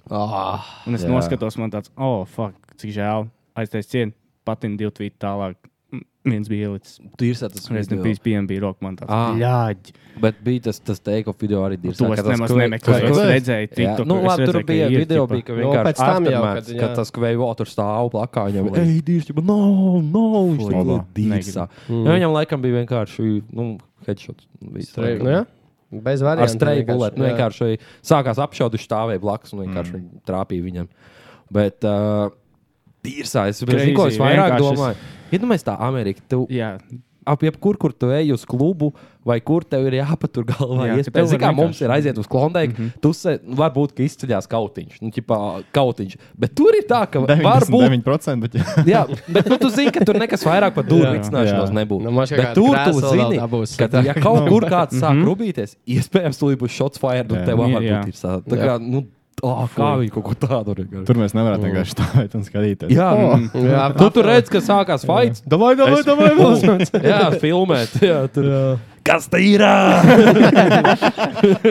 [SPEAKER 2] Ah,
[SPEAKER 3] Un es
[SPEAKER 2] Jā.
[SPEAKER 3] jā. noskatos, man tāds, oh, fuck, cik žēl. Aiztais cienu, patin divu tvītu tālāk. Mm, Viens bija ielicis.
[SPEAKER 2] tu ir tas
[SPEAKER 3] Un es nebiju PMB roka, man tāds.
[SPEAKER 2] Ah.
[SPEAKER 3] Ļāģi.
[SPEAKER 2] Bet bija tas, tas teiko video arī
[SPEAKER 3] Nu,
[SPEAKER 2] dirs.
[SPEAKER 3] To es nemaz nemeklēju. Es redzēju,
[SPEAKER 2] Jā,
[SPEAKER 3] TikTok,
[SPEAKER 2] nu,
[SPEAKER 3] es
[SPEAKER 2] labi,
[SPEAKER 3] redzēju,
[SPEAKER 2] tur
[SPEAKER 3] ka
[SPEAKER 2] bija
[SPEAKER 3] ir,
[SPEAKER 2] video,
[SPEAKER 3] tipa,
[SPEAKER 2] bija, ka
[SPEAKER 1] Nu,
[SPEAKER 2] vienkārši
[SPEAKER 1] pēc tam jau,
[SPEAKER 2] aftermaths,
[SPEAKER 1] kad, jā.
[SPEAKER 2] kad tas Kvei Waters stāv plakā, viņam
[SPEAKER 3] Fui.
[SPEAKER 2] bija, ej, dīrs, no, no, viņš
[SPEAKER 10] Fui.
[SPEAKER 2] tā
[SPEAKER 10] Labā.
[SPEAKER 2] dīrsā.
[SPEAKER 3] Mm.
[SPEAKER 2] Jo Nu, viņam laikam bija vienkārši, nu, headshots. bija
[SPEAKER 1] Strei-
[SPEAKER 2] laikam.
[SPEAKER 1] Nu, jā. Bez variantiem.
[SPEAKER 2] Ar streju
[SPEAKER 1] vienkārši,
[SPEAKER 2] buletu. Nu,
[SPEAKER 1] jā.
[SPEAKER 2] vienkārši sākās apšaudu, viņš stāvēja blakus un vienkārši mm. trāpīja viņam. Bet uh, tīrsā, es
[SPEAKER 3] Crazy,
[SPEAKER 2] domāju, ko es vairāk
[SPEAKER 3] vienkārši es-
[SPEAKER 2] domāju. Iedomājieties, tā Amerika, tu
[SPEAKER 3] Jā,
[SPEAKER 2] ap jebkur, kur tu ej uz klubu, vai kur tev ir jāpatur galvā.
[SPEAKER 3] Jā,
[SPEAKER 2] Jā,
[SPEAKER 3] ka tev
[SPEAKER 2] iespēja,
[SPEAKER 3] var
[SPEAKER 2] kā mums
[SPEAKER 3] vienkārši- Mhm.
[SPEAKER 2] ir aiziet uz klondaiku, mm -hmm. tu se, varbūt ka izceļās kautiņš, nu, ķipā, kautiņš. Bet tur ir tā, ka varbūt.
[SPEAKER 10] 99%, bet jā.
[SPEAKER 2] Jā, bet nu, tu zini, ka tur nekas vairāk par dūru vicināšanos
[SPEAKER 10] jā.
[SPEAKER 2] nebūs.
[SPEAKER 1] Nu, mažai
[SPEAKER 2] bet
[SPEAKER 1] kāda
[SPEAKER 2] tur tu
[SPEAKER 1] krēsla vēl
[SPEAKER 2] zini,
[SPEAKER 1] dabūs.
[SPEAKER 2] ka,
[SPEAKER 1] [laughs]
[SPEAKER 2] ja kaut kur kāds sāk rubīties, iespējams, tu būsi shots fired, un
[SPEAKER 10] Jā.
[SPEAKER 2] tev
[SPEAKER 3] Jā,
[SPEAKER 2] varbūt
[SPEAKER 3] jā.
[SPEAKER 2] ir tā. tā kā, nu, oh, kā viņi kaut ko tādu regulē.
[SPEAKER 10] Tur mēs nevaram vienkārši stāvēt un skatīties.
[SPEAKER 2] Jā, mm.
[SPEAKER 1] Oh. Jā,
[SPEAKER 2] tu tur redz, ka sākās
[SPEAKER 10] [laughs]
[SPEAKER 2] fights.
[SPEAKER 10] davai, davai, davai, vēl.
[SPEAKER 2] [laughs] Jā, filmēt. Jā, tur. Kas te ir? [laughs]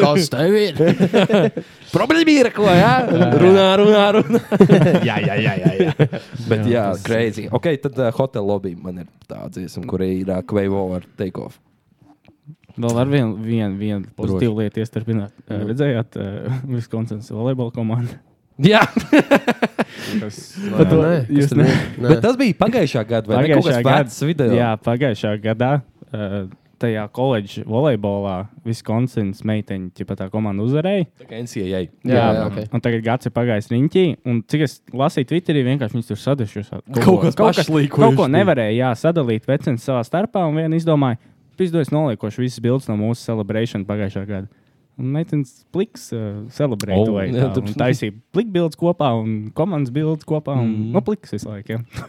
[SPEAKER 1] Kas tev ir?
[SPEAKER 2] Problēma ir, ko jā? runā, runā, runā.
[SPEAKER 3] jā, jā, jā. jā, jā.
[SPEAKER 2] Bet, jā, greizi. Ok, tad uh, hotel lobby man ir tā dziesma, kur ir uh, Quavo ar Takeoff.
[SPEAKER 3] Vēl ar vienu vien, vien pozitīvu lietu iestarpināt. Eh, Redzējāt, uh, Viskonsins volejbola komanda.
[SPEAKER 2] Jā,
[SPEAKER 1] Nē, nē,
[SPEAKER 3] Jūs ne?
[SPEAKER 1] nē.
[SPEAKER 2] bet tas bija pagājušā gada vai ne? kaut kas vecs video.
[SPEAKER 3] Jā, pagājušā gadā. Uh, Tajā koledžas volejbolā Viskonsins meiteņa, ja tā komanda uzvarēja.
[SPEAKER 2] tā kā NCAA.
[SPEAKER 1] Jā, jā, ok.
[SPEAKER 3] Un tagad gads ir pagājis riņķī, un cik es lasīju Twitterī, vienkārši viņas tur sadušies.
[SPEAKER 2] Kaut kas pašlīkojuši.
[SPEAKER 3] Kaut ko nevarēja jā, sadalīt vecens savā starpā, un viena izdomāja, pizdojas noliekoši visas bildes no mūsu celebration pagājušā gada. Un meitenes pliks uh, celebrēja.
[SPEAKER 2] Oh,
[SPEAKER 3] Oh,
[SPEAKER 2] jā,
[SPEAKER 3] tā
[SPEAKER 2] tad-
[SPEAKER 3] un taisīja plikbildes kopā un komandas bildes kopā. Un, mm. No pliks visu laiku. Ja.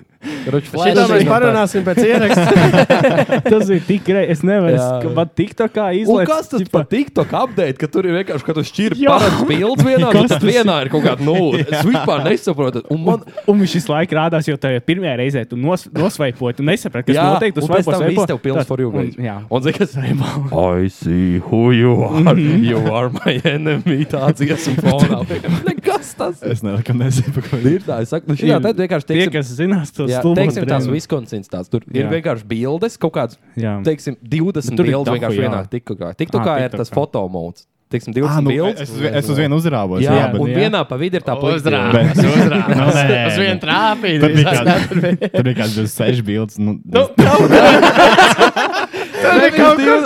[SPEAKER 2] Ruč,
[SPEAKER 1] Šitā mēs parunāsim pēc ieraksta.
[SPEAKER 3] [laughs] Tas bija tik grei. Es nevaru,
[SPEAKER 2] Jā.
[SPEAKER 3] ka man tik tā kā
[SPEAKER 2] Un
[SPEAKER 3] izlaiž.
[SPEAKER 2] kas tas par TikTok update, ka tur ir vienkārši, ka tu šķirti
[SPEAKER 3] Jā.
[SPEAKER 2] pārāk
[SPEAKER 3] [laughs]
[SPEAKER 2] bildes vienā,
[SPEAKER 3] Kas
[SPEAKER 2] un tad
[SPEAKER 3] tas ir?
[SPEAKER 2] vienā ir kaut kāda nulle. Es vispār nesaprotu. Un man,
[SPEAKER 3] Un viņš visu laiku rādās, jo tajā pirmajā reizē tu nos, nosvaipoji, tu nesaprati, kas
[SPEAKER 2] jā,
[SPEAKER 3] notiek. Tu
[SPEAKER 2] un pēc
[SPEAKER 3] svaipo,
[SPEAKER 2] tam
[SPEAKER 3] svaipo.
[SPEAKER 2] viss tev pilns
[SPEAKER 3] Tad-
[SPEAKER 2] for you.
[SPEAKER 3] un-
[SPEAKER 2] Un,
[SPEAKER 3] Jā,
[SPEAKER 2] un zini, kas ir I see who you are. You are my enemy. Tāds iesmu fonā. [laughs] Nekas tas.
[SPEAKER 10] Es nekad nezinu, par ko
[SPEAKER 2] Ir tā, es saku, nu šī, jā, tad vienkārši
[SPEAKER 3] tie,
[SPEAKER 2] teiksim,
[SPEAKER 3] kas zinās, tas
[SPEAKER 2] jā,
[SPEAKER 3] stulbums
[SPEAKER 2] teiksim tās
[SPEAKER 3] drēbes.
[SPEAKER 2] Viskonsins tās, tur jā. ir
[SPEAKER 3] Jā.
[SPEAKER 2] vienkārši bildes, kaut kāds,
[SPEAKER 3] Jā.
[SPEAKER 2] teiksim, 20
[SPEAKER 3] Tur ir
[SPEAKER 2] bildes
[SPEAKER 3] dahu,
[SPEAKER 2] vienkārši
[SPEAKER 3] jā.
[SPEAKER 2] vienā tikā. Tikā
[SPEAKER 3] Ah,
[SPEAKER 2] ir tas
[SPEAKER 3] TikTokā.
[SPEAKER 2] fotomods. teiksim,
[SPEAKER 10] Ah,
[SPEAKER 2] 20
[SPEAKER 10] nu,
[SPEAKER 2] bildes.
[SPEAKER 10] es, uz vi- es uz vienu uzrāvos.
[SPEAKER 2] Jā, jā,
[SPEAKER 10] bet-
[SPEAKER 2] un
[SPEAKER 3] jā.
[SPEAKER 2] vienā pa vidu ir tā
[SPEAKER 10] [laughs]
[SPEAKER 2] plakāta. [laughs]
[SPEAKER 10] Bet- Nu, nē,
[SPEAKER 3] uzrādījis.
[SPEAKER 10] nu.
[SPEAKER 3] trāpīt.
[SPEAKER 10] Tur bija kāds- tur bija kāds 26 bildes. Nu,
[SPEAKER 2] Tur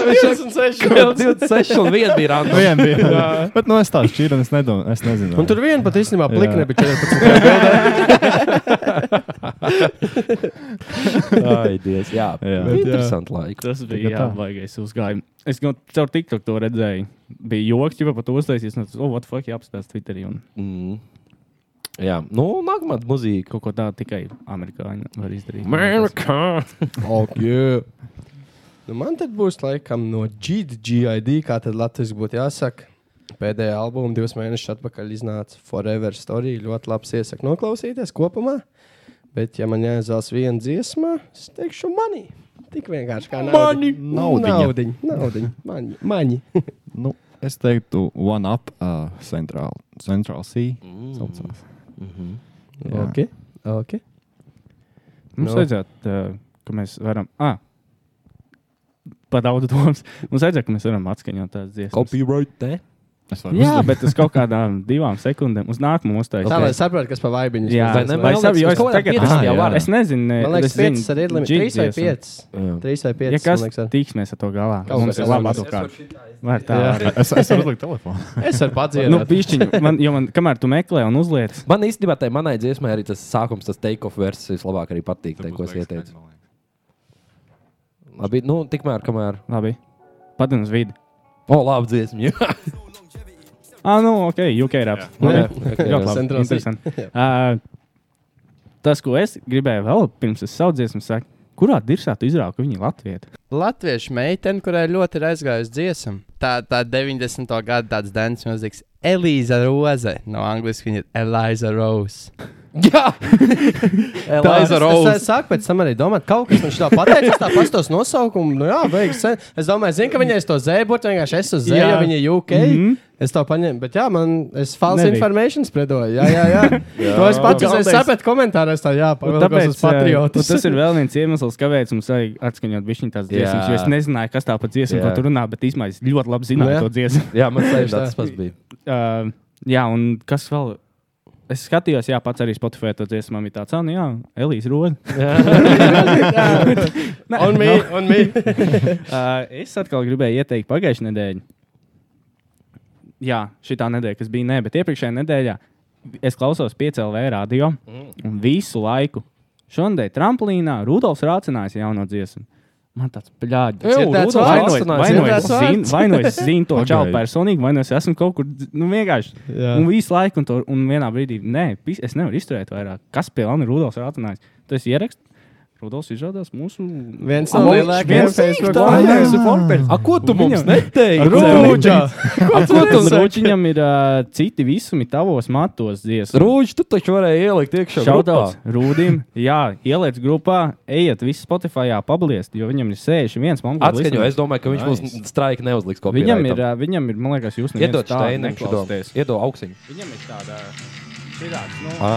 [SPEAKER 2] 26 un 1 bija
[SPEAKER 10] nu,
[SPEAKER 2] random.
[SPEAKER 10] vien
[SPEAKER 3] [laughs]
[SPEAKER 10] bija. Bet nu, es tādu šķīru, un es, nedomā, es nezinu.
[SPEAKER 1] Un tur viena pat īstenībā
[SPEAKER 10] Jā.
[SPEAKER 1] plikne bija 14.
[SPEAKER 2] [laughs] Ai, Dievs, jā.
[SPEAKER 10] Jā.
[SPEAKER 2] Bet Interesanti laiki.
[SPEAKER 3] Tas
[SPEAKER 10] Tikai
[SPEAKER 3] bija jā,
[SPEAKER 10] tā.
[SPEAKER 3] baigais uzgājums. Es gan caur TikTok to redzēju. Bija joks, ja pat uztaisījis. Nu, tas, oh, what fuck, jāapstāsta Twitterī. Un
[SPEAKER 2] Mm. Jā, nu, nākamā mūzika.
[SPEAKER 3] kaut ko tādu tikai amerikāņi var izdarīt.
[SPEAKER 1] Ok. Nu, man tad būs laikam no GDGID, kā tad latviešu būtu jāsaka. Pēdējā albuma divus mēnešus atpakaļ iznāca Forever Story. Ļoti labs iesaku noklausīties kopumā. Bet, ja man jāizvēlas viena dziesma, es teikšu, mani. Tik vienkārši kā mani. Naudiņa. Naudiņa. Mani. mani.
[SPEAKER 10] Nu, es teiktu, One Up uh, Central, Central C. Mm.
[SPEAKER 2] Mhm.
[SPEAKER 10] Jā.
[SPEAKER 1] ok. okay.
[SPEAKER 3] Mums
[SPEAKER 1] Nu.
[SPEAKER 3] vajadzētu, uh, ka mēs varam. Ah, Pa daudz domas. Mums vajadzēja, ka mēs varam atskaņot tādas dziesmas.
[SPEAKER 2] Copyright, ne?
[SPEAKER 10] Es varu
[SPEAKER 3] Jā,
[SPEAKER 10] uzlikt.
[SPEAKER 3] bet uz kaut kādām divām sekundēm. Uz nākamo uztaisīt.
[SPEAKER 1] Tā lai saprotu, kas pa vaibiņu
[SPEAKER 3] Jā,
[SPEAKER 2] Vai
[SPEAKER 3] es-
[SPEAKER 2] ne?
[SPEAKER 3] vai
[SPEAKER 2] Man
[SPEAKER 3] savu-
[SPEAKER 2] liekas,
[SPEAKER 3] jo
[SPEAKER 2] uz
[SPEAKER 3] es
[SPEAKER 2] kaut kādām
[SPEAKER 3] tagad-
[SPEAKER 2] 15 jau
[SPEAKER 3] Jā,
[SPEAKER 2] var.
[SPEAKER 3] Es nezinu, ne,
[SPEAKER 1] Man liekas,
[SPEAKER 3] es zinu,
[SPEAKER 1] 5 ir līmenis.
[SPEAKER 3] džidzi
[SPEAKER 1] 3 vai
[SPEAKER 3] esam.
[SPEAKER 1] 5.
[SPEAKER 2] Jā.
[SPEAKER 1] 3 vai 5.
[SPEAKER 3] Ja kas tiksimies ar to galā,
[SPEAKER 1] Kaut
[SPEAKER 3] tad mums
[SPEAKER 1] kas
[SPEAKER 3] ir
[SPEAKER 1] es
[SPEAKER 3] labi
[SPEAKER 1] varu-
[SPEAKER 3] advokāti. Vai tā? arī?
[SPEAKER 10] Es, es varu uzlikt telefonu.
[SPEAKER 1] Es varu
[SPEAKER 3] Nu,
[SPEAKER 1] padzīvot.
[SPEAKER 3] pišķiņ, man, jo man, kamēr tu meklē un uzliec,
[SPEAKER 2] Man īstenībā tai manai dziesmai arī tas sākums, tas take-off versijas vislabāk arī patīk, tai, ko es ieteicu. Labi, nu, tikmēr, kamēr.
[SPEAKER 3] labi, padien uz vidi.
[SPEAKER 2] O, labi, dziesma. Jā,
[SPEAKER 3] Ah, nu, ok, UK raps.
[SPEAKER 2] Jā,
[SPEAKER 3] Labi.
[SPEAKER 2] ok, jā.
[SPEAKER 3] Ļoti labi.
[SPEAKER 1] Centrāls
[SPEAKER 3] interesanti. Ā, Tas, ko es gribēju vēl pirms es savu dziesmu saku, kurā dirsā tu izrauki viņa latvieti?
[SPEAKER 7] Latviešu meitene, kurai ļoti ir aizgājusi dziesma. Tā tā 90. gada tāds dance mūzikas Elīza Roze. No angļuiski viņa ir Elīza
[SPEAKER 1] [laughs]
[SPEAKER 7] Rose.
[SPEAKER 1] Elaiza Rose. Es sāku pēc tam arī domāt, kaut kas man šitā pateiks, es tā pastos nosaukumu. Nu jā, veiks. sen. Es domāju, zinu, ka viņai es to zēju, būtu vienkārši es uz zēju,
[SPEAKER 3] Jā.
[SPEAKER 1] ja viņa ir UK. Mm
[SPEAKER 3] Mhm.
[SPEAKER 1] -hmm. Es to paņēmu, bet jā, man es false
[SPEAKER 3] Nebija.
[SPEAKER 1] information spredoju. Jā, jā, jā. [laughs] jā. To es pats es
[SPEAKER 3] Galvenais-
[SPEAKER 1] sapratu komentāros, tā jā,
[SPEAKER 3] Un
[SPEAKER 1] pavēlkos uz
[SPEAKER 3] ā, un
[SPEAKER 1] patriotus.
[SPEAKER 3] tas ir vēl viens iemesls, kāpēc mums vajag atskaņot viņa tās
[SPEAKER 2] Jā.
[SPEAKER 3] dziesmas. Jo es nezināju, kas tā pa dziesmu,
[SPEAKER 2] Jā.
[SPEAKER 3] ko tur runā, bet īstenībā es ļoti labi zināju
[SPEAKER 1] jā.
[SPEAKER 3] to dziesmu. [laughs]
[SPEAKER 2] jā [laughs] man liekas, tas pats bija.
[SPEAKER 3] Uh, jā, un kas vēl? Es skatījos, jā, pats arī Spotify to dziesmu. Man bija tāds, ah, nu jā, Elīze nu, Roza. [laughs]
[SPEAKER 1] [laughs] Un
[SPEAKER 7] [laughs]
[SPEAKER 1] mī, un mī.
[SPEAKER 3] Uh, es atkal gribēju ieteikt pagājušajā nedēļā. Jā, šī tā nedēļa, kas bija, nē, bet iepriekšējā nedēļā es klausos 5LV radio
[SPEAKER 1] Mm.
[SPEAKER 3] un visu laiku. Šonadēļ tramplīnā Rudolfs rācinājis jauno dziesmu. Man tāds pļāģis.
[SPEAKER 1] Ew, Rudolfs rācinājis, dzirdēts vārds?
[SPEAKER 3] Vai nu es zinu to čau
[SPEAKER 10] Pagaidi.
[SPEAKER 3] personīgi, vai nu es esmu kaut kur, dz- nu vienkārši.
[SPEAKER 1] Jā.
[SPEAKER 3] Un visu laiku, un, to, un vienā brīdī, nē, pis- es nevaru izturēt vairāk. Kas pie manis ir Rudolfs rācinājis? Tas ieraksts. Rudolfs izrādās mūsu
[SPEAKER 1] Viens no lielākajiem Facebook
[SPEAKER 3] formiem.
[SPEAKER 1] lajiem.
[SPEAKER 2] A, ko tu
[SPEAKER 3] Viņam-
[SPEAKER 2] mums neteiksi?
[SPEAKER 1] Rūģa!
[SPEAKER 3] Rūķiņam ir uh, citi visumi tavos matos dziesmas.
[SPEAKER 2] Rūģi, tu taču varēji ielikt iekšā.
[SPEAKER 3] Šautauts Rūdim, jā, ieliec grupā, ejiet visi Spotify, apabliest, jo viņam ir 61 monēta.
[SPEAKER 2] Atskaņo, es domāju, ka viņš mums
[SPEAKER 10] Nice.
[SPEAKER 2] straika neuzliks kaut ko.
[SPEAKER 3] Viņam ir, uh, viņam ir, man liekas, jūs
[SPEAKER 2] Iedod Steinam šo domu.
[SPEAKER 3] neklausāties.
[SPEAKER 2] Iedod auksiņu.
[SPEAKER 3] Viņam ir tāda, širāds, nu,
[SPEAKER 2] Ah,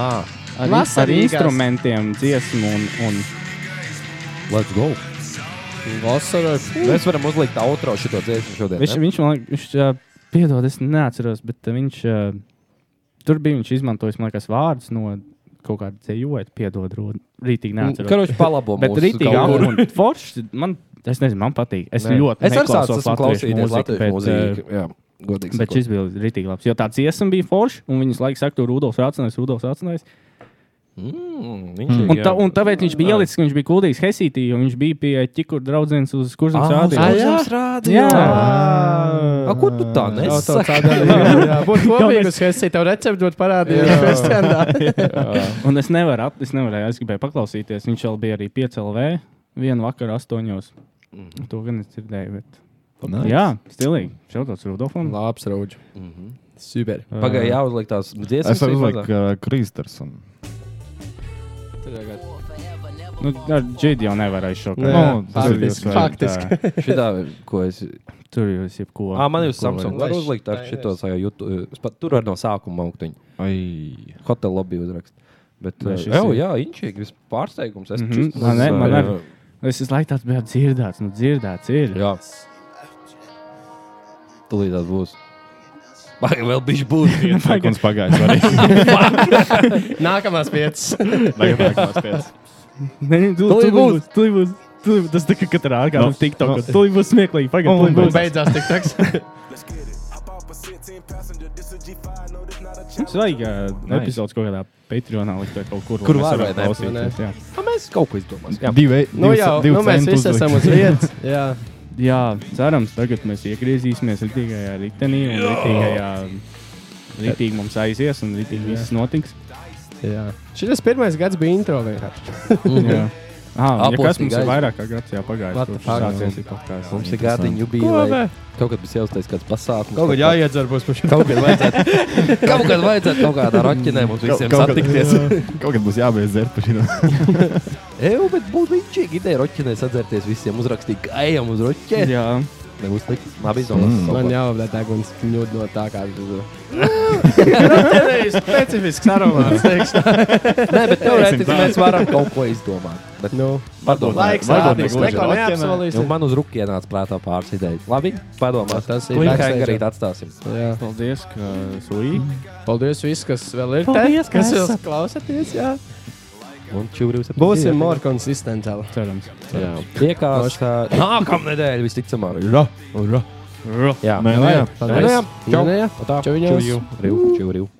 [SPEAKER 3] ar, ar
[SPEAKER 1] Vasarīgās.
[SPEAKER 3] instrumentiem dziesmu un, un
[SPEAKER 2] let's go.
[SPEAKER 1] Vasarā.
[SPEAKER 2] Mēs varam uzlikt outro šito dziesmu šodien.
[SPEAKER 3] viņš,
[SPEAKER 2] ne?
[SPEAKER 3] viņš man liekas, viņš, uh, piedod, es neatceros, bet uh, viņš, uh, tur bija viņš izmantojis, man liekas, vārdus no kaut kāda dzējot, piedod, Rūdi, rītīgi neatceros.
[SPEAKER 2] Karoči palabo
[SPEAKER 3] Bet
[SPEAKER 2] mūsu
[SPEAKER 3] rītīgi
[SPEAKER 2] kaut kur.
[SPEAKER 3] apgūta forši. Man, es nezinu, man patīk. Es
[SPEAKER 2] Nē.
[SPEAKER 3] ne. ļoti
[SPEAKER 2] Es arī sāku
[SPEAKER 3] neklausos latviešu
[SPEAKER 2] klausīties
[SPEAKER 3] mūziku,
[SPEAKER 2] latviešu
[SPEAKER 3] bet,
[SPEAKER 2] mūziku. Jā, godīgi.
[SPEAKER 3] eh, Bet
[SPEAKER 2] sakot.
[SPEAKER 3] šis bija rītīgi labs. Jo tāds iesam bija forši, un viņas laiks saka, tur Rudolfs rācinājis, Rudolfs rācinājis.
[SPEAKER 2] Mm, viņš
[SPEAKER 3] Un, tā, un tāpēc viņš bija ielicis, ka viņš bija kuldīgs Hesītī, jo viņš bija pie ķikur draudzens uz kursiem
[SPEAKER 2] Ah,
[SPEAKER 3] rādījumiem.
[SPEAKER 2] rādījis.
[SPEAKER 3] Jā,
[SPEAKER 2] A, ko tu tā nesaki? [laughs]
[SPEAKER 1] Būtu
[SPEAKER 3] Galvenais-
[SPEAKER 1] kopīgi, ka es tev recepti būtu parādījis.
[SPEAKER 3] un es nevaru, at, es nevarēju, es gribēju paklausīties. Viņš vēl bija arī 5LV vienu vakaru astoņos.
[SPEAKER 2] Mhm,
[SPEAKER 3] To gan es dzirdēju, bet.
[SPEAKER 10] Nice.
[SPEAKER 3] Jā, stilīgi. Šautauts Rudolfam.
[SPEAKER 1] Labs, Rūģa.
[SPEAKER 2] mhm.
[SPEAKER 1] Super.
[SPEAKER 2] Pagaidām, jāuzliek tās dziesmas.
[SPEAKER 10] Es varu uzlikt uh, Kristers.
[SPEAKER 3] [laughs]
[SPEAKER 10] Un...
[SPEAKER 3] Nu, ar džēdi jau nevarēju šo
[SPEAKER 1] Nē,
[SPEAKER 10] Nu, tas ir
[SPEAKER 1] faktiski.
[SPEAKER 10] diezgan-
[SPEAKER 1] faktiski.
[SPEAKER 2] Šitā, ko es...
[SPEAKER 3] Tur jau ir jebko.
[SPEAKER 2] Ā, man ir uz
[SPEAKER 3] Nu, ko var-
[SPEAKER 2] Samsung. Var uzlikt ar šito savu YouTube. Es pat tur var no sākuma augtiņu.
[SPEAKER 10] Ai.
[SPEAKER 2] Hotel lobby uzrakst. Bet,
[SPEAKER 3] Vai
[SPEAKER 2] uh,
[SPEAKER 3] šis
[SPEAKER 2] jau,
[SPEAKER 3] ir?
[SPEAKER 2] jā, inčīgi, viss pārsteigums. Es
[SPEAKER 3] Mhm,
[SPEAKER 2] čist-
[SPEAKER 3] man ne- man
[SPEAKER 2] Jā,
[SPEAKER 3] arī. Es visu laiku tāds biju dzirdēts, nu dzirdēts ir.
[SPEAKER 2] Jā. Tūlīt tas būs. Vai vēl bija
[SPEAKER 3] [laughs]
[SPEAKER 2] būs?
[SPEAKER 10] Sekundes pagājis. arī.
[SPEAKER 1] Nākamās piecas. [laughs]
[SPEAKER 10] Tagad nākamās piecas.
[SPEAKER 3] [laughs] Nē, tu
[SPEAKER 1] Tūlīt
[SPEAKER 3] tur būs. Tur būs. tūlīt būs. Tas tikai katrā ārā no
[SPEAKER 10] No.
[SPEAKER 3] TikTok.
[SPEAKER 10] No.
[SPEAKER 3] Tur būs smieklīgi. Pagaid,
[SPEAKER 10] Un
[SPEAKER 3] tūlīt būs.
[SPEAKER 1] Nu, Beidzās tik taks.
[SPEAKER 3] Mums vajag uh,
[SPEAKER 10] Nice.
[SPEAKER 3] epizodes kaut kādā Patreonā likt vai kaut kur.
[SPEAKER 2] Kur
[SPEAKER 3] lai mēs
[SPEAKER 2] var, vai
[SPEAKER 3] varētu
[SPEAKER 2] ne?
[SPEAKER 3] klausīties, jā.
[SPEAKER 2] Nu, Mēs kaut ko izdomāsim.
[SPEAKER 10] Divi,
[SPEAKER 1] [laughs] Nu
[SPEAKER 10] divi-
[SPEAKER 1] jau,
[SPEAKER 10] divi
[SPEAKER 1] nu mēs
[SPEAKER 10] centi
[SPEAKER 1] visi
[SPEAKER 10] uzlikt.
[SPEAKER 1] esam uz [laughs] vietas. Jā.
[SPEAKER 3] Jā, cerams, tagad mēs iegriezīsimies rītīgajā ritenī un rītīgajā. Rītīgi mums aizies un rītīgi viss notiks.
[SPEAKER 1] Jā. Šis pirmais gads bija intro vienkārši.
[SPEAKER 3] Jā. Ah, ja kas
[SPEAKER 2] Apostīgi
[SPEAKER 3] mums ir
[SPEAKER 2] aizies.
[SPEAKER 3] vairāk kā gads, jā,
[SPEAKER 1] Mhm.
[SPEAKER 3] pagājis.
[SPEAKER 1] What the
[SPEAKER 3] kopš
[SPEAKER 1] fuck?
[SPEAKER 3] sācies ir kaut kāds.
[SPEAKER 2] Mums ir gādiņa jubileja. Kaut kad būs jāuztais kāds pasākums.
[SPEAKER 1] Kaut kā jāiedzarbos par šo.
[SPEAKER 2] Kaut kad vajadzētu
[SPEAKER 3] [laughs]
[SPEAKER 2] kaut, kad vajadzētu kaut kādā roķinē mums
[SPEAKER 10] Kaut-
[SPEAKER 2] visiem
[SPEAKER 10] kaut kad-
[SPEAKER 2] satikties.
[SPEAKER 10] [laughs] Kaut kad būs jābeidz dzert par šīm.
[SPEAKER 2] Eju, bet būtu viņšīgi ideja roķinē sadzerties visiem, uzrakstīt gājām uz roķē.
[SPEAKER 3] Jā,
[SPEAKER 2] Nebūs likt. Labi, izdomāsim.
[SPEAKER 10] Mm.
[SPEAKER 2] kaut
[SPEAKER 1] Man
[SPEAKER 2] ko.
[SPEAKER 1] jau bija tā guns, ka ņūd no tā kā bija. [laughs] Specifisks aromāts, teikšu.
[SPEAKER 2] Nē, bet teorētiski mēs varam kaut ko izdomāt. Bet
[SPEAKER 1] Nu,
[SPEAKER 2] padomā,
[SPEAKER 1] laiks
[SPEAKER 10] varbūt
[SPEAKER 1] rādīs,
[SPEAKER 10] negluži
[SPEAKER 1] neko
[SPEAKER 10] roķenē.
[SPEAKER 2] Nu,
[SPEAKER 1] neapsolīsim.
[SPEAKER 2] man uz rukiem ienāca prātā pāris idejas. Labi, padomā.
[SPEAKER 1] Tas ir
[SPEAKER 2] Klikšķi
[SPEAKER 1] backstage.
[SPEAKER 2] arī atstāsim.
[SPEAKER 1] Jā.
[SPEAKER 3] paldies, ka suī.
[SPEAKER 1] Paldies visiem, kas vēl ir
[SPEAKER 3] Paldies,
[SPEAKER 1] te,
[SPEAKER 3] ka
[SPEAKER 1] kas jūs
[SPEAKER 3] esat.
[SPEAKER 1] klausāties. Jā.
[SPEAKER 2] Un čūrīsim.
[SPEAKER 1] Būsim more konsistentāli.
[SPEAKER 3] Cerams.
[SPEAKER 2] Tiekās ā, nākamnedēļ visticamāk. Ra, ra. Jā.
[SPEAKER 10] Nē, nē, jā.
[SPEAKER 1] Paldies.
[SPEAKER 2] Čau.
[SPEAKER 1] Čau. Čau.
[SPEAKER 2] Čau. Čau. Čau.